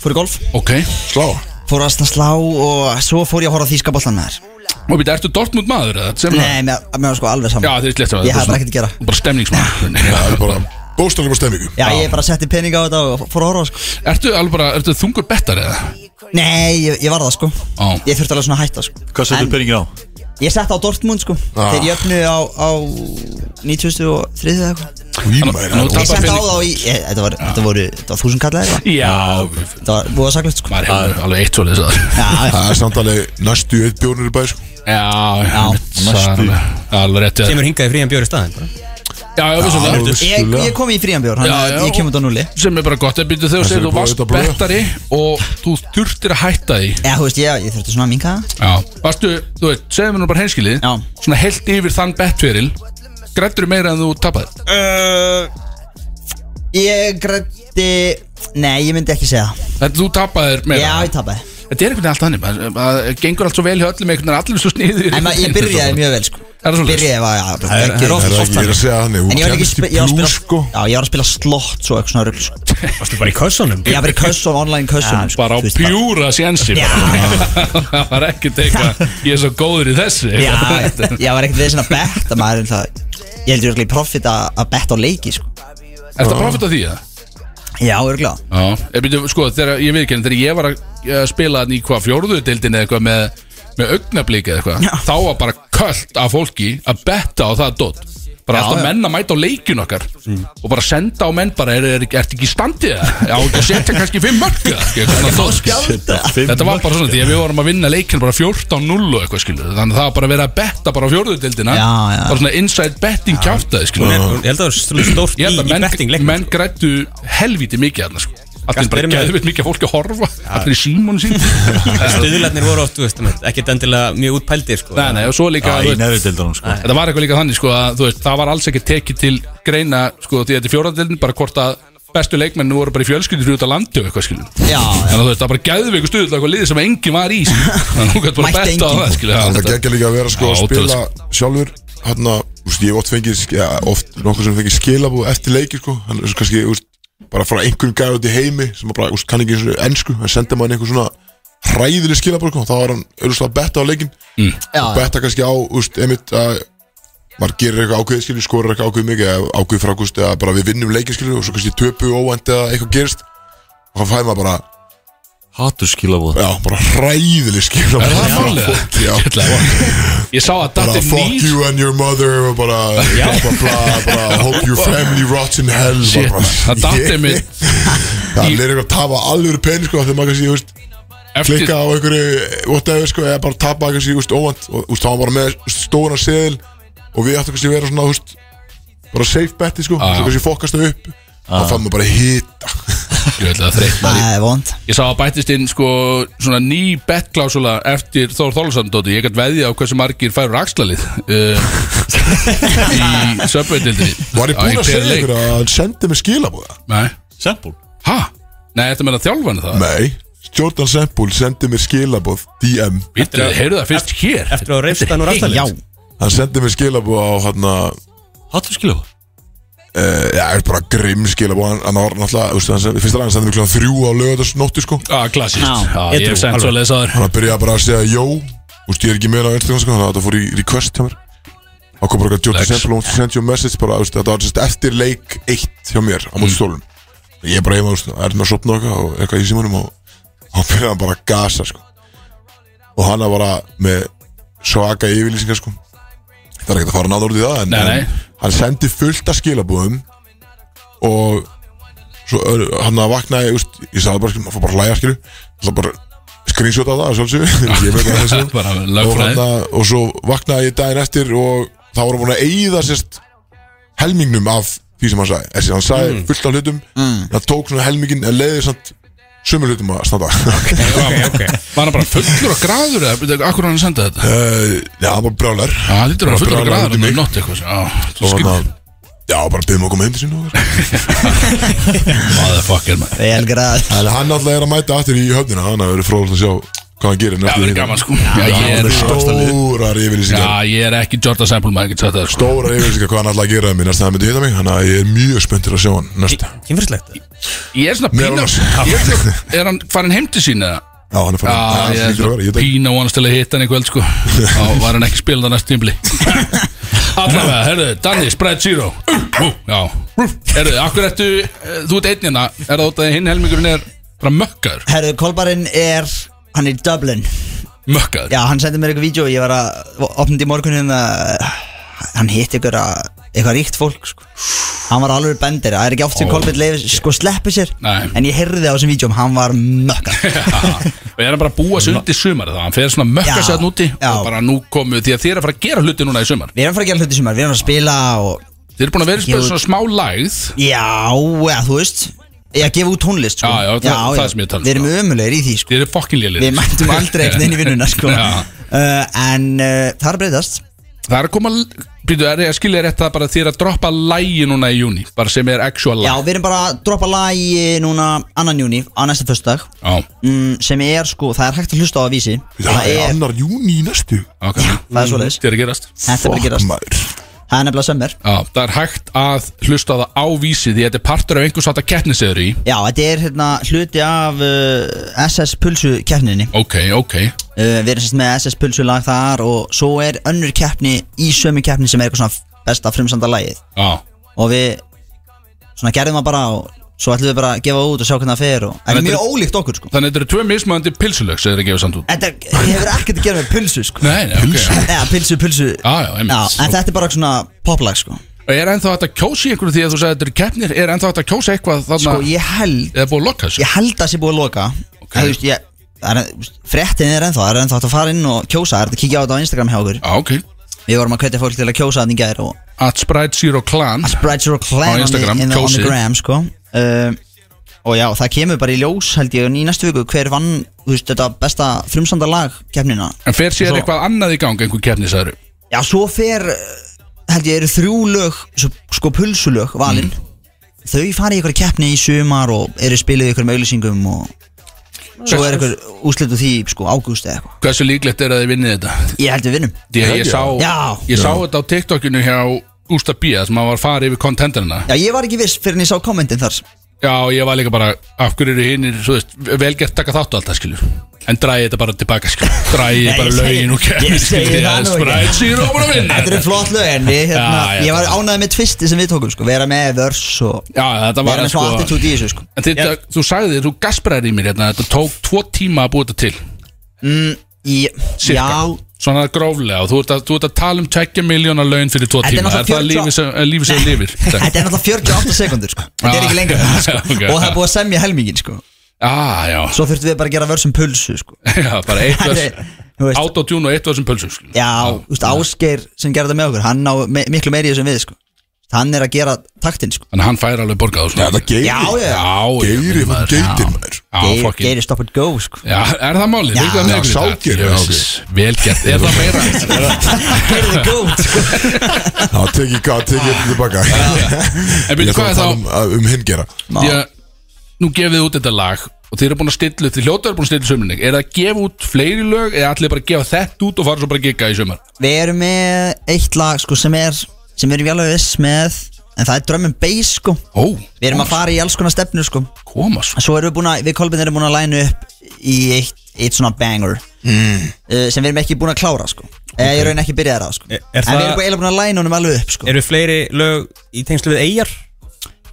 Speaker 7: Fór í golf
Speaker 3: Ok
Speaker 2: Slá
Speaker 7: Fór að slá og svo fór ég að horfa á þýska bollan með þér
Speaker 3: Og byrja, ertu Dortmund maður? eða? Sem að-
Speaker 7: Nei, mér mér var sko alveg
Speaker 3: Já,
Speaker 7: saman
Speaker 3: það er slett
Speaker 7: Ég hef bara ekkert að gera.
Speaker 3: Bara stemningsmann
Speaker 2: Það er bara Bóstanlega bara stemmingu
Speaker 7: Já, ég bara setti pening á þetta og fór að horfa sko
Speaker 3: Ertu alveg bara, ertu þungur bettar eða?
Speaker 7: Nei, ég, ég var það sko
Speaker 3: Á.
Speaker 7: Ég þurfti alveg svona að hætta sko
Speaker 1: Hvað
Speaker 7: En
Speaker 1: setur peningin á?
Speaker 7: Ég setti á Dortmund sko
Speaker 2: Ah.
Speaker 7: Þeir jöfnu á, á 93 eða eitthvað
Speaker 3: Nú
Speaker 2: Ímæður
Speaker 7: Ég
Speaker 3: tapar
Speaker 7: setti á
Speaker 3: pening-
Speaker 7: þá í ég, Þetta voru, þetta voru, þetta var þúsund kallar eitthvað
Speaker 3: Já,
Speaker 7: Þetta var búið að saklegt sko
Speaker 3: maður hefur alveg eitt svolítið það
Speaker 7: Já, já,
Speaker 2: Það er samt alveg næstu eitt bjónur í bæ sko.
Speaker 3: Já, já,
Speaker 1: næstu.
Speaker 3: næstu Alveg rétt
Speaker 4: Kemur hingað í frían bjóri staðin bara.
Speaker 3: Já, já, vissu
Speaker 2: Já,
Speaker 3: það
Speaker 2: vissu.
Speaker 7: Ég, ég kom í fríanbjór, hann
Speaker 3: Já,
Speaker 7: að
Speaker 3: já.
Speaker 7: ég kemur þetta á núli
Speaker 3: sem er bara gott að byrja þegar þú
Speaker 2: Þessi
Speaker 3: segir
Speaker 2: er
Speaker 3: þú
Speaker 2: búið,
Speaker 3: varst
Speaker 2: þetta er búið.
Speaker 3: bettari og þú þurftir að hætta því
Speaker 7: Já, þú veist, ég, ég þurfti svona að minka það
Speaker 3: Já, varstu, þú veit, segðu mér nú bara henskilið
Speaker 7: Já.
Speaker 3: svona heilt yfir þann bettveril grættur meira en þú tapaði
Speaker 7: Uh, Ég grætti, nei, ég myndi ekki segja það.
Speaker 3: Þetta þú tapaðir meira
Speaker 7: Já, ég tapaði
Speaker 3: Þetta er einhvern veginn allt þannig, maður- maður gengur allt svo vel hjá öllum einhvern veginn allir svo sniður
Speaker 7: En ma- ég byrjaði mjög vel, sko
Speaker 3: Er það svoleiðis?
Speaker 7: Byrjaði var, já,
Speaker 4: Það er- það er
Speaker 7: geggjur.
Speaker 2: Það er
Speaker 4: oft-
Speaker 2: ekki ég er að segja þannig
Speaker 7: En
Speaker 2: Hún
Speaker 7: ég var ekki,
Speaker 2: kemst
Speaker 7: sp-
Speaker 2: í
Speaker 7: ég var að
Speaker 2: blú
Speaker 7: spila
Speaker 2: sko
Speaker 7: Já, ég var að spila slott svo eitthvað svona rugl sko.
Speaker 4: Varstu bara í kössunum?
Speaker 7: Ég var bara í kössun, online kössunum sko,
Speaker 3: bara á
Speaker 7: þú veist,
Speaker 3: pjúra sjensi
Speaker 7: Já.
Speaker 3: (laughs) það var ekkert eitthvað ég er svo góður í þessu
Speaker 7: Já,
Speaker 3: (laughs)
Speaker 7: ég- ég var ekkert við sinna betta maður en það Ég heldur örglega í profit að að betta á leiki, sko
Speaker 3: er það profit af því að?
Speaker 7: Já, örglega
Speaker 3: Já, ég byrju, sko, þegar ég veit ekki þegar ég var að að spila hann í hvað fjórðu deildin eða eitthvað með, með augnablík eða
Speaker 7: Já.
Speaker 3: eitthvað þá var bara köllt af fólki að betta á það dot bara
Speaker 7: Já,
Speaker 3: alltaf
Speaker 7: já. Mm.
Speaker 3: menn að mæta á leikjun okkar og bara senda á menn bara er, er, er, ert ekki í standið
Speaker 7: (laughs)
Speaker 3: það, á ekki að setja kannski fimm mörg þetta var bara svona því að við vorum að vinna leikin bara 14-0 og eitthvað skilur þannig að það var bara að vera að betta bara á fjórðu deildina
Speaker 7: Já, já.
Speaker 3: bara svona inside betting kjátaði skilur
Speaker 4: Ég held að það var stórt í,
Speaker 3: Ég held
Speaker 4: í
Speaker 3: að
Speaker 4: betting
Speaker 3: menn,
Speaker 4: (laughs) leiknum
Speaker 3: menn grættu helviti mikið þarna sko Allir
Speaker 4: Gastu
Speaker 3: bara
Speaker 4: verið með-
Speaker 3: gæðvitt mikið fólk að horfa Allir í símónu sín
Speaker 4: (laughs) Stöðlarnir voru oft, þú veist, ekkert endilega mjög útpældir sko.
Speaker 3: Nei, nei, og svo líka
Speaker 1: Já,
Speaker 3: þú
Speaker 1: í
Speaker 3: veist,
Speaker 1: neðri deildanum sko
Speaker 3: Þetta var eitthvað líka þannig sko að þú veist, það var alls ekki tekið til greina sko því að þetta er fjóraðdeldin bara hvort að bestu leikmennu voru bara í fjölskyldur út á landi og eitthvað skilur
Speaker 7: Já,
Speaker 3: Þannig að þú veist, það bara gæðið við eitthvað eitthvað liðið sem engin var í skilur. Þannig að þú gætt bara
Speaker 7: Mætti
Speaker 3: betta á
Speaker 7: enginn.
Speaker 3: það skilur Já,
Speaker 2: Það er
Speaker 3: þetta-
Speaker 2: geggja líka að vera sko
Speaker 3: Já,
Speaker 2: að spila sjálfur Hanna, úst, ég hef oft fengið ja, oft nokkur sem fengið skilabú eftir leiki sko Hann er kannski, úst, bara frá einhverjum gæði út í heimi sem að bara, úst, kann ekki eins og ennsku en sendi maður einhver svona hræðileg skilabú sko þá var hann auðvitað að betta á leikin
Speaker 3: Mm.
Speaker 7: já,
Speaker 2: og betta kannski á, úst, einmitt að maður gerir eitthvað ákveðið skilju, skorar eitthvað ákveðið mikið eða ákveðið frákust eða bara við vinnum leikin skilju og svo kannski töpu óvænt eða eitthvað gerist og þá fær maður bara,
Speaker 1: Hattur skilabóð
Speaker 2: já, bara hræðileg skilabú
Speaker 3: Er það málið?
Speaker 2: Já,
Speaker 3: Ég ætla að vona. Ég sá að
Speaker 2: bara
Speaker 3: datti
Speaker 2: fuck
Speaker 3: nýr
Speaker 2: you and your mother og bara bla bla bla, bara hope your family rots in hell
Speaker 3: Shit,
Speaker 2: bara,
Speaker 3: það datti
Speaker 2: (laughs) ég-
Speaker 3: mitt
Speaker 2: það er eitthvað að tapa alvöru pen sko þegar maður kannski þú veist,
Speaker 3: eftir
Speaker 2: klikka á einhverju whatever sko eða bara tapa kannski þú veist, óvænt og þú veist, það var bara með stóna seðil og við ættum kannski að vera svona þú veist, bara safe beti sko
Speaker 3: Ah.
Speaker 2: svo kannski fokast það upp þá fann maður bara hýta
Speaker 3: Ég ætla að þreytt maður í
Speaker 7: Það er vond
Speaker 3: Ég sá að bættist inn sko svona ný betklásula eftir Þór Þólasandóti Ég gætt veðja á hversu margir færur axlalið uh,
Speaker 2: (laughs)
Speaker 3: í söpveitildinni
Speaker 2: Var ég búinn að segja ykkur að hann sendi mig skilabúða?
Speaker 3: Nei,
Speaker 1: Sempul
Speaker 3: hæ? Nei, þetta meina þjálfan það?
Speaker 2: Nei Jordan Sempul sendi mér skilabúð DM
Speaker 3: Vittu, heyrðu það fyrst hér
Speaker 4: Eftir að reyfst hann úr aftalins
Speaker 7: Já,
Speaker 2: Hann sendi mér skilabúð á hann að
Speaker 1: Hattu skilja það
Speaker 2: Uh, já, er bara grimm skilabúð Hann, hann var náttúrulega, veistu, hann sendi, fyrsta lagin sendi mér klokkan þrjú á lögðarsnóttu sko
Speaker 3: Á, klassist Já, ég
Speaker 4: edrú,
Speaker 3: hef sendt
Speaker 4: alveg.
Speaker 3: svo leiðis aður
Speaker 2: Hann var að byrja bara að segja jó Úst, ég er ekki meira á Instagram sko, þannig að þetta fór í request hjá mér Þá kom bara eitthvað Jordan
Speaker 3: Flex.
Speaker 2: Sempul, hún sendi mér message bara, úst, þetta var sérst eftir leik eitt hjá mér á
Speaker 3: Mm.
Speaker 2: móti stólum Ég er bara heima, úst, er hann að sopna og eitthvað, og eitthvað í símanum og hann byrjaði hann bara að gasa sko Og hann var bara með svaka yfirlýsingar sko Það er ekkert að fara náður út í það en,
Speaker 3: Nei, nei.
Speaker 2: en hann sendi fullt af skilabúðum og svo öðru, hann að vakna ég, úst, ég sagði bara, skilur, maður fór bara að hlæja skilu það bara screenshot á það að sjálfsögðu (laughs) Ég veit að þessu.
Speaker 3: (laughs) Bara
Speaker 2: og, hann,
Speaker 3: lögfræði
Speaker 2: og svo vaknaði ég daginn eftir og þá voru búin að eyða sérst helmingnum af því sem hann sagði Þessi, hann sagði
Speaker 3: Mm.
Speaker 2: fullt af hlutum það tók svona helmingin en leiði samt sömur hlutum að
Speaker 3: (laughs)
Speaker 2: standa okay.
Speaker 3: Var hann bara fullur og græður eða Bíddu, Akkur hann sendið þetta?
Speaker 2: uh, já, hann var brjálar
Speaker 3: Já, hann lítur að vera fullur og
Speaker 2: brjálaður út í
Speaker 3: græður
Speaker 2: mig.
Speaker 3: um nótt eitthvað Já,
Speaker 2: og hann
Speaker 3: skil
Speaker 2: að já, bara byggðum okkur með hindi sín og eitthvað.
Speaker 3: Motherfucker, man
Speaker 7: vel græð
Speaker 2: En hann náttúrulega er að mæta aftur í höfnina Þannig að það verður fróðast að sjá hvað hann gerir hérna.
Speaker 3: Já, það er gaman sko Já, ég
Speaker 2: Hann
Speaker 3: er,
Speaker 2: er stórar yfirlýsingar
Speaker 3: já, ég er ekki Jordan Sample maður, ég get sagt það sko.
Speaker 2: Stórar yfirlýsingar hvað hann ætlaði að gera mér Næsta það myndi hitta mig Þannig að ég er mjög spenntur að sjá hann Næsta
Speaker 4: Kynfyrslegt
Speaker 3: Ég er svona
Speaker 2: Meðal
Speaker 3: pína
Speaker 2: annars.
Speaker 3: Ég er svona- Er hann farin heim til sína?
Speaker 2: Já, hann er
Speaker 3: Já,
Speaker 2: farin
Speaker 3: ég
Speaker 2: Já,
Speaker 3: er
Speaker 2: það
Speaker 3: svona
Speaker 2: er ekki
Speaker 3: pína vonast til að hitta hann eitthvað sko Þá var hann ekki spilað á
Speaker 2: (laughs)
Speaker 3: næstu tímbli Allavega, herðu, Danni, Sprite Zero Ú, ú, Já, herðu, akkur ertu eh, Þú ert einn hérna, er það út að hinn helmingurinn er bara mökkaður,
Speaker 7: Herru, Kolbarinn er Hann er í Dublin
Speaker 3: mökkaður
Speaker 7: Já, hann sendi mér eitthvað vídeo Ég var að opna þetta í morgunum uh, Hann hitt ykkur að Eitthvað ríkt fólk sko. Hann var alveg bendir Það er ekki oft sem
Speaker 3: Ó,
Speaker 7: Kolbjörn leifir Sko sleppi sér
Speaker 3: Nei.
Speaker 7: En ég heyrði á þessum vídeom Hann var mökkan
Speaker 3: (laughs) og ég er bara að búa sig undir sumar það, hann fer svona mökka
Speaker 7: Já,
Speaker 3: sæðan úti
Speaker 7: já.
Speaker 3: og bara nú komu, því að þið er að fara að gera hluti núna í sumar,
Speaker 7: Við erum að fara að gera hluti sumar Við erum að fara að spila og
Speaker 3: þið eru búin að vera
Speaker 7: Ég-
Speaker 3: spil svona smá lægð
Speaker 7: Já, ja, þú veist Ég að gefa út tónlist sko.
Speaker 3: Já, já, það- það sem ég tala um,
Speaker 7: Við erum ömulegir í því sko.
Speaker 3: þið eru fokkin lélir
Speaker 7: Við
Speaker 3: (laughs)
Speaker 7: mættum aldrei ekkert inn í vinnuna sko.
Speaker 3: Já.
Speaker 7: uh, En uh, það er að breytast
Speaker 3: það er að koma, býtu, er ég að skilja rétt það bara þið er að droppa lægi núna í júni bara sem er actual
Speaker 7: Já,
Speaker 3: læg
Speaker 7: við erum bara að droppa lag í núna annan júni á næsta föstudag
Speaker 3: Já,
Speaker 7: mm, sem er sko, það er hægt að hlusta á að vísi
Speaker 2: Það er
Speaker 7: er,
Speaker 2: annar júni í næstu
Speaker 3: ok,
Speaker 7: það er svoleiðis
Speaker 3: þið er að gerast
Speaker 7: Þetta er bara að
Speaker 2: Fuck
Speaker 7: gerast,
Speaker 2: maður
Speaker 7: það er nefnilega sömmer
Speaker 3: Já, það er hægt að hlusta á það á vísi því þetta er partur af einhvers hátta keppniseður í
Speaker 7: Já, þetta er hérna hluti af uh, SS Pulsu keppninni uh,
Speaker 3: Ok, ok,
Speaker 7: Við erum sérst með SS Pulsu lag þar og svo er önnur keppni í sömu keppni sem er eitthvað svona besta frumsamda lagið
Speaker 3: já,
Speaker 7: og við svona gerðum það bara og svo ætlum við bara að gefa út og sjá hvernig það fer og, en
Speaker 3: þetta
Speaker 7: mjög
Speaker 3: er-
Speaker 7: ólíkt okkur sko
Speaker 3: þannig að þetta eru tvö mismöðandi pilsulög sem þeir að gefa samt út
Speaker 7: Þetta er- hefur ekkert að gera með pulsu sko
Speaker 3: Nei, nei, ok,
Speaker 7: Eða pilsu, pilsu
Speaker 3: Já, já, einmitt.
Speaker 7: En þetta er bara svona poplag sko
Speaker 3: og er ennþá hægt að kjósa í einhverju því að þú sagði þetta eru keppnir er ennþá hægt að kjósa eitthvað þarna
Speaker 7: Sko ég held
Speaker 3: eða búið að lokka þessu
Speaker 7: Ég held að það sé búið að loka
Speaker 3: Ok.
Speaker 7: okay. veist, ég, það er, þú veist, Fréttin er ennþá Það er ennþá hægt að fara inn og kjósa Það er hægt að kíkja á þetta á Instagram hjá okkur
Speaker 3: Já, ok,
Speaker 7: Við vorum að hvetja fólk til að kjósa þannig gæðir og
Speaker 3: at Sprite Zero Clan
Speaker 7: Brides Rock Clan
Speaker 3: Á Instagram,
Speaker 7: on the, on the
Speaker 3: kjósið.
Speaker 7: gram sko. um, Og já, það kemur bara í ljós held ég í næstu viku Hver vann þú veist, þetta besta frumsandarlag kefnina
Speaker 3: en fer sér
Speaker 7: Svo-
Speaker 3: eitthvað annað í gang einhver keppniseður
Speaker 7: Já, svo fer uh, held ég eru þrjú lög svo, sko pulsulög valin
Speaker 3: Mm.
Speaker 7: Þau fara í ykkur keppni í sumar og eru spiluð í ykkur með auðlýsingum og svo er ykkur úslit úr því sko ágúst eða eitthvað
Speaker 3: Hversu líklegt er að þið vinnið þetta?
Speaker 7: Ég held við vinnum
Speaker 3: Því að ég sá,
Speaker 7: Já.
Speaker 3: ég sá þetta á TikTokinu hjá Gústa Bía sem að var farið yfir kontenderina
Speaker 7: Já, ég var ekki viss fyrir en ég sá kommentin þar
Speaker 3: Já, ég var líka bara, af hverju eru hinnir, þú veist, velgert taka þátt og allt það, skiljur En dræði þetta bara tilbaka, skiljur Dræði
Speaker 7: Nei,
Speaker 3: bara
Speaker 7: ég segi-
Speaker 3: lögin og kemur,
Speaker 7: ég segi
Speaker 3: skiljur
Speaker 7: það
Speaker 3: Það er
Speaker 7: nú ekki.
Speaker 3: sprætt síður og bara að vinna
Speaker 7: Þetta eru flott lög en við, hérna,
Speaker 3: Já, já,
Speaker 7: ég var
Speaker 3: já.
Speaker 7: ánægð með tvisti sem við tókum sko Vera með vers og
Speaker 3: Já, þetta
Speaker 7: vera
Speaker 3: var
Speaker 7: með
Speaker 3: sko
Speaker 7: svo attitude í þessu sko
Speaker 3: En þetta, þú sagði þér, þú gaspraðir í mér hérna Þetta tók tvo tíma að búa þetta til
Speaker 7: Í,
Speaker 3: cirka.
Speaker 7: já,
Speaker 3: Svona gróflega, og þú ert að, þú ert að tala um 20 miljónar laun fyrir tvo
Speaker 7: Þetta er
Speaker 3: tíma Er það
Speaker 7: náttúrulega
Speaker 3: lífi sem, eh, lífið sem þú lifir?
Speaker 7: þetta er náttúrulega 48 sekundur sko Þetta er
Speaker 3: Ah.
Speaker 7: ekki lengur en það, sko.
Speaker 3: Ok.
Speaker 7: Og það er búið að semja helmingin sko
Speaker 3: Ah, já, (laughs)
Speaker 7: Svo þurftum við bara að gera vörsum pulsu sko
Speaker 3: já, bara eitt
Speaker 7: Þetta
Speaker 3: vers
Speaker 7: er- þú veist-
Speaker 3: Autotune og eitt vers sem pölsum, skiljur
Speaker 7: Já, þú veist, Ásgeir sem gerði það með okkur Hann á me miklu meiri í þessum við sko hann er að gera taktin sko.
Speaker 3: Þannig að hann fær alveg borgað og
Speaker 2: Já,
Speaker 3: svona.
Speaker 2: það geiri
Speaker 7: Já, já.
Speaker 2: Geiri,
Speaker 3: ég meina,
Speaker 2: hann
Speaker 3: maður,
Speaker 2: geitir
Speaker 3: já.
Speaker 2: maður
Speaker 3: Já,
Speaker 7: Geir,
Speaker 3: fokkin.
Speaker 7: Geiri stop and go sko.
Speaker 3: Já, er það málið?
Speaker 7: Já,
Speaker 3: Viltu að
Speaker 2: já,
Speaker 3: nefna þetta?
Speaker 2: ságeir, já, ok.
Speaker 3: Jesus, Vel gert, er það meira?
Speaker 7: Geiri the (laughs) goat sko.
Speaker 2: Það tekið gat, tekið þetta tilbaka (laughs)
Speaker 3: En byrju,
Speaker 2: Ég að
Speaker 3: hvað
Speaker 2: tala
Speaker 3: er þá?
Speaker 2: um, að- um hinn gera
Speaker 7: Má.
Speaker 3: Því að nú gefið þið út þetta lag og þið eru búin að stilla upp, þið hljóta eru búin að stilla sömurinn Er það að gefa út fleiri lög eða allir bara að gefa þetta út og fara svo bara að gigga í sömur?
Speaker 7: Við erum með eitt lag sko, sem er sem við erum ég alveg viss með en það er drömmin bass sko.
Speaker 3: Ó,
Speaker 7: Við erum að fara í alls konar stefnu sko.
Speaker 3: koma svo
Speaker 7: En svo erum við búin að, við Kolbjörn erum búin að læna upp í eitt, eitt svona banger mm. sem við erum ekki búin að klára sko. eða ég raun ekki byrjaði það sko.
Speaker 4: Er- er
Speaker 7: en
Speaker 4: það-
Speaker 7: við erum eiginlega búin að læna honum alveg upp sko.
Speaker 4: Eru fleiri lög í tengslu við eigjar?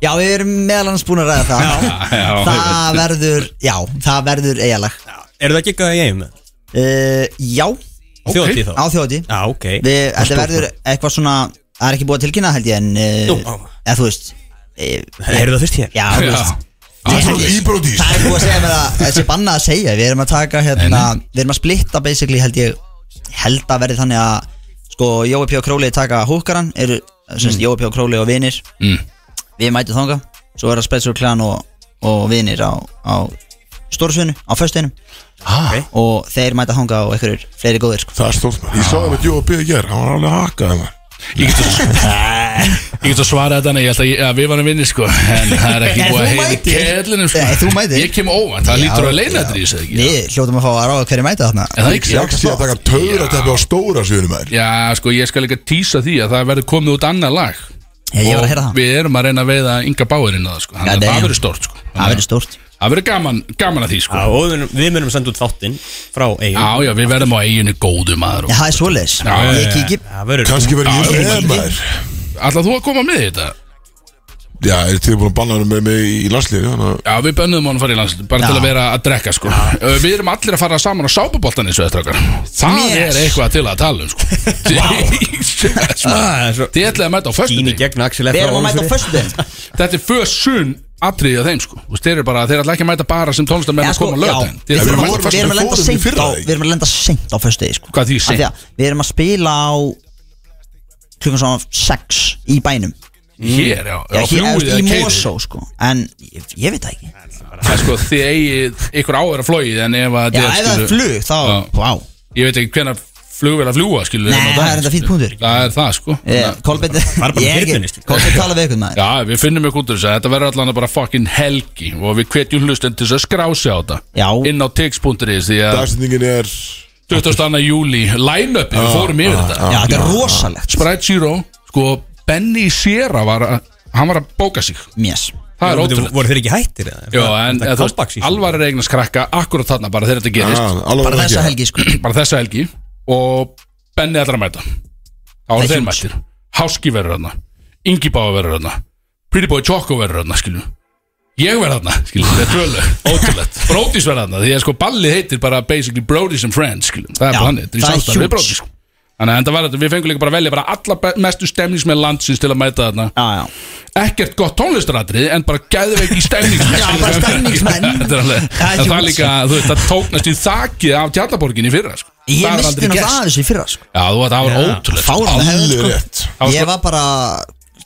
Speaker 7: Já, við erum meðal annars búin að ræða það
Speaker 3: Já,
Speaker 7: Það verður, já, það verður eiginlega
Speaker 4: Eru það giggað í eigum?
Speaker 7: uh, Já,
Speaker 4: Okay. Þjóti þá?
Speaker 7: á þjóti
Speaker 4: Já, ok
Speaker 7: Við, Þetta verður eitthvað svona, það er ekki búið að tilkynna held ég en
Speaker 4: Jú,
Speaker 7: uh,
Speaker 4: á.
Speaker 7: eða þú veist uh,
Speaker 4: Eru það fyrst hér?
Speaker 7: Já, þú veist
Speaker 2: Íbrot- Íbrotis
Speaker 7: Það er búið að segja mér að þessi banna að segja Við erum að taka hérna Við erum að splitta basically held ég Held að verði þannig að Sko Jói P. og Króli taka húkaran Eru mm. Jói P. og Króli og vinir
Speaker 3: Mm.
Speaker 7: Við mætum þanga Svo er það Spencer Klan og, og vinir á, á Stórsvinu, á föstunum
Speaker 3: ah,
Speaker 7: Og þeir mæta þanga og einhverjur fleiri góðir sko.
Speaker 2: Það er stórt maður Ég sá það með Jóa B. hér, hann var alveg að haka það
Speaker 3: Ég (laughs) get að, ég get að svara þetta Nei, ég held að, ég, að við varum vinni sko En það er ekki
Speaker 7: Nei,
Speaker 3: búið að
Speaker 7: þú
Speaker 3: heiði
Speaker 7: mætir.
Speaker 3: kellinum sko
Speaker 7: Nei, þú mætir.
Speaker 3: Ég kem óvænt, það lítur
Speaker 7: Já,
Speaker 3: að leina þetta í þessu eða ekki
Speaker 7: Við hljótum að fá að ráða hverju mæta þarna
Speaker 3: En það er ekki
Speaker 2: Ég sé að taka töðrateppi á stóra sviðinu maður
Speaker 3: Já, sko, ég skal líka tísa því að það verður komið út annað lag
Speaker 7: Ég- ég var að heyra það.
Speaker 3: Og við erum að reyna að veiða Inga Báirinn að það, sko Þannig að
Speaker 7: Goddamn.
Speaker 3: það verður stórt, sko
Speaker 7: Það verður stórt
Speaker 3: Það verður gaman, gaman að því, sko
Speaker 4: Já, og við munum, við munum senda út þáttinn frá eigum
Speaker 3: Já, já, við verðum á eiginu góðu maður
Speaker 7: Já,
Speaker 3: og...
Speaker 7: það er svoleiðis
Speaker 3: Já, já,
Speaker 7: Ég kíkji
Speaker 4: Það verður
Speaker 2: Kanski verið
Speaker 3: Já,
Speaker 2: ég
Speaker 3: já,
Speaker 2: með maður
Speaker 3: Ætla þú að koma með í þetta?
Speaker 2: Já, er þið búin að banna hann með mig í landslíði Þannig að
Speaker 3: Já, við bönnum hann að fara í landslið Bara
Speaker 7: Já.
Speaker 3: til að vera að drekka, sko Ö, Við erum allir að fara saman á sápuboltan eins og þetta, okkar Það
Speaker 7: Yes.
Speaker 3: er eitthvað til að tala um,
Speaker 7: (laughs)
Speaker 3: sko (laughs) Jesus,
Speaker 7: Ah,
Speaker 3: maður. Þið ætlaði að mæta á
Speaker 4: Gín í
Speaker 3: föstudegi
Speaker 4: gegn Axel
Speaker 7: Við erum að mæta á föstudum
Speaker 3: Þetta er fösun atriðið að þeim, sko Þú veist, Þeir eru bara, þeir ætla ekki að mæta bara sem tónlistamenn að
Speaker 7: Já, sko,
Speaker 3: koma á
Speaker 7: já,
Speaker 3: lögdæn
Speaker 7: Við
Speaker 2: Þeir eru
Speaker 7: erum að-
Speaker 2: voru
Speaker 7: við erum
Speaker 2: föstu
Speaker 7: að lenda
Speaker 2: fórum í
Speaker 7: seint
Speaker 2: fyrra,
Speaker 7: á
Speaker 2: ekki?
Speaker 7: Við erum að lenda seint á föstudegi sko.
Speaker 3: Hvað því
Speaker 7: Af
Speaker 3: seint?
Speaker 7: því að Við erum að spila á klukkan svona 6 í bænum
Speaker 3: Hér, já,
Speaker 7: Já,
Speaker 3: á
Speaker 7: hér, eða,
Speaker 3: flugið
Speaker 7: þú veist,
Speaker 3: eða
Speaker 7: Í
Speaker 3: keyrið.
Speaker 7: Mosó sko. En ég, ég veit það ekki
Speaker 3: Það er sko, þið eigið ykkur áður að flóið En ef að
Speaker 7: Já,
Speaker 3: þetta
Speaker 7: ef það er
Speaker 3: skilur-
Speaker 7: flug þá
Speaker 3: Já.
Speaker 7: Vá
Speaker 3: Ég veit ekki hvenær flugvél að fljúa, skilur
Speaker 7: Nei, það er enda fínt punktur Eh.
Speaker 3: Það er það, sko
Speaker 7: Kolbett
Speaker 4: bara með þyrlunni, skilur.
Speaker 7: Kolbett tala við ykkur maður
Speaker 3: Já, við finnum ykkur út úr þess að þetta verður allan bara fucking helgi og við hvetjum hlustendur til þess að skrási á þetta
Speaker 7: Já.
Speaker 3: inn á tix.is því að
Speaker 2: dagsetningin er
Speaker 3: 22. júli line-upi, við fórum yfir þetta
Speaker 7: Já, þetta er rosalegt
Speaker 3: Sprite Zero, sko Benny Sierra var að, hann var að bóka sig
Speaker 7: Mjess
Speaker 3: það er
Speaker 4: Voru
Speaker 3: ótrúlega
Speaker 4: voru þeir ekki hættir? eða?
Speaker 3: Já, en
Speaker 4: Þetta
Speaker 3: eða þú
Speaker 4: comeback
Speaker 3: veist,
Speaker 4: season.
Speaker 3: alvar er eigin að skrakka akkurat þarna bara þegar þetta gerist
Speaker 2: Bara
Speaker 7: Bara þessa helgi sko
Speaker 3: bara þessa helgi og Benni ætlar að mæta þá
Speaker 7: Það
Speaker 3: eru
Speaker 7: er
Speaker 3: þeir
Speaker 7: huge.
Speaker 3: mættir Háski verður þarna, Ingi Báa verður þarna Pretty Boy Choco verður þarna, skilju ég verður þarna, skilju, þetta er tvölu
Speaker 7: (laughs)
Speaker 3: ótrúlegt, Brodís verður þarna því að sko ballið heitir bara basically Brodís and Friends skilju, það er
Speaker 7: Já,
Speaker 3: bara hann, þetta er í
Speaker 7: það er
Speaker 3: samstæðu
Speaker 7: huge.
Speaker 3: við Brodís þannig að enda var þetta, við fengum líka bara að velja bara alla be- mestu stemningsmenn landsins til að mæta þarna
Speaker 7: Já, já
Speaker 3: ekkert gott tónlistaratrið en bara gæðveiki stemningsmenn
Speaker 7: (laughs) Já, bara stemningsmenn.
Speaker 3: (laughs) Þetta er alveg-
Speaker 7: Það er
Speaker 3: en það
Speaker 7: hjúls.
Speaker 3: líka, þú veist, það tóknast í þakið af tjarnaborgin í fyrra sko.
Speaker 7: Ég
Speaker 3: Það hefur aldrei
Speaker 7: misti náttúrulega
Speaker 3: gerst.
Speaker 7: aðeins í fyrra sko
Speaker 3: Já, þú, það var ótrúlegt
Speaker 7: Fáðan hefði
Speaker 2: Allir
Speaker 7: sko
Speaker 2: rétt
Speaker 3: var sko-
Speaker 7: Ég var bara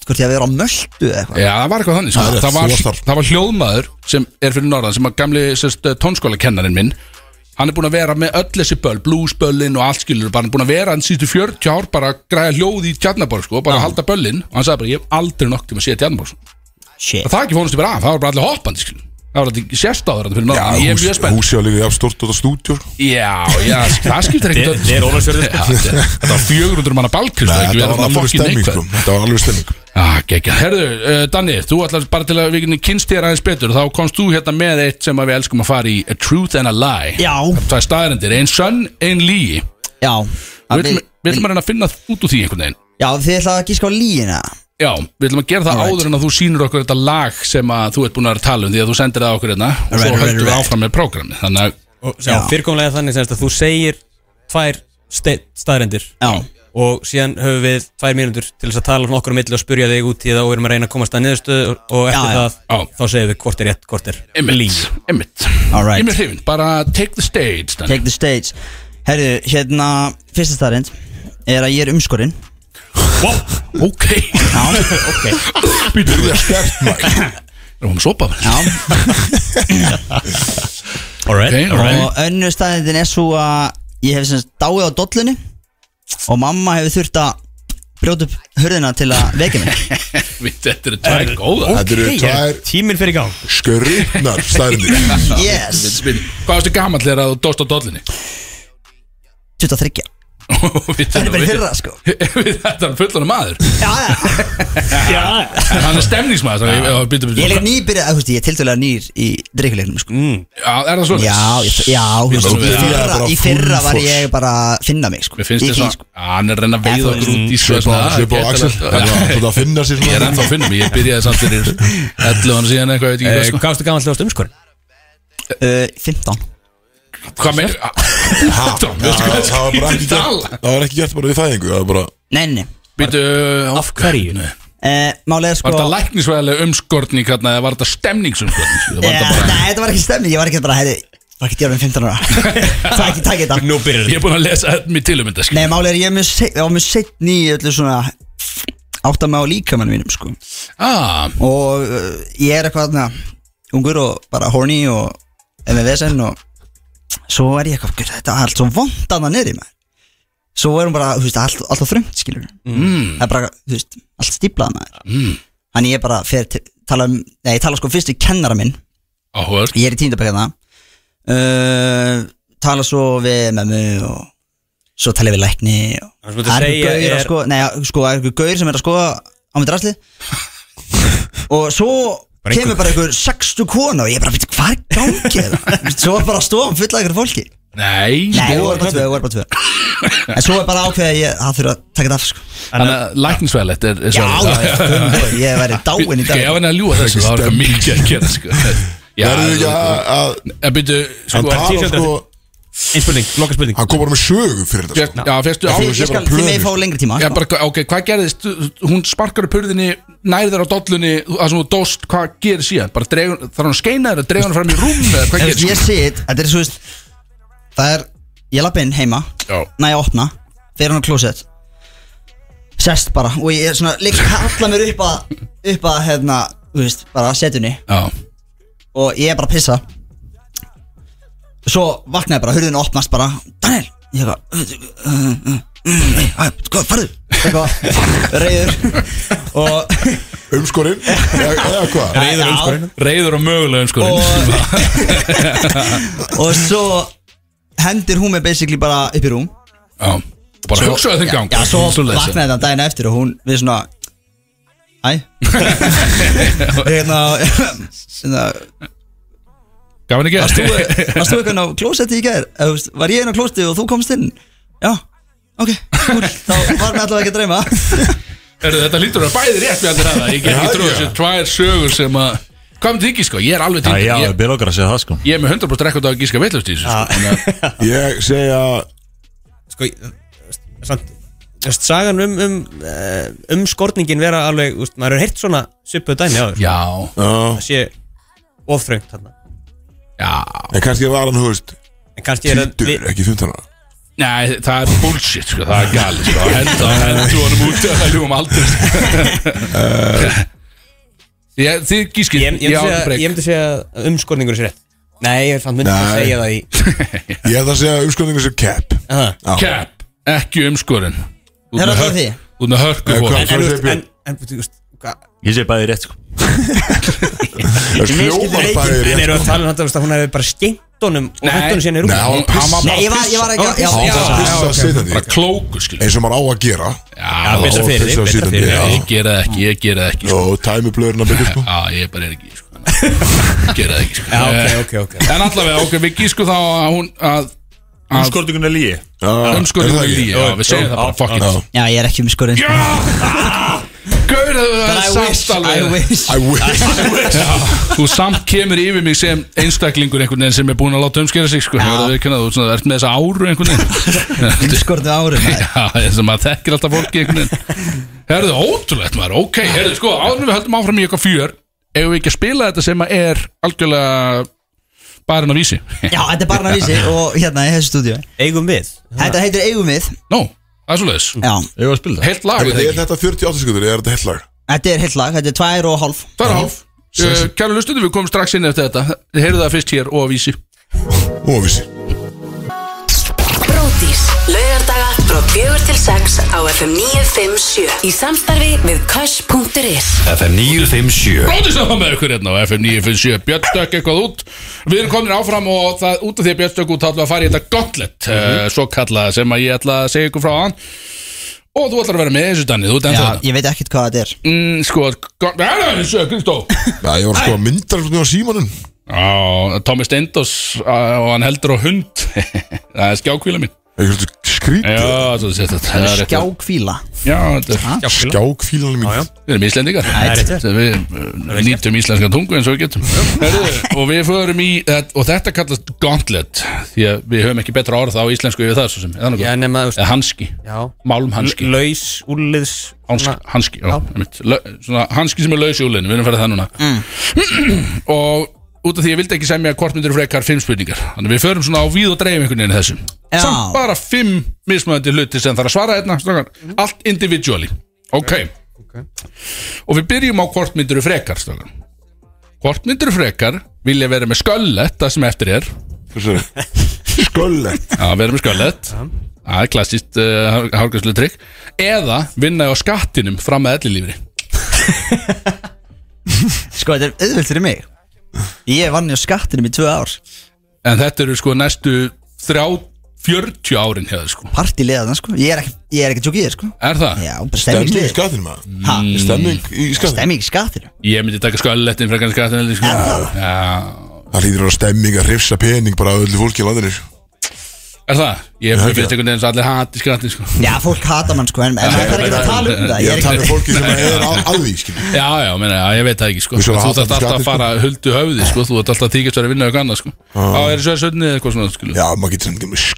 Speaker 7: Hvort ég að vera á möldu eða eitthvað
Speaker 3: Já, það var eitthvað þannig sko.
Speaker 2: Það er rétt,
Speaker 3: það,
Speaker 2: þú varst
Speaker 3: var,
Speaker 2: þar.
Speaker 3: það var hljóðmaður sem er fyrir norðan sem að gamli sest, tónskóla kennarinn minn hann er búin að vera með öll þessi böl bluesböllin og allt skilur bara hann er búin að vera hann síðustu 40 ár bara að græða hljóð í tjarnaborg sko, bara að halda böllin og hann sagði bara ég hef aldrei nokk til að sé sko. tjarnaborg
Speaker 7: Shit
Speaker 3: það ekki fónust ég bara af, það var bara allir hoppandi skilur. það var allir sérstáður þarna fyrir norðan ég er mjög
Speaker 2: Já,
Speaker 3: spennt
Speaker 2: húsi á líka jafn stórt og það stúdjó
Speaker 3: Já, já, það skiptir
Speaker 4: Þetta
Speaker 3: ekkert
Speaker 4: er-
Speaker 3: öll
Speaker 4: þetta er Ólafsfjörður.
Speaker 3: Þetta var 400 manna balkrist
Speaker 2: Nei, þetta var alveg stemming sko. Þetta var alveg
Speaker 3: (laughs)
Speaker 2: stemming
Speaker 3: Já, geggja Herðu, uh, Danni, þú ætlar bara til að við getum kynst þér aðeins betur Þá komst þú hérna með eitt sem að við elskum að fara í A Truth and a Lie
Speaker 7: Já.
Speaker 3: Það er staðarendir, ein sönn, ein lígi
Speaker 7: Já að
Speaker 3: Við
Speaker 7: Við
Speaker 3: ætlum að reyna að finna út úr því einhvern veginn
Speaker 7: Já, þið ætlaði að gíska á líina
Speaker 3: Já, við ætlum að gera það áður en að þú sýnir okkur þetta lag sem að þú ert búin að vera að tala um því að þú sendir það okkur hérna og
Speaker 7: Right,
Speaker 3: svo
Speaker 7: right,
Speaker 3: höldum við
Speaker 7: right.
Speaker 3: áfram með prógrami Þannig að,
Speaker 4: Og- Já, fyrirkomlega þannig semst að þú segir tvær ste- staðrendir
Speaker 7: Já
Speaker 4: og síðan höfum við tvær mínútur til þess að tala svona okkur á milli og spurja þig út í það og við erum að reyna að komast að niðurstöðu og eftir
Speaker 7: Já, já.
Speaker 4: það
Speaker 3: Já.
Speaker 4: þá segjum við hvort er rétt, hvort er
Speaker 3: Emmitt, Emmitt
Speaker 7: All
Speaker 3: Ég
Speaker 7: right.
Speaker 3: er mér hrifin, bara take the stage Danni.
Speaker 7: Take the stage Herðu, (laughs) hérna Fyrsta staðrind Er að ég er umskorinn
Speaker 3: Ok (laughs)
Speaker 2: Býtur þér stert maður
Speaker 3: Það var með sopa
Speaker 7: Já,
Speaker 1: Alright,
Speaker 3: Ok,
Speaker 1: alright
Speaker 3: alright.
Speaker 7: og önnu staðindin er svo að ég hef semst dáið á dollunni og mamma hefur þurft að brjóta upp hurðina til að vekja mig
Speaker 3: (laughs) Við þetta eru tvær góða
Speaker 2: Þetta eru tvær
Speaker 4: Tíminn fyrir gang
Speaker 2: skrýtnar
Speaker 3: (laughs)
Speaker 2: stærnir
Speaker 7: Yes,
Speaker 3: Spyr, Hvað varstu gamall þegar þú dóst á (laughs) dollinni?
Speaker 7: 23
Speaker 3: Þetta
Speaker 7: Þetta er bara í
Speaker 3: (laughs)
Speaker 7: fyrra, sko.
Speaker 3: Þetta er fullonu maður
Speaker 7: Já, já,
Speaker 3: En Hann er stemningsmaður þannig að- já, bíddu, bíddu.
Speaker 7: ég er líka nýbyrjað, þú veist, ég er tildulega nýr í dreikulegnum, sko
Speaker 3: Mm. Já, er það svona?
Speaker 7: Já, ég, já, þú veist,
Speaker 3: Við
Speaker 7: í
Speaker 3: erum
Speaker 7: fyrra,
Speaker 2: bara
Speaker 7: í fyrra
Speaker 2: full
Speaker 7: var
Speaker 2: force.
Speaker 7: ég bara að finna mig, sko
Speaker 3: Mér finnst
Speaker 7: Ég
Speaker 3: þess
Speaker 7: ekki,
Speaker 3: að Hann er að reyna að
Speaker 7: Já,
Speaker 3: veiða
Speaker 7: þú
Speaker 3: okkur út í svo
Speaker 2: Svipa svipa á Axel Þannig að finna sér
Speaker 3: Ég er
Speaker 2: svona
Speaker 3: ennþá að finna mig, ég byrjaði samt fyrir 11 hann síðan eitthvað, ég veit
Speaker 4: Eh,
Speaker 3: ekki sko.
Speaker 4: Hvað varstu gamall hljóðast umskorinn?
Speaker 7: sko. uh, 15
Speaker 3: hvað sko. Hvað með? Tom, veistu hvað
Speaker 2: Það var bara ekki gert
Speaker 3: tala?
Speaker 2: Það var ekki gert bara við fæðingu Það var bara
Speaker 7: Nei, nei,
Speaker 3: Býtu,
Speaker 4: Af hverju?
Speaker 7: uh, málega, sko
Speaker 3: var þetta læknisvæðilega umskortning hérna eða var þetta stemningsumskortning?
Speaker 7: Eh,
Speaker 3: Var þetta bara
Speaker 7: Nei, þetta var ekki stemning, ég var ekki bara, heyrðu, var ekki djörfum 15
Speaker 3: (laughs)
Speaker 7: ára Það ekki takk þetta
Speaker 4: Nú byrjar
Speaker 3: Ég er búin að lesa mér til um þetta skil
Speaker 7: Nei, máli er ég er mjög seinn- ég var mjög seitt í öllu svona átta mig á líkamann mínum sko.
Speaker 3: Ah,
Speaker 7: og uh, ég er eitthvað na, ungur og bara horny og MVSN og svo er ég eitthvað, "Guð, þetta er allt svo vond að það niður í maður svo er hún bara, þú veist, allt, allt á þröngt skilur mm. það er bara, þú veist, allt stíplað maður mm. þannig ég bara fer til, tala um, nei, ég tala sko fyrst við kennara minn
Speaker 3: áhugað
Speaker 7: ég er í tíndabækjana uh, tala svo við mömmu og svo tala ég við lækni og
Speaker 4: Það sem þú ert að segja
Speaker 7: gaur að
Speaker 4: er-
Speaker 7: sko nei, sko, það er einhver gaur sem er að skoða á mitt
Speaker 4: (laughs)
Speaker 7: rasli og svo
Speaker 4: Bara einhver.
Speaker 7: kemur bara einhver sextu kona og ég bara, veitir, hvað er
Speaker 4: (laughs)
Speaker 7: gangið það? svo er bara stofan fulla af einhverju fólki
Speaker 3: Nei,
Speaker 7: nei,
Speaker 3: sko
Speaker 7: þú er bara tvö, þú er bara tvö en svo er bara ákveðið að ég, það þurfa að taka þetta af sko
Speaker 3: Þannig að læknisvæðilegt er er
Speaker 7: já,
Speaker 3: svarið.
Speaker 7: já,
Speaker 4: (laughs)
Speaker 7: já, ég væri dáin í
Speaker 3: Ég
Speaker 7: dag
Speaker 3: var að ljúa þessu, það var eitthvað mikið að gera sko Já,
Speaker 2: Verður þið ekki að- að
Speaker 3: En býtu,
Speaker 2: En
Speaker 3: sko
Speaker 2: tala
Speaker 4: T-shirt.
Speaker 2: sko
Speaker 4: Einn spurning, loka spurning
Speaker 2: Hann kom bara með sögu fyrir þetta sko.
Speaker 3: Björn, Já, fyrstu
Speaker 7: Þið-
Speaker 3: áhugað
Speaker 7: ég skal, þið með fá lengri tíma
Speaker 3: Já,
Speaker 7: sko.
Speaker 3: bara, ok, hvað gerðist? Hún sparkar upp hurðinni, nærðar á dollunni Það sem þú dóst, hvað gerir síðan? Bara dregur, þarf hún að skeina þér, dregur hún fram í rúm eða hvað
Speaker 7: Þú veist, ég
Speaker 3: gerir?
Speaker 7: sit, þetta er svo veist Það er, ég lapp inn heima
Speaker 3: Já.
Speaker 7: Næ að opna, fyrir hann á klósett Sest bara Og ég er svona, líka kalla mér upp að Upp að, hérna, þú veist, bara setunni
Speaker 3: Já,
Speaker 7: Og ég er bara að pissa Svo vaknaði bara, hurðin opnast bara Daniel, ég er eitthvað Hvað, farðu? Eitthvað, reyður Og,
Speaker 3: (laughs)
Speaker 2: Umskorinn Eða eða hvað
Speaker 4: Reyður
Speaker 7: Já.
Speaker 4: umskorinn
Speaker 3: reyður og mögulega um sko
Speaker 7: og (laughs) Og svo hendir hún mig basically bara upp í rúm
Speaker 3: Já, bara hugsaðu þinn gang
Speaker 7: Já, svo
Speaker 3: Svoleiðis.
Speaker 7: vaknaði þetta daginn eftir og hún við svona
Speaker 3: (laughs)
Speaker 7: Æ Hérna Hérna
Speaker 3: Gaf henni
Speaker 7: Varst þú
Speaker 3: ekki
Speaker 7: varst þú eitthvað inn á klósetti í gær? Eða, þú veist, Var ég inn á klósetti og þú komst inn? Já Ok, cool. þá var mér allavega ekki að dreyma
Speaker 3: Heyrðu, Þetta lítur að vera bæði rétt við allir að það Ég get ekki
Speaker 2: Já,
Speaker 3: trúið
Speaker 2: já.
Speaker 3: þessu tvær sögur sem að Hvað með þig, sko? Ég er alveg
Speaker 1: Já, já,
Speaker 3: tindur
Speaker 1: ég byrja okkar að segja það sko
Speaker 3: Ég er með 100% rekord á að gíska veitlust í þessu sko. Þannig að-
Speaker 2: Ég segja
Speaker 4: Ah. (laughs) Sko, ég- samt þú veist, Sagan um, um, eh, um skorningin vera alveg, úst, maður er heyrt svona Sippuð dæmi á þér
Speaker 3: Já,
Speaker 2: Já
Speaker 4: Það sé ofþröngt þarna
Speaker 3: já
Speaker 2: En kannski var hann, hú veist
Speaker 4: En kannski er að
Speaker 2: Týtur, ekki 15 ára
Speaker 3: Nei, það er bullshit, sko, það er gali sko. Henda, henda honum út Það ljúum
Speaker 2: (laughs)
Speaker 3: aldrei sko. ég, Þið gískið
Speaker 4: Ég, ég, myndi
Speaker 3: á
Speaker 4: segja-
Speaker 3: breyk.
Speaker 4: ég myndi segja að umskorningur sé rétt Nei, ég fann myndi að
Speaker 2: Nei.
Speaker 4: segja það í
Speaker 2: Ég ætla að segja umskorningu sem cap
Speaker 4: Aha.
Speaker 2: Já.
Speaker 3: Cap, ekki umskorinn Þú
Speaker 7: Er
Speaker 3: ert með
Speaker 7: það
Speaker 3: hörk-
Speaker 7: því?
Speaker 3: þú ert með hörku
Speaker 2: Eh,
Speaker 3: fólk
Speaker 2: hvað? Hvað
Speaker 4: En, en, þú
Speaker 2: segir
Speaker 4: veist,
Speaker 2: Björn?
Speaker 4: en, en, þú veist, hvað-
Speaker 1: Ég segi bæði rétt sko
Speaker 2: Það hljómar bæði
Speaker 4: en
Speaker 2: rétt
Speaker 4: eru að tala um þetta, þú veist, að hún hefði bara skemmt honum og
Speaker 3: Nei.
Speaker 4: hætt honum síðan í rúm
Speaker 2: Nei, hann var
Speaker 3: Hann var
Speaker 2: piss
Speaker 7: Nei, ég var, ég var ekki að- já,
Speaker 3: Já,
Speaker 7: já,
Speaker 2: var að pissa
Speaker 3: já,
Speaker 2: á
Speaker 3: ok.
Speaker 2: sitandi.
Speaker 3: Bara klóku, skil
Speaker 2: Eins og maður á að gera
Speaker 3: Já,
Speaker 2: betra
Speaker 3: já,
Speaker 2: fyrir þig,
Speaker 3: þessi á
Speaker 2: betra
Speaker 3: síðan,
Speaker 2: fyrir
Speaker 3: já.
Speaker 2: þig.
Speaker 3: Ég gera það ekki, ég gera það ekki sko.
Speaker 2: Jó, tæmi blöðurinn að byrja sko
Speaker 3: Já, ég bara er ekki sko. Ég Gera það ekki sko.
Speaker 4: Já, ok, ok, ok
Speaker 3: En allavega, ok, við gískum þá að hún að
Speaker 1: Skortingun er líi
Speaker 2: Já, er
Speaker 3: umskorinn
Speaker 2: það
Speaker 3: er
Speaker 2: ekki?
Speaker 3: líi Já, við segjum það bara, fuck
Speaker 2: Já.
Speaker 3: it
Speaker 7: Já, ég er ekki um skurinn
Speaker 3: Já! Gaur, það
Speaker 7: But
Speaker 3: er
Speaker 7: I wish,
Speaker 3: samt
Speaker 7: I
Speaker 3: alveg (laughs)
Speaker 7: wish
Speaker 2: I (laughs) wish
Speaker 3: Þú samt kemur yfir mig sem einstaklingur einhvern veginn sem er búin að láta umskera sig sko, hefur það viðkennað, þú svona, ert með þessa áru einhvern
Speaker 7: Um (laughs)
Speaker 3: veginn
Speaker 7: skurðu árum maður.
Speaker 3: Já, þess að maður þekkir alltaf fólki einhvern veginn Herðu, ótrúlegt maður, ok, herðu, sko, áður en við höldum áfram í eitthvað fjör Ef við ekki að spila þetta sem að er algjörlega barinn á
Speaker 7: (laughs)
Speaker 3: vísi
Speaker 7: Já, þetta er barnavísi og hérna í þessu stúdíu
Speaker 4: Eigum við
Speaker 7: Þetta heitir eigum við
Speaker 3: Nó, það Það er svoleiðis
Speaker 7: Já,
Speaker 1: Ég var að spila það
Speaker 3: Heilt lag
Speaker 2: Er
Speaker 3: er það ekki?
Speaker 2: þetta 48 sekundur eða er þetta heilt lag?
Speaker 7: þetta er heilt lag, þetta er tvær og hálf
Speaker 3: Það er hálf Uh, Kæru lustundur, við komum strax inn eftir þetta Þið heyrðu það fyrst hér og að vísi
Speaker 2: Óvísi
Speaker 5: Bródís Laugardaga frá 4 til 6 á FM 957 Í samstarfi við Kösh.is
Speaker 6: FM 957
Speaker 3: Bróðis að það með ykkur hérna á FM 957 Björnstökk eitthvað út Við erum komin áfram og það út af því að Björnstökk út ætlum við að fara í þetta gauntlet mm Svo kallað sem að ég ætla að segja ykkur frá hann Og þú ætlar að vera með þessu danni Þú ert ennþá
Speaker 7: Já,
Speaker 3: þetta
Speaker 7: ég veit ekkert hvað þetta er
Speaker 3: mm, Sko, gaunt- Nei, nei, þessu, Kristó
Speaker 2: Já, ég var sko að myndar á símanum
Speaker 3: Já, Tommy Steindos uh, Og hann heldur á hund (laughs) Það er skjákvíla mín
Speaker 2: Eitthvað skrítið
Speaker 3: Já, svo þú sér þetta Það er rétt.
Speaker 7: Skjákvíla
Speaker 3: Já, þetta er
Speaker 2: Skjákfílanum mín
Speaker 3: Við erum Íslendingar Við eh, nýtum íslenska tungu eins og við getum Herðu, Og við förum í Og þetta kallast gauntlet Því að við höfum ekki betra orð á íslensku yfir það svo sem Eða
Speaker 4: Já,
Speaker 3: nokkuð
Speaker 4: nema, þú veist,
Speaker 3: Eða hanski
Speaker 4: já
Speaker 3: Málum hanski
Speaker 4: Laus, úrliðs
Speaker 3: Hanski, hanski, já, einmitt. Lau- svona, hanski sem er laus í úlinu, við erum að fara það núna Og út af því ég vildi ekki semja hvort myndir frekar fimm spurningar Þannig að við förum svona á víð og dreifum einhvern veginn í þessu
Speaker 7: Já.
Speaker 3: Samt bara fimm mismöðandi hluti sem þarf að svara hérna strákar. Allt individually Ok Og við byrjum á hvort myndir frekar strákar. Hvort myndir frekar vilja vera með sköllett það sem eftir er (laughs)
Speaker 2: Sköllett
Speaker 3: Já, vera með sköllett Það er klassist uh, hálfgjörslu trikk Eða vinna á skattinum fram að ellilífri
Speaker 7: Sko, þetta er auðvöld fyrir mig Ég vann hjá skattinum í tvö ár
Speaker 3: En þetta eru sko næstu 30, 40 árin hefur sko
Speaker 7: Partilegaðan, sko Ég er ekki, ég er ekki að tjókið þér, sko
Speaker 3: Er það?
Speaker 7: Já,
Speaker 2: Stemming
Speaker 7: bara
Speaker 2: í
Speaker 7: stemmingslið
Speaker 2: skattinum maður
Speaker 7: Ha,
Speaker 2: Stemming í skattinum
Speaker 7: Stemming í skattinu
Speaker 3: Ég myndi taka sköllettin frekar en skattin sko.
Speaker 7: Er það?
Speaker 3: Já,
Speaker 2: Það hlýtur að vera stemming að hrifsa pening bara að öllu fólki í landinu
Speaker 3: er það? Ég
Speaker 2: Já,
Speaker 3: hef
Speaker 2: ekki.
Speaker 3: finnst einhvern veginn svo allir hati skattin sko
Speaker 7: Já, fólk hata mann, sko En, en það er ekki að tala um
Speaker 2: Ég
Speaker 7: það
Speaker 2: er
Speaker 7: Ég er
Speaker 2: að tala um
Speaker 7: ekki
Speaker 2: fólki sem er að, að því skilur.
Speaker 3: Já, já, meina, já, ég veit það ekki sko
Speaker 2: Við
Speaker 3: Þú
Speaker 2: skulum hata
Speaker 3: þarft alltaf að
Speaker 2: skattinn, sko.
Speaker 3: fara huldu höfði sko Þú þarft alltaf að þykist vera að vinna eitthvað annað sko Já, er svo sönni eða eitthvað svona skilu
Speaker 2: Já, maður getur sem með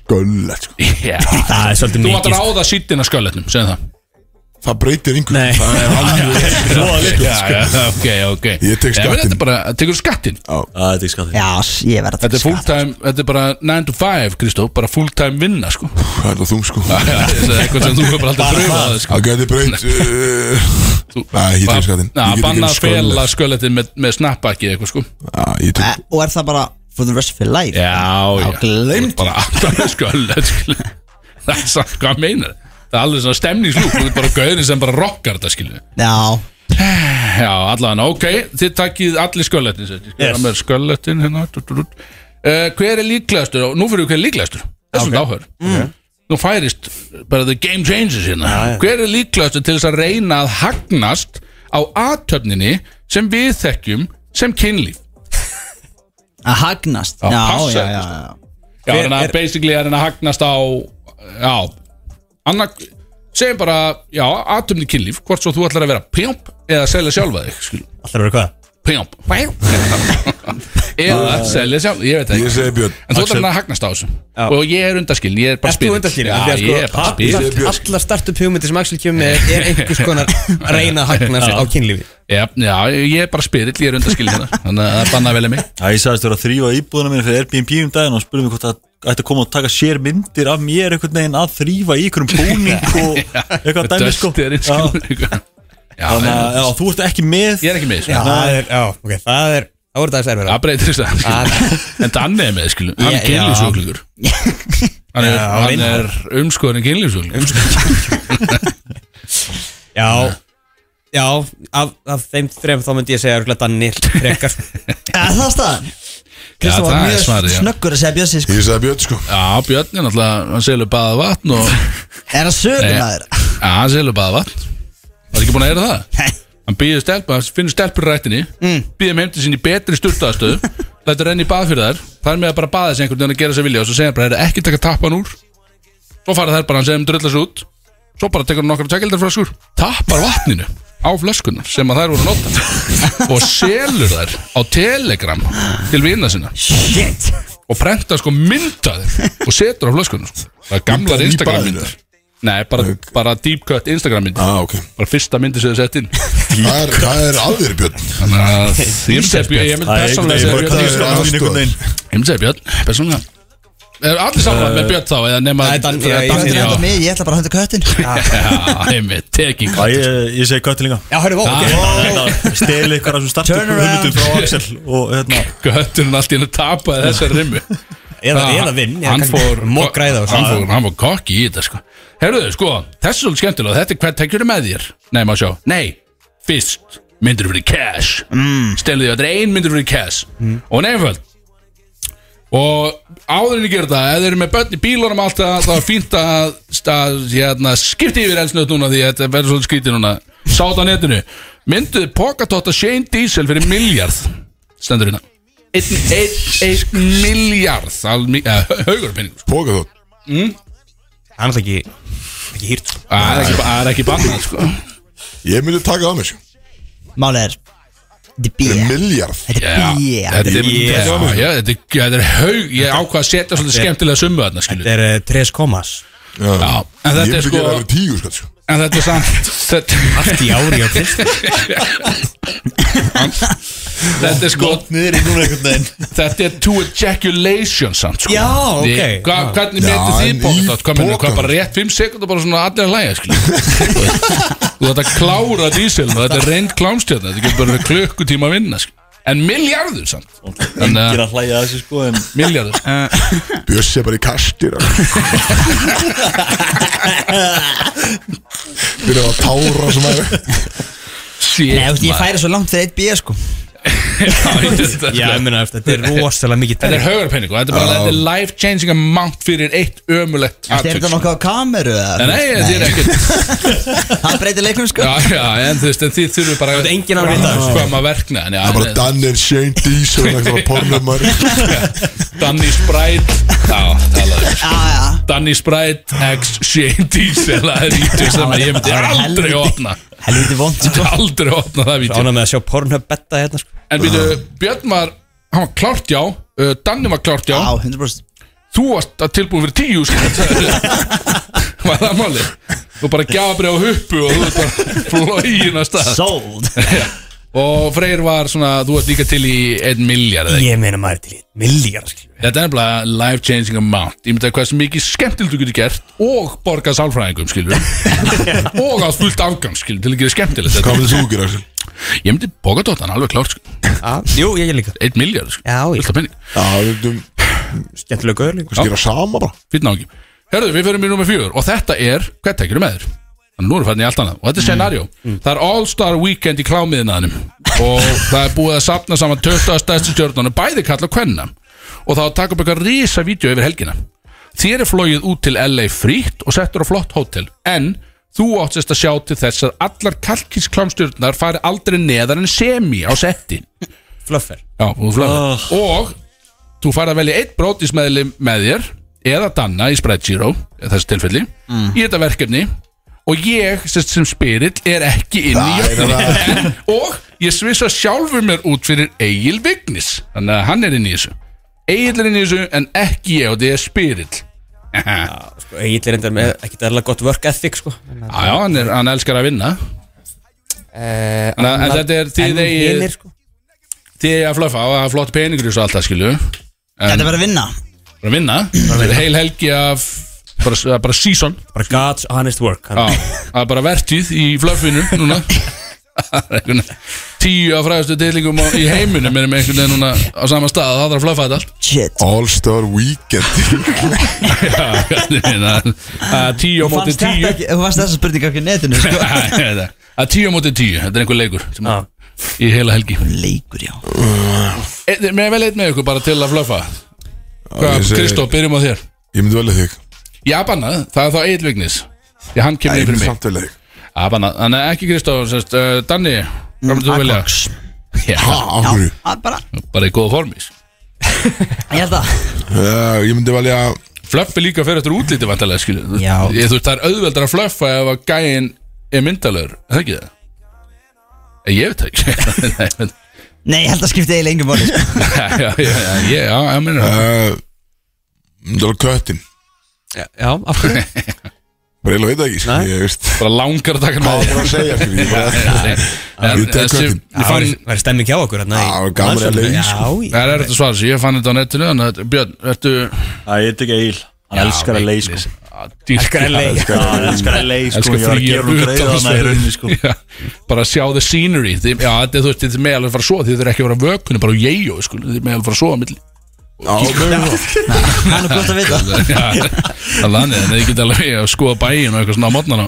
Speaker 2: sköllett sko.
Speaker 3: Já,
Speaker 4: Það er svolítið
Speaker 3: þú
Speaker 4: mikið
Speaker 3: mátt ráða sýttina skölletnum, segðu það
Speaker 2: Það breytir yngur
Speaker 4: Nei.
Speaker 2: Það er alveg
Speaker 3: Já, já, ok, ok
Speaker 2: Ég tek
Speaker 3: Nei,
Speaker 2: skattinn.
Speaker 3: menn, Þetta er bara, tekur skattin
Speaker 1: Það er ekki skattin
Speaker 7: Já, s- ég verð að
Speaker 3: Þetta
Speaker 7: taka
Speaker 3: er full
Speaker 7: skatt
Speaker 3: time, þetta er bara 9 to 5, Kristó Bara full time vinna sko (laughs)
Speaker 2: Það er það þung sko
Speaker 3: Já, já, það er eitthvað sem þú hefur bara aldrei pröfað það, sko.
Speaker 2: Það getur breyt uh, Nei, ég tek skattin Ég
Speaker 3: Já,
Speaker 2: get
Speaker 3: banna að
Speaker 2: ekki verið
Speaker 3: fela
Speaker 2: sköllett.
Speaker 3: skölletin með, með snappaki eitthvað sko
Speaker 2: Já, Ég
Speaker 7: Eh,
Speaker 2: tek
Speaker 7: Og er það bara for the rest of your life
Speaker 3: Já,
Speaker 7: Já, gleymd
Speaker 3: Bara alltaf með sköllet
Speaker 2: (laughs)
Speaker 3: skilur. Það er samt hvað meinar Það er alveg svona stemningslúk Þú er bara gauðin sem bara rockar þetta skilju
Speaker 7: Já,
Speaker 3: Já, allavega, ok Þið takkið allir skölletin yes. með skölletin hérna dú, dú, dú. Uh, Hver er líklegastur? Og nú fyrir við hver er líklegastur Þessum okay. áhör mm. Nú færist bara the game changes hérna Hver er líklegastur til þess að reyna að hagnast á aðtöfninni sem við þekkjum sem kynlíf
Speaker 7: að hagnast Já,
Speaker 3: passa sko.
Speaker 7: já, já,
Speaker 3: þetta,
Speaker 7: já
Speaker 3: Já,
Speaker 4: Hver
Speaker 3: þannig að
Speaker 4: er-
Speaker 3: basically er hann að hagnast á Já Annak, segjum bara, já, atumni kynlíf Hvort svo þú ætlar að vera pjamp Eða selja sjálfa þig, skil
Speaker 4: Alltaf verið hvað?
Speaker 3: Pjamp Eða selja sjálfa, ég veit það
Speaker 2: Ég
Speaker 3: ekki
Speaker 2: segi Björn
Speaker 3: En þú ætlar hann að hagnast á þessu Og ég er undaskilin, ég er bara
Speaker 4: Ert þú
Speaker 3: spyrill.
Speaker 4: undanskilinn? Af
Speaker 3: Já,
Speaker 4: því að
Speaker 3: ég er bara
Speaker 4: all-
Speaker 3: spyrill.
Speaker 2: Ég er Björn.
Speaker 4: Allar startup hugmyndir sem Axel kemur með er einhvers (laughs) konar að reyna að hagna sig á kynlífi
Speaker 3: Já, já, ég er bara spyrill, ég er undaskilin hérna Þannig að það er bannað vel að mig
Speaker 1: Já, ég sagðist vera að þrýfa íbúðuna mín fyrir Airbnb um daginn og hann spurði mig hvort það ætti að koma og taka sér myndir af mér einhvern veginn að þrýfa í einhverjum
Speaker 3: (laughs)
Speaker 1: búning og eitthvað dæmi sko
Speaker 3: Döstir,
Speaker 1: Já,
Speaker 3: skil Já,
Speaker 1: Þannig að já,
Speaker 3: en-
Speaker 1: þú ert ekki með
Speaker 3: ég er ekki með þessu
Speaker 4: Það er, já, ok, það er Það voru það að
Speaker 3: Það breytir þess að En Danni er með, skilum, hann er
Speaker 4: Ég-
Speaker 3: kynlífsvöglingur Hann er,
Speaker 4: Já,
Speaker 3: hann
Speaker 4: reyndar.
Speaker 3: er umskoðin kynlífsvöglingur
Speaker 4: Já Já, af, af þeim þrem þá myndi ég segja örgulega Danni frekar
Speaker 7: Eh, Það er staðan Kristó
Speaker 3: það
Speaker 7: var
Speaker 3: er
Speaker 7: mjög
Speaker 3: svarið, já.
Speaker 7: snöggur að segja Bjössi sko.
Speaker 2: Ég segi Björn sko
Speaker 3: Já, Björn er náttúrulega, hann selur baða vatn og,
Speaker 7: Er það
Speaker 3: Nei.
Speaker 7: sögum að þér?
Speaker 3: Já, hann selur baða vatn Það er ekki búin að heyra það Hann býður stelpa, hann finnur stelpur í rættinni mm. Býður með heimti sinni í betri sturtaðastöðu Lætur henni í bað fyrir þær Það er með að bara baða sig einhvern veginn að gera sér vilja Og svo segja hann bara, "Heyrðu, ekki taka tappan úr Svo fara þær bara, hann segja um drölla sér út Svo bara tekur hann nokkra tækildar Tappar vatninu á flöskunar Sem að þær voru að nota Og selur þær á Telegram Til vina sinna
Speaker 7: Shit
Speaker 3: Og prenta sko myndaðir Og setur á flöskunar sko. Það er gamlar
Speaker 2: Myndaðir í
Speaker 3: Instagram
Speaker 2: baðinu?
Speaker 3: myndar Nei, bara, bara deep cut Instagram myndar
Speaker 2: ah, okay.
Speaker 3: bara fyrsta myndi sem þið sett inn
Speaker 2: Það er, það er aðveri Björn
Speaker 3: þannig að (laughs) ég myndi segja Björn- ég myndi
Speaker 1: Það er einhvern
Speaker 3: persónlega
Speaker 1: veginn
Speaker 3: segja
Speaker 1: bara að þrýfa á
Speaker 2: það er
Speaker 3: Björn Ísland
Speaker 1: þín einhvern veginn
Speaker 3: ég myndi segja Björn persónlega Er allir saman með Björn þá eða nema
Speaker 4: Nei, Dan-
Speaker 3: eða
Speaker 4: já,
Speaker 7: Ég
Speaker 3: já.
Speaker 7: ætla að henda mig, ég ætla bara að henda köttin
Speaker 3: Já, (laughs) einmitt, tekin
Speaker 1: Já, ég, ég segi köttin líka
Speaker 4: Já, hörru, vó, ok
Speaker 1: Steli ykkur Hérna, af þessum
Speaker 7: Turn
Speaker 1: startum
Speaker 7: around.
Speaker 1: hugmyndum frá Axel og hérna
Speaker 3: Götturinn allt í hennu tapaði þessar rimmu
Speaker 4: Eða, eða vinn ég
Speaker 3: Hann
Speaker 4: kann-
Speaker 3: fór
Speaker 4: (laughs) Mokræða og
Speaker 3: Hann
Speaker 4: svo
Speaker 3: fór, hann fór kokki í þetta sko Herruðu, sko, þessi er svolítið skemmtilega Þetta er hvað tekjur með þér Nei, maður sjá Nei, fyrst myndir fyrir cash mm. Stelðu því að þetta er ein myndir fyrir cash
Speaker 4: Mm.
Speaker 3: Og hún er einföld Og áðurinn ég gera þetta Ef þeir eru með börn í bílunum allt það Það er fínt að, að hérna, skipti yfir elsnöð núna Því þetta verður svolítið skrítið núna Sátt á netinu Mynduð Pokatotta Shane Diesel fyrir miljard Stendur hérna Einn ein, ein miljard Haugur sko. penningur
Speaker 2: Póka þótt
Speaker 4: Hann er ekki Ekki hýrt sko.
Speaker 3: Æ, Það er ekki- það er ekki bannað sko
Speaker 2: Ég myndi taka það mér sko.
Speaker 7: Mál er Þetta er
Speaker 2: Þetta er
Speaker 7: bíja
Speaker 2: miljard
Speaker 7: Þetta er bíja
Speaker 3: Þetta er Já,
Speaker 4: Yeah.
Speaker 3: já, þetta er- já, þetta er haug Ég ákvað að setja svolítið skemmtilega sumu þarna skilur
Speaker 4: Þetta er eh, Tres Komas
Speaker 2: Já,
Speaker 3: Já, en
Speaker 2: Ég
Speaker 3: þetta er
Speaker 2: myndi
Speaker 3: sko
Speaker 2: gera það fyrir tíu sko, sko.
Speaker 3: En þetta er samt (laughs) Þetta,
Speaker 4: Allt í ári á fyrst
Speaker 3: þetta er sko
Speaker 1: (laughs) niður í núna einhvern veginn
Speaker 3: Þetta er to ejaculation samt sko
Speaker 4: Já, ok.
Speaker 3: Ég- hva- Hvernig
Speaker 2: Já,
Speaker 3: metið
Speaker 2: en
Speaker 3: þið
Speaker 2: í
Speaker 3: bókast Hvað minnur, hvað
Speaker 2: pokanum?
Speaker 3: bara rétt 5 sekundar bara svona allir að læja skilur Þú þetta klára dísil og þetta er reynd klámstjörna Þetta getur bara verið klukkutíma að vinna skilur En miljardur samt En,
Speaker 1: Engir
Speaker 3: uh,
Speaker 1: að hlæja að þessu sko en
Speaker 3: Miljardur
Speaker 2: Bjössi er bara í kastir sko. (laughs) Byrja að tára sko. sem er
Speaker 3: Shit,
Speaker 7: Nei, þú veist, ég
Speaker 3: maður.
Speaker 7: færi svo langt fyrir eitt bíja sko
Speaker 3: Já, ég- þetta er-
Speaker 4: Já, ég meina, þetta er rosalega mikið
Speaker 3: Þetta er haugarpenning og þetta er bara þetta er life changing amount fyrir eitt ömulegt
Speaker 7: Er
Speaker 3: atvik
Speaker 7: þetta
Speaker 3: sko.
Speaker 7: nokkað á kameru? eða?
Speaker 3: Nei, nei, þetta er ekkert
Speaker 7: Hann breytir leiknum sko
Speaker 3: Já, já, en þú veist, en þið þurfum bara
Speaker 4: er enginn að vita þessu.
Speaker 3: Hvað maður verkna en, já,
Speaker 2: Það er bara
Speaker 3: en-
Speaker 2: Dan and Shane (laughs) Diesel Það er bara pornum maður
Speaker 3: Danny Sprite Já, talaðu um.
Speaker 7: Já, já
Speaker 3: Danny Sprite X Shane Diesel Það er vítjum sem ég myndi
Speaker 7: Það er
Speaker 3: aldrei
Speaker 7: helviti-
Speaker 3: opna
Speaker 7: Helviti vond sko
Speaker 3: Aldrei opna það vítjum
Speaker 4: Ána með að sjá Pornhub betta hérna sko.
Speaker 3: En býtu, Björn var, hann var klárt já uh, Danni var klárt já
Speaker 7: Já, 100%
Speaker 3: Þú varst að tilbúið fyrir tíu
Speaker 4: (laughs)
Speaker 3: skilur Var það máli? Þú bara gjafabrið á huppu og þú ert bara flógin að stað
Speaker 7: Sold
Speaker 3: (laughs) Og Freyr var svona, þú varst líka til í 1 miljard eða ekki
Speaker 4: (laughs) Ég meina maður er til í millígar
Speaker 3: Þetta er nefnilega life changing amount Ég myndi að hversu mikið skemmtild þú getur gert Og borgað sálfræðingum skilur
Speaker 4: (laughs)
Speaker 3: Og átt fullt afgang skilur Til að gera skemmtilegt
Speaker 4: Sko-
Speaker 2: Hvað
Speaker 3: þetta
Speaker 2: myndir þú gera sko? Axel?
Speaker 3: Ég myndi boka dóttan alveg klárt sko. skilur
Speaker 4: Jú, ég er líka
Speaker 3: 1 miljard skilur
Speaker 4: Já, ég-
Speaker 3: sko. Fullt af penning
Speaker 2: Já, við myndum
Speaker 4: Skemmtilega gauður
Speaker 3: sko.
Speaker 4: líka
Speaker 2: kannski gera sama bara
Speaker 3: Fyrir náðum ekki Herðu, við fyrir mér nummer fjögur Og þetta er, hvað tekjur með þér? Þannig nú erum við farin í allt annað Og þetta er scenario Það er All Star Weekend í klámiðinaðinum Og það er búið að sapna saman 20 stærstu stjórnarnar Bæði kalla kvenna Og þá taka upp eitthvað risa vídeo yfir helgina Þér er flogið út til LA frítt Og settur á flott hótel En þú átt sérst að sjá til þess að Allar kalkins klámstjórnar fari aldrei neðar en semi á setti
Speaker 4: Fluffer
Speaker 3: Já, þú flöður Og þú fær að velja eitt brótismeðli með þér Eða Danna í Sprite Zero eða Þessi tilfelli Í þetta verkefni Og ég sem, sem spyrill er ekki inn í jöfnum (laughs) Og ég svissa sjálfur mér út fyrir Egil Vignis Þannig að hann er inn í þessu Egil er inn í þessu en ekki ég og þetta er spyrill (laughs) Já,
Speaker 4: sko, Egil er enda með ekkert erlega gott work ethic sko.
Speaker 3: já, hann, er, hann elskar að vinna
Speaker 4: eh,
Speaker 3: En en þetta er því þeir
Speaker 4: sko.
Speaker 3: Því að flöfa og að flott peningur í þessu alltaf skilju
Speaker 7: Þetta verður að vinna
Speaker 3: bara að vinna það er heil helgi af bara, það er bara season
Speaker 4: Bara God's honest work
Speaker 3: Já,
Speaker 4: hann.
Speaker 3: það er bara vertíð í flöffinu núna Það er einhvern veginn tíu af fræðustu deilingum á, í heiminum erum einhvern veginn núna á sama stað það þarf að flöffa þetta allt.
Speaker 7: Shit
Speaker 2: All Star Weekend
Speaker 3: (laughs)
Speaker 2: (laughs)
Speaker 3: Já, hvernig minna, að tíu á móti
Speaker 7: Þú fannst þetta
Speaker 3: tíu (laughs)
Speaker 7: ekki Þú fannst þessa spurning ekki á netinu sko
Speaker 3: Æ, að tíu á móti tíu, þetta er einhver leikur sem
Speaker 4: Já.
Speaker 3: í heila helgi
Speaker 7: Leikur, já
Speaker 3: e, með vel eitt með ykkur bara til að flöffa
Speaker 2: ég segi-
Speaker 3: Kristó, byrjum á þér
Speaker 2: Ég myndi velja þig
Speaker 3: Já, bannað, það er þá eitlugnis Því hann
Speaker 2: Nei,
Speaker 3: kemur
Speaker 2: Ég
Speaker 3: yfir
Speaker 2: myndi
Speaker 3: mig
Speaker 2: samt velja þig
Speaker 3: Já, bara, þannig að ekki Kristóf, sérst, uh, Danni,
Speaker 7: Mm,
Speaker 3: hvað myndir þú vilja?
Speaker 7: Akox.
Speaker 3: Já,
Speaker 2: Ha, af hverju?
Speaker 7: Að Bara,
Speaker 3: bara í sko. góða formis.
Speaker 7: ég held að
Speaker 2: Já, Eh, Ég myndi velja
Speaker 3: Flöffi líka fyrir eftir útliti vantarlega, skilju.
Speaker 7: Já.
Speaker 3: Ég, þú veist, það er auðveldar að flöffa ef að gæin er myndalögur, er það ekki það? Eh, Ég veit það ekki. (laughs) Nei, men-
Speaker 7: Nei, ég held að skipti eiginlega engum bóli sko.
Speaker 3: já, já, já, já, já, ég
Speaker 2: Eh,
Speaker 3: meina það.
Speaker 2: uh, Myndi velja köttin
Speaker 4: Já, af hverju?
Speaker 2: Bara eiginlega veit það ekki sko.
Speaker 4: Nei.
Speaker 2: Ég veist
Speaker 3: bara langar að taka hann
Speaker 2: Hvað var
Speaker 3: með
Speaker 2: bara að segja sko. Ég bara
Speaker 3: (laughs) En
Speaker 2: Ég tek
Speaker 3: þessi-
Speaker 2: köttinn.
Speaker 3: ég
Speaker 4: Það
Speaker 3: fann-
Speaker 4: væri væri stemming hjá okkur þarna í-
Speaker 2: Já, gaman að leið, sko.
Speaker 4: Já,
Speaker 3: Það er þetta svar sem ég fann þetta á netinu Þannig að Björn, ertu
Speaker 1: Það er ekki eil Hann elskar að leið sko
Speaker 3: Elskar að leið
Speaker 1: Já,
Speaker 7: (laughs)
Speaker 1: Hann elskar að leið sko Ég var að gera hún greið hann að rauninni
Speaker 4: (laughs)
Speaker 1: sko
Speaker 3: Bara sjá the scenery Þið- Já, þetta er þú veist, þið er meðalveg að fara að sofa Þið þurfa ekki að vera á vökunni, bara á jeju sko. Þið er meðalveg að fara að sofa á milli
Speaker 7: Það er nú gott að vita
Speaker 3: Já, Það er þannig, þannig að þið geta alveg að skoða bæin og eitthvað svona á mótnana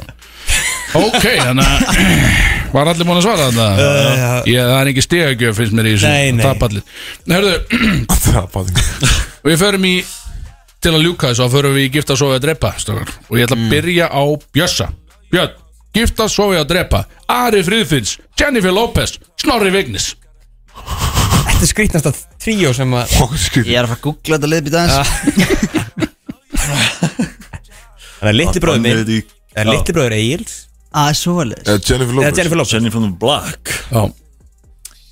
Speaker 3: Ok, þannig að (clears throat) Var allir búin að svara þetta? Ég, það er ekki stegagjöf finnst mér í
Speaker 4: Nei,
Speaker 3: þessu
Speaker 4: nei.
Speaker 3: tapallir Hörðu,
Speaker 2: Tapað
Speaker 3: (clears throat) við förum í til að ljúka þessu, þá förum við í gifta, sofa og drepa stókar. og ég ætla að byrja á Bjössa Björn, gifta, sofa og drepa Ari Friðfinns, Jennifer Lopez Snorri Vignis
Speaker 4: Þetta er skrítnasta tríó sem að
Speaker 2: Fokkskrið
Speaker 7: Ég er að fara að googla þetta leiðbýta aðeins
Speaker 3: Ah.
Speaker 4: Það er litli bróður minn
Speaker 1: Hann er í-
Speaker 4: Það er litli bróður Egil's
Speaker 7: Það er svo leiðis
Speaker 2: Jennifer
Speaker 4: Eða
Speaker 2: Lopez
Speaker 4: Jennifer Lopez
Speaker 1: Jenny from the Black
Speaker 3: Já,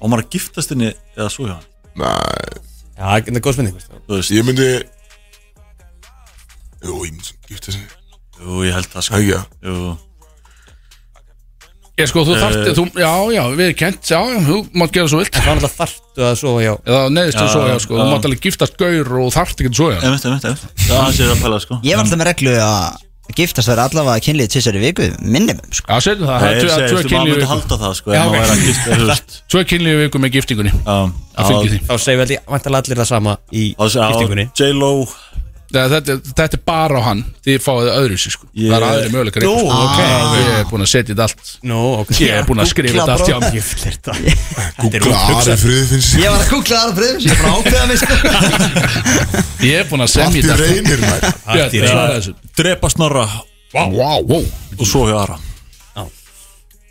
Speaker 1: Og maður að giftast henni eða svo hjá hann
Speaker 2: Nei
Speaker 4: Já, það er góð spurning sko. veist.
Speaker 1: Þú veist,
Speaker 2: Ég myndi Jú, ég myndi Gifta sig
Speaker 1: jú, ég held það
Speaker 2: Það
Speaker 1: sko
Speaker 2: ekki að
Speaker 1: Jú,
Speaker 3: ég sko, þú þarft þú, Já, já, við erum kent, já, já, þú mátt gera svo vilt
Speaker 4: Það var náttúrulega þartu að sofa hjá
Speaker 3: eða neðist að
Speaker 1: Já,
Speaker 3: soja sko, þú
Speaker 1: já.
Speaker 3: mátt alveg giftast gaur og þarft ekki að soja
Speaker 1: einmitt, einmitt, einmitt Það hans er að pæla sko
Speaker 7: Ég var alltaf með reglu að giftast vera allavega kynlið tísar í viku Minnum, sko
Speaker 3: Já, setjum það, það
Speaker 1: Ég
Speaker 3: er
Speaker 1: segi,
Speaker 3: tvö
Speaker 1: veistu, maður
Speaker 3: kynlíu
Speaker 1: myndi
Speaker 3: viku
Speaker 1: halda það sko
Speaker 3: Já,
Speaker 1: En
Speaker 3: ok.
Speaker 1: maður er að gifta, þú
Speaker 4: (laughs)
Speaker 1: veist
Speaker 3: tvö kynlíu viku með giftingunni að fylgja því
Speaker 4: Þá segir við held ég vantarlega allir það sama í giftingunni
Speaker 1: J. Lo
Speaker 3: Þegar þetta, þetta er bara á hann þið fáið öðru sér sko
Speaker 1: Ég-
Speaker 3: það er aðri möguleikar
Speaker 4: Nú,
Speaker 3: einhvers staðar.
Speaker 4: ok.
Speaker 3: Ah. ég er búin að setja þetta allt
Speaker 4: Nú, ok
Speaker 3: ég er búin að skrifa þetta allt hjá mig
Speaker 4: Ég flir það
Speaker 2: Gúgla Ari Friðfinns
Speaker 7: Ég var að googla það að breyðum Ég er bara að ákveða mig, sko
Speaker 3: ég er búin að
Speaker 2: Allt
Speaker 3: semja
Speaker 2: í
Speaker 3: þetta allt.
Speaker 2: reynir mær
Speaker 3: Björn,
Speaker 4: Allt í
Speaker 3: svara þessu
Speaker 1: Drepa snorra
Speaker 3: wow, wow.
Speaker 1: og svo hjá Ara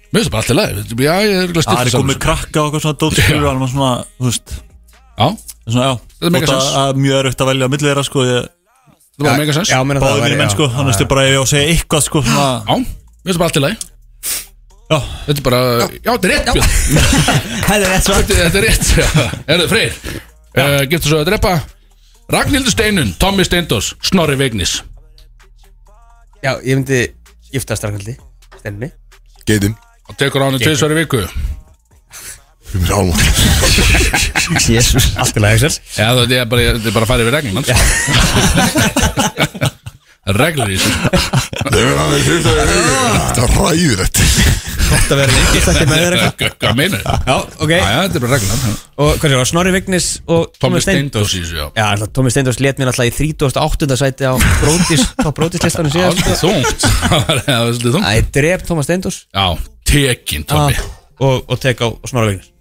Speaker 3: mér finnst það bara allt í lagi já, ég er örugglega að
Speaker 1: Það er
Speaker 3: stilla
Speaker 1: komið með
Speaker 3: saman
Speaker 1: krakka og eitthvað svona dótskjur og hann var svona, þú veist
Speaker 3: já,
Speaker 1: svona, já,
Speaker 3: Þetta er mega
Speaker 1: Þótt að-
Speaker 3: sens.
Speaker 1: að mjög erögt að velja að milli þeirra sko, ég
Speaker 3: það var mega sens
Speaker 4: Já,
Speaker 3: já,
Speaker 4: meina það
Speaker 1: báði mínu
Speaker 4: væri-
Speaker 1: menn sko,
Speaker 4: já,
Speaker 1: þannig að bara ef ég á að segja eitthvað sko, svona,
Speaker 3: mér finnst það bara allt í lagi
Speaker 1: já,
Speaker 3: þetta er bara, já, þetta er rétt Björn
Speaker 7: Það er rétt svar
Speaker 3: Þetta, þetta er rétt Er það freyr? Uh, Giftur svo að drepa Ragnhildur Steinun, Tommy Steindors, Snorri Vignis
Speaker 4: Já, ég myndi gifta starfkvöldi Stemmi
Speaker 2: Geitin
Speaker 3: Og tekur á hann tveis í viku
Speaker 2: Fyrir mér álum
Speaker 7: Jésus
Speaker 4: Allt í lagi, Axel
Speaker 3: Já, þetta er bara, þetta er bara að fara yfir reglunum (laughs) Reglur í þessu sko.
Speaker 2: Það er aðeins fyrir það Það er ræðilegt
Speaker 4: Þetta verður við gifta ekki með þér eitthvað
Speaker 3: Hvað meinar það?
Speaker 4: Já, (laughs) ok
Speaker 3: Já, þetta er bara reglunum
Speaker 4: Og hvað er það, Snorri Vignis og
Speaker 3: Tommy
Speaker 4: Tómas Steindórs.
Speaker 3: Steindors í þessu, já
Speaker 4: Já, alltaf Tómi Steindors let mér alltaf í 38. sæti á brótis,
Speaker 3: (laughs)
Speaker 4: á brótislistanum
Speaker 3: Það
Speaker 4: síðan
Speaker 3: var svolítið
Speaker 4: (laughs)
Speaker 3: þungt Það var það var svolítið þungt
Speaker 4: Það er dref Tómas Steindors
Speaker 3: Já, tekin Tommy
Speaker 4: Ah, og, og tek á Snorra Vignis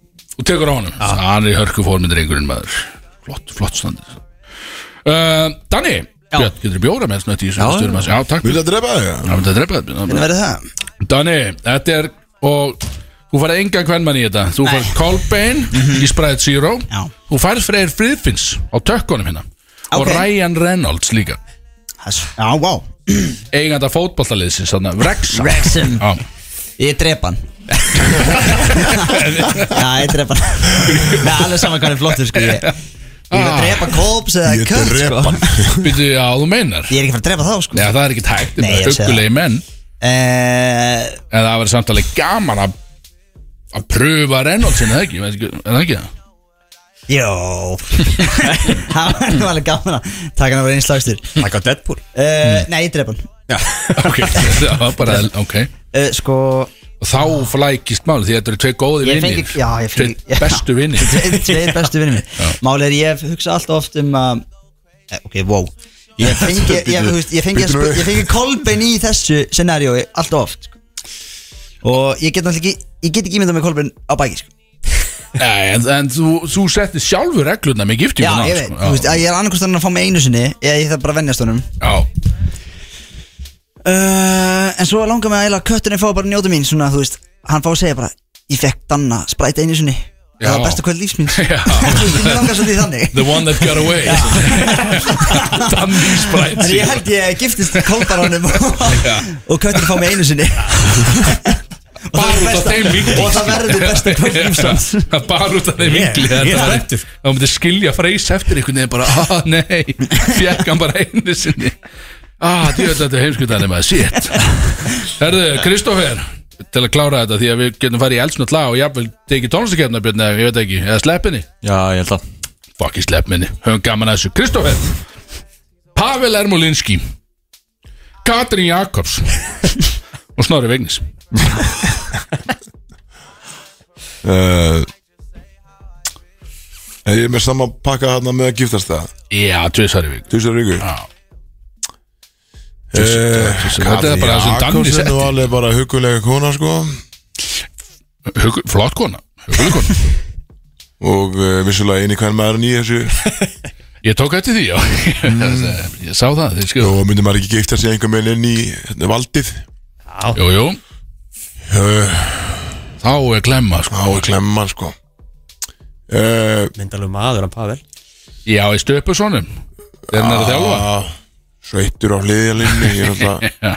Speaker 3: Og tekur á honum Hann er í hörku formið reyngurinn maður Flott, flott standið uh, Danni Björn, getur þú bjóra með snötti í þessu styrum að- Já, takk
Speaker 2: Vil það drepa þig?
Speaker 3: Það var þetta að drepa þetta
Speaker 7: Hvernig verður það?
Speaker 3: Danni, þetta er og þú farið engan kvennmann í þetta þú farið Colbane í Sprite Zero
Speaker 7: Mhm. Já.
Speaker 3: þú farið Freyr Friðfinns á tökkunum hérna og
Speaker 7: Ok.
Speaker 3: Ryan Reynolds líka
Speaker 7: Það er svo- Já, vá
Speaker 3: eiganda fótballtaliðsins þarna, Wrexham
Speaker 7: Wrexham.
Speaker 3: Já.
Speaker 7: Ég drep (laughs) hann Já, ég drep hann Nei, alveg saman hvað hann er flottur, sko Ég ég er að drepa kóps eða
Speaker 2: Ég
Speaker 7: kött,
Speaker 2: drep
Speaker 7: sko
Speaker 2: hann.
Speaker 3: Býtu, já, þú meinar
Speaker 7: Ég er ekki að fara að drepa þá, sko
Speaker 3: Já, það er ekkert hægt, það
Speaker 7: Nei,
Speaker 3: er
Speaker 7: ég sé það.
Speaker 3: huggulegi menn
Speaker 7: Eh,
Speaker 3: en það verður samtalið gaman að að pröfa Reynolds er það ekki, Ég veit ekki- er það ekki það?
Speaker 7: Jó (laughs) Það var nú alveg gaman að taka hann á einn slagstur
Speaker 4: Takk á Deadpool
Speaker 7: uh, Nei, ég drep hann
Speaker 3: (laughs) ok, það var bara ok
Speaker 7: uh, Sko
Speaker 3: og þá flækist máli því þetta eru tvei góði
Speaker 7: Ég
Speaker 3: vinnir
Speaker 7: fengi Já, ég fengi
Speaker 3: Tveir bestu vinnir
Speaker 7: (laughs)
Speaker 3: (laughs)
Speaker 7: Tveir tveir bestu vinnir minn Málið er ég hugsa alltaf oft um að eh, Ok, wow
Speaker 3: (laughs)
Speaker 7: Ég fengi Ég, ég, þú veist, ég fengi, að sp- ég fengi Kolbein í þessu scenariói Alltaf oft sko. Og ég get náttúrulega ekki Ég get ekki ímyndað með Kolbein á bæki sko.
Speaker 3: Nei, en, en þú, þú settir sjálfur reglurna með
Speaker 7: Já,
Speaker 3: giftinguna sko.
Speaker 7: ég veit Þú veist, að Ég er annarkvist þannig að fá mig einu sinni Eða ég þarf bara að vennjast honum
Speaker 3: já,
Speaker 7: Uh, en svo langar mig að eiginlega að kötturinn fá bara að njóta mín svona, þú veist, hann fá að segja bara ég fekk Danna spræta einu sinni
Speaker 3: Já.
Speaker 7: það var besta kvöld lífs mín
Speaker 3: (laughs) Já.
Speaker 7: (laughs) ég langar svolítið þannig
Speaker 3: The one that got away (laughs) Danny Sprite
Speaker 7: en ég held ég giftist
Speaker 4: (laughs)
Speaker 7: kólbaranum og,
Speaker 3: Já.
Speaker 7: og kötturinn fá mig einu sinni og
Speaker 3: Bara út af
Speaker 7: besta-
Speaker 3: þeim vinkli
Speaker 7: og það verður besta kvöld lífs hans
Speaker 3: (laughs) Bara út af þeim vinkli
Speaker 4: ég er
Speaker 3: Þetta var-
Speaker 4: spenntur.
Speaker 3: þá (laughs) myndi skilja freys eftir einhvern veginn bara, ah nei Fjekk hann bara einu sinni Ah, djöfull, þetta er heimskvitaðni maður, shit Herðu, Kristófer Til að klára þetta, því að við getum farið í eldsnöld lag Og jafnvel tekið tónlistakefna björn Eða ég veit ekki, eða sleppinni
Speaker 1: Já, ég held að
Speaker 3: Fucking sleppinni, höfum gaman að þessu Kristófer Pavel Ermolinski Katrin Jakobs Og Snorri Vignis
Speaker 2: uh, Ég er með saman pakka hérna með að giftast það
Speaker 3: Já, tvisari Vignis
Speaker 2: Tvísar viku Eh,
Speaker 3: Þetta er bara það sem Danni
Speaker 2: Jakobsen
Speaker 3: setti.
Speaker 2: og alveg bara hugulega kona sko
Speaker 3: Hug- Flott kona, huguleg kona
Speaker 2: og uh, vissulega eini hvern maður í
Speaker 3: (laughs)
Speaker 2: þessu
Speaker 3: Ég tók eftir því, já Ég sá það, þið skil
Speaker 2: og myndi maður ekki gifta sig einhver meginn inn í hérna, valdið
Speaker 3: Jú, jú,
Speaker 2: uh,
Speaker 3: þá er klemma,
Speaker 2: á
Speaker 3: sko
Speaker 2: að klemma sko uh,
Speaker 4: Myndalegu maður hann Pavel
Speaker 3: Já, í stöpu svonum Þegar hann er að þjálfa
Speaker 2: að sveittur á hliðjalinnu ég er
Speaker 3: (laughs)
Speaker 2: alltaf
Speaker 3: Já.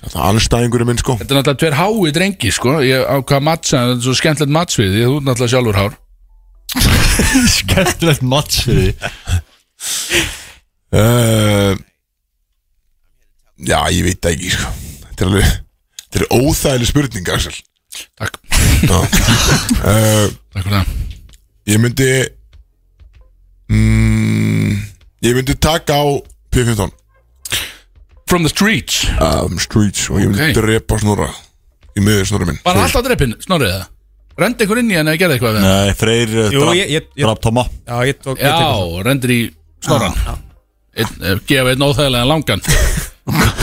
Speaker 2: Þetta er anstæðingurinn minn sko
Speaker 3: Þetta er náttúrulega tver hái drengi sko Ég ákvað mattsa, þetta er svo skemmtilegt mattsvið Því að þú er náttúrulega sjálfur hár
Speaker 1: Skemmtilegt match fyrir því
Speaker 2: uh, Já, ég veit það ekki sko Þetta er alveg Þetta er óþægileg spurning,
Speaker 3: (laughs)
Speaker 2: Axel
Speaker 3: Takk,
Speaker 2: Já. uh,
Speaker 3: takk fyrir það
Speaker 2: Ég myndi mm, Ég myndi taka á P15
Speaker 3: From the streets,
Speaker 2: um, Streets og ég myndi
Speaker 3: Ok.
Speaker 2: drepa snurra Í miður snurra minn
Speaker 3: bara alltaf dreppin, snorrið það Rendi ykkur inn í hann eða gerði eitthvað við hann
Speaker 1: Nei, Freyr eh,
Speaker 4: Jú,
Speaker 1: drap-
Speaker 4: ég- ég- ég-
Speaker 1: drap Toma
Speaker 4: Já, ég tók ég tek þessu.
Speaker 3: Já, rendir í snorran Einn- eh, Gefa einn óþægilega langan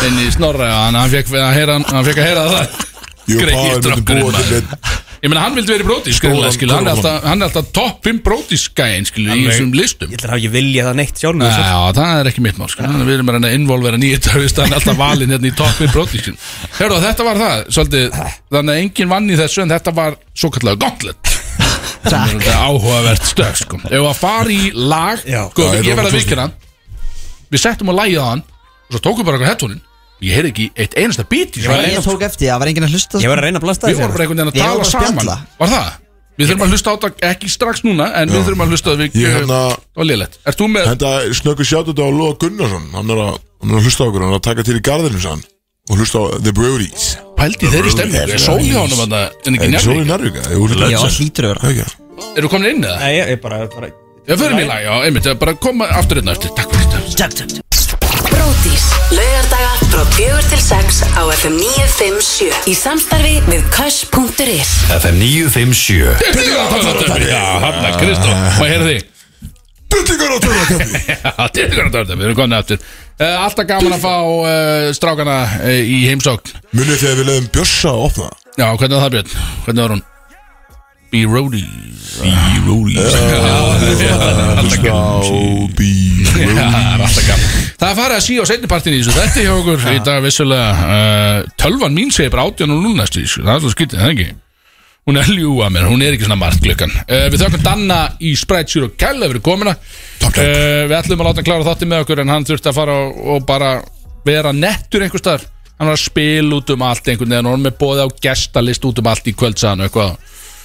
Speaker 3: Inn í snorra Hann, hann, fekk, að heyra, hann fekk að heyra það
Speaker 2: Ég og
Speaker 3: Gregi
Speaker 2: Pavel myndi
Speaker 3: drökkurinn,
Speaker 2: búa til
Speaker 3: maður.
Speaker 2: einn
Speaker 3: Ég meina, hann vildi verið brótis
Speaker 2: Stóran
Speaker 3: Hann er
Speaker 2: körfubolta.
Speaker 3: alltaf, hann er alltaf topp 5 brótisgæin Í
Speaker 4: Alveg.
Speaker 3: þessum listum
Speaker 4: Ég ætla að hafa ekki vilja það neitt sko. sjálf með þessu
Speaker 3: Já, það er ekki mitt mál sko. Við erum að reyna að involvera nýtt Það er alltaf valinn hérna í toppin brotískin Hörðu, þetta var það svolítið, Þannig að enginn vann í þessu En þetta var svo kallega
Speaker 4: (laughs)
Speaker 3: gauntlet Sem er þetta áhugavert stöð sko. Ef að fara í lag
Speaker 4: Já.
Speaker 3: sko,
Speaker 2: Já, ég
Speaker 3: Ég verða
Speaker 2: tók
Speaker 3: vikina Við settum að lægja hann Og svo tókum bara eitthvað hettónin Ég heyrði ekki eitt einasta bít í svo
Speaker 7: Ég
Speaker 3: leið.
Speaker 7: tók eftir, það var enginn að hlusta sko.
Speaker 4: Ég var að reyna að blasta
Speaker 3: Við vorum
Speaker 4: þessu hérna.
Speaker 3: bara einhvern veginn að
Speaker 7: Ég var
Speaker 3: tala
Speaker 7: bara að
Speaker 3: saman
Speaker 7: spjalla.
Speaker 3: Var það? Við þurfum að hlusta á þetta ekki strax núna En við þurfum að hlusta á þetta
Speaker 2: Ég
Speaker 3: við-
Speaker 2: hérna
Speaker 3: Það var liðlegt Ert þú með
Speaker 2: Henda snöggur sjátt þetta á Lóa Gunnarsson Hann er að, hann er að hlusta á okkur Hann er að taka til í garðinu sann Og hlusta á The Brodies
Speaker 3: pældi í þeirri stemmingu Er sól í honum að það En ekki
Speaker 2: En svo er
Speaker 3: nefnir
Speaker 2: nærvíka Ég úr
Speaker 7: Já,
Speaker 2: þetta
Speaker 7: hlýtur að vera
Speaker 2: Ekki
Speaker 3: Eru komin inn eða?
Speaker 4: Nei, ég ég bara, bara
Speaker 3: Við förum í lag, já, einmitt, bara koma aftur hérna eftir Takk fyrir þetta
Speaker 5: Brótis, laugardaga frá 4 til 6 á FM 957 í samstarfi við Kösh.is
Speaker 6: FM 957
Speaker 3: Þetta er að tala þetta Já, hann er Kristó, hvað heyrði þig? (laughs)
Speaker 2: Duttingar á törnarkjöfni
Speaker 3: Þetta er að tala þetta, við erum komin aftur Eh, Alltaf gaman að fá uh, strákana uh, í heimsókn
Speaker 2: Munið þegar við leiðum Björsa að opna
Speaker 3: Já, hvernig var það Björn? Hvernig var hún? B-Roadies Eh, B-Roadies
Speaker 2: Alltaf
Speaker 3: (laughs)
Speaker 2: gaman
Speaker 3: Það er farið að síða á setnipartin í þessu Þetta er hjá okkur í dag vissulega uh, Tölvan mín segir bara átján og núna Það er alltaf skytið, það er ekki Hún er að ljúga mér, hún er ekki svona margt glöggan uh, Við þökkum Danna í Sprite Zero Kæla fyrir komuna uh, Við ætlum að láta hann klára þátti með okkur En hann þurfti að fara og, og bara vera nettur einhver staðar Hann var að spila út um allt einhvern veginn Og hann er með bóði á gestalist út um allt í kvöldsaðan eitthvað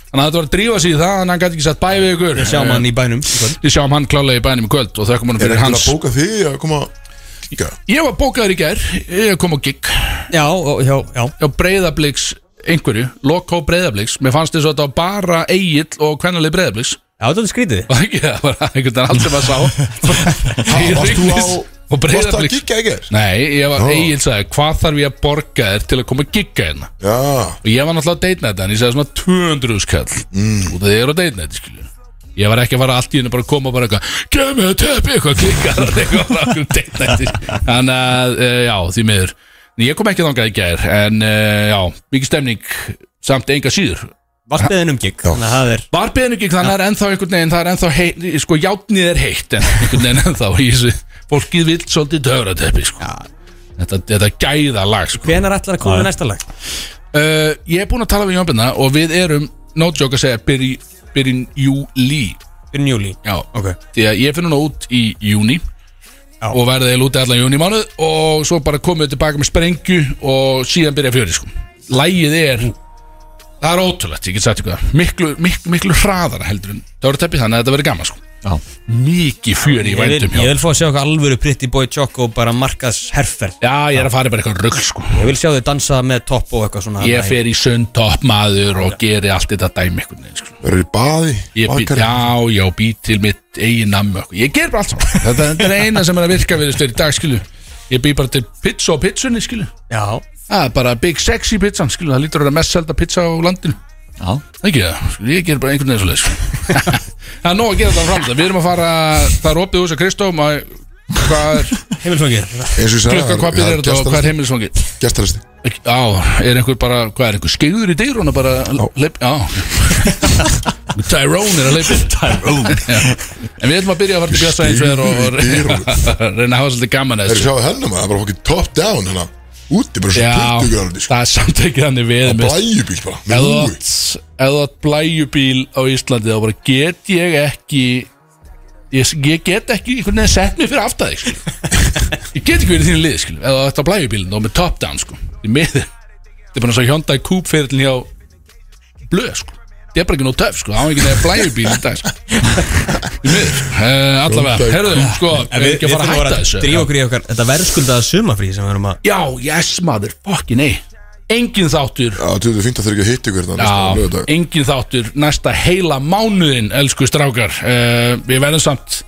Speaker 3: Þannig að þetta var að drífa sig í það Þannig að hann gæti ekki satt bæ við ykkur
Speaker 4: Sjá mann í bænum í kvöld.
Speaker 3: Eh, Við sjáum hann klálega í bænum í kvöld Og þökkum hann
Speaker 2: Er
Speaker 3: fyrir
Speaker 2: ekkert að
Speaker 3: hans
Speaker 2: bóka þig að koma Gíka
Speaker 3: Ég var bókaður í gær, ég kom á gig
Speaker 4: Já, og- já, já
Speaker 3: á breyðabliks einhverju, lokó breyðabliks Mér fannst þess að þetta var bara eigill og kvennalið breyðabliks
Speaker 4: Já, þetta er skrítið
Speaker 3: Og ekki, (laughs) það var einhvern veginn allt sem
Speaker 2: (laughs)
Speaker 3: að sá Í
Speaker 2: Varst þú á
Speaker 3: Rignis
Speaker 2: Varst það
Speaker 3: Og
Speaker 2: að
Speaker 3: breyðabliks
Speaker 2: gíka ekkert?
Speaker 3: Nei, ég var
Speaker 2: Ó.
Speaker 3: eigin sagði, hvað þarf ég að borga þér til að koma að gigga hérna
Speaker 2: Já
Speaker 3: Og ég var náttúrulega að deitna þetta En ég sagði svona 200 skall mm. Og það er að deitna þetta, skilju Ég var ekki að fara allt í henni bara að koma og bara eitthvað Gjömi að tepi eitthvað klikkar Eitthvað frá okkur deitna þetta Þannig að, e, já, því miður En Ég kom ekki þangað í gær En, e, já, mikið stemning Samt enga síður
Speaker 4: Varpiðin um gig Þannig að það er
Speaker 3: Var beðinu ekki, þannig að það er ennþá einhvern veginn Það er ennþá, heit, sko, játnið er heitt En einhvern veginn ennþá í þessu Fólkið vill svolítið töfratepi, sko Þetta, þetta gæða lag, sko
Speaker 4: Hvenær ætlar að koma með næsta lag?
Speaker 3: Uh, ég er búinn að tala við Jónbjörna og við erum, no joke að segja, byrjun byrjun júli
Speaker 4: Fyrir júli
Speaker 3: Já,
Speaker 4: Ok.
Speaker 3: því að ég finn hún út í júni
Speaker 4: Já.
Speaker 3: og verði eiginlega úti allan júni mánuð og svo bara komum við tilbaka með sprengju og síðan byrja fjöri sko. Lægið er,
Speaker 4: Mm.
Speaker 3: það er ótrúlegt, ég get sagt ykkur það, miklu, miklu, miklu hraðara heldur en það voru teppið þannig að þetta verður gaman sko. mikið fjör í
Speaker 4: Ég vil,
Speaker 3: vændum
Speaker 4: ég
Speaker 3: hjá
Speaker 4: vil fá að sjá eitthvað alvöru Pretty Boy Choco bara markaðs herferð
Speaker 3: Já, ég er að fara í bara eitthvað rugg sko
Speaker 4: Ég vil sjá þau dansa með topp og eitthvað svona
Speaker 3: Ég fer í sundtopp maður og geri allt þetta dæmi einhvern veginn sko
Speaker 2: Verður í baði
Speaker 3: Ég bý,
Speaker 2: bakari.
Speaker 3: já, já, bý til mitt eigin nammu eitthvað. Ég ger bara allt saman Þetta, þetta er eina sem er að virka við þessu í dag skilu Ég bý bara til pizza og pizzunni skilu
Speaker 4: Já,
Speaker 3: Það er bara big sexy pizzan skilu Það lítur að vera mest selda pizza á landinu
Speaker 7: Já.
Speaker 3: Það er Ekki það, skilu, ég ger bara einhvern veginn svoleið skilu (laughs) Það er nóg að gera þetta fram Við erum að fara, það er opið hús að Kristó maður- Hvað er,
Speaker 4: heimilfangir
Speaker 2: Eins og ég sagði
Speaker 3: klukkan hvað byrjar þetta og hvað er heimilisfangið?
Speaker 2: Gæstarasti
Speaker 3: Já, er einhver bara, hvað er einhver skegður í dyrun og bara leip, já (laughs) Tyrone er að leipa Tyrone En við ætlum að byrja að fara til Björsa eins og er og, og (laughs) reyna að hafa svolítið gaman að
Speaker 2: Þeir
Speaker 3: þessu
Speaker 2: sjáðu hennar maður, það er bara fokkið top down hérna Úti bara svo 20
Speaker 3: Já,
Speaker 2: gráður
Speaker 3: það er samt ekki þannig við
Speaker 2: Og
Speaker 3: mér finnst-
Speaker 2: blæjubíl sko. bara
Speaker 3: Ef
Speaker 2: með
Speaker 3: þú
Speaker 2: lúi.
Speaker 3: átt ef þú átt blæjubíl á Íslandi þá bara get ég ekki ég, ég get ekki einhvern veginn sett mig fyrir aftæði sko. ég get ekki verið þínu lið sko. ef þú átt á blæjubílinn þá með top down sko. í miður þetta er bara svo Hyundai Coupe fyrirlin hjá blöð sko. þetta er bara ekki nóg töf sko. það á ekki nefnir blæjubíl í dag sko. í miður sko. uh, allavega,
Speaker 2: Hyundai
Speaker 3: herðu sko, ef við ekki að fara að hætta þessu
Speaker 4: Drífa okkur í okkar Þetta verðskuldaða sumafrí sem við erum að
Speaker 3: já, yes maður, fucking ei engin þáttur
Speaker 2: Já, þú veit, fínt að þeir ekki að hitta ykkur þarna
Speaker 3: Já,
Speaker 2: næsta lögadag
Speaker 3: engin þáttur næsta heila mánuðin, elsku strákar uh, Við verðum samt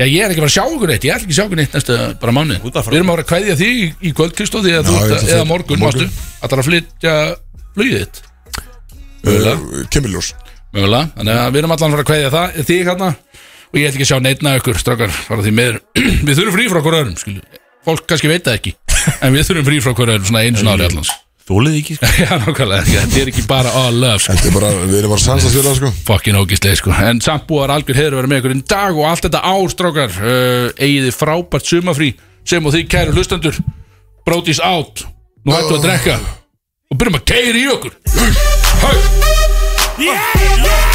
Speaker 3: Já, ég er ekki bara að sjá okkur neitt, ég ætla ekki að sjá okkur neitt næsta bara mánuðin
Speaker 4: Út að fara.
Speaker 3: Við erum að vera að kveðja því í, í kvöld, Kristó, því að
Speaker 2: Já,
Speaker 3: þú
Speaker 2: ég
Speaker 3: ert
Speaker 2: ætla
Speaker 3: að,
Speaker 2: að
Speaker 3: eða
Speaker 2: flyt-
Speaker 3: morgun,
Speaker 2: morgun.
Speaker 3: morgun. Að að flytja flugið þitt,
Speaker 2: Uh, Kemmiljós
Speaker 3: mögulega Þannig að við erum allan að fara að kveðja það, því hérna Og ég ætla ekki að sjá neitna ykkur, strákar, bara því meður (clears throat) Við þurfum frí frá okkur öðrum, skilju Fólk kannski veit það ekki,
Speaker 2: (laughs)
Speaker 3: en við þurfum frí frá okkur öðrum, svona einu svona ári allans
Speaker 1: Þólið ekki sko.
Speaker 3: (laughs) Já, nákvæmlega, þetta er ekki bara all love, sko
Speaker 2: Þetta er bara, við erum bara sannsastfélag sko
Speaker 3: fokkin ógislega sko en samt búið að vera algjör heiður að vera með ykkur í dag og allt þetta ár strákar uh, eigið þið frábært sumafrí sem og þið kæru hlustendur brótis átt nú hættu að drekka og byrjum að keiri í okkur Hæ, hæ
Speaker 1: yeah, yeah.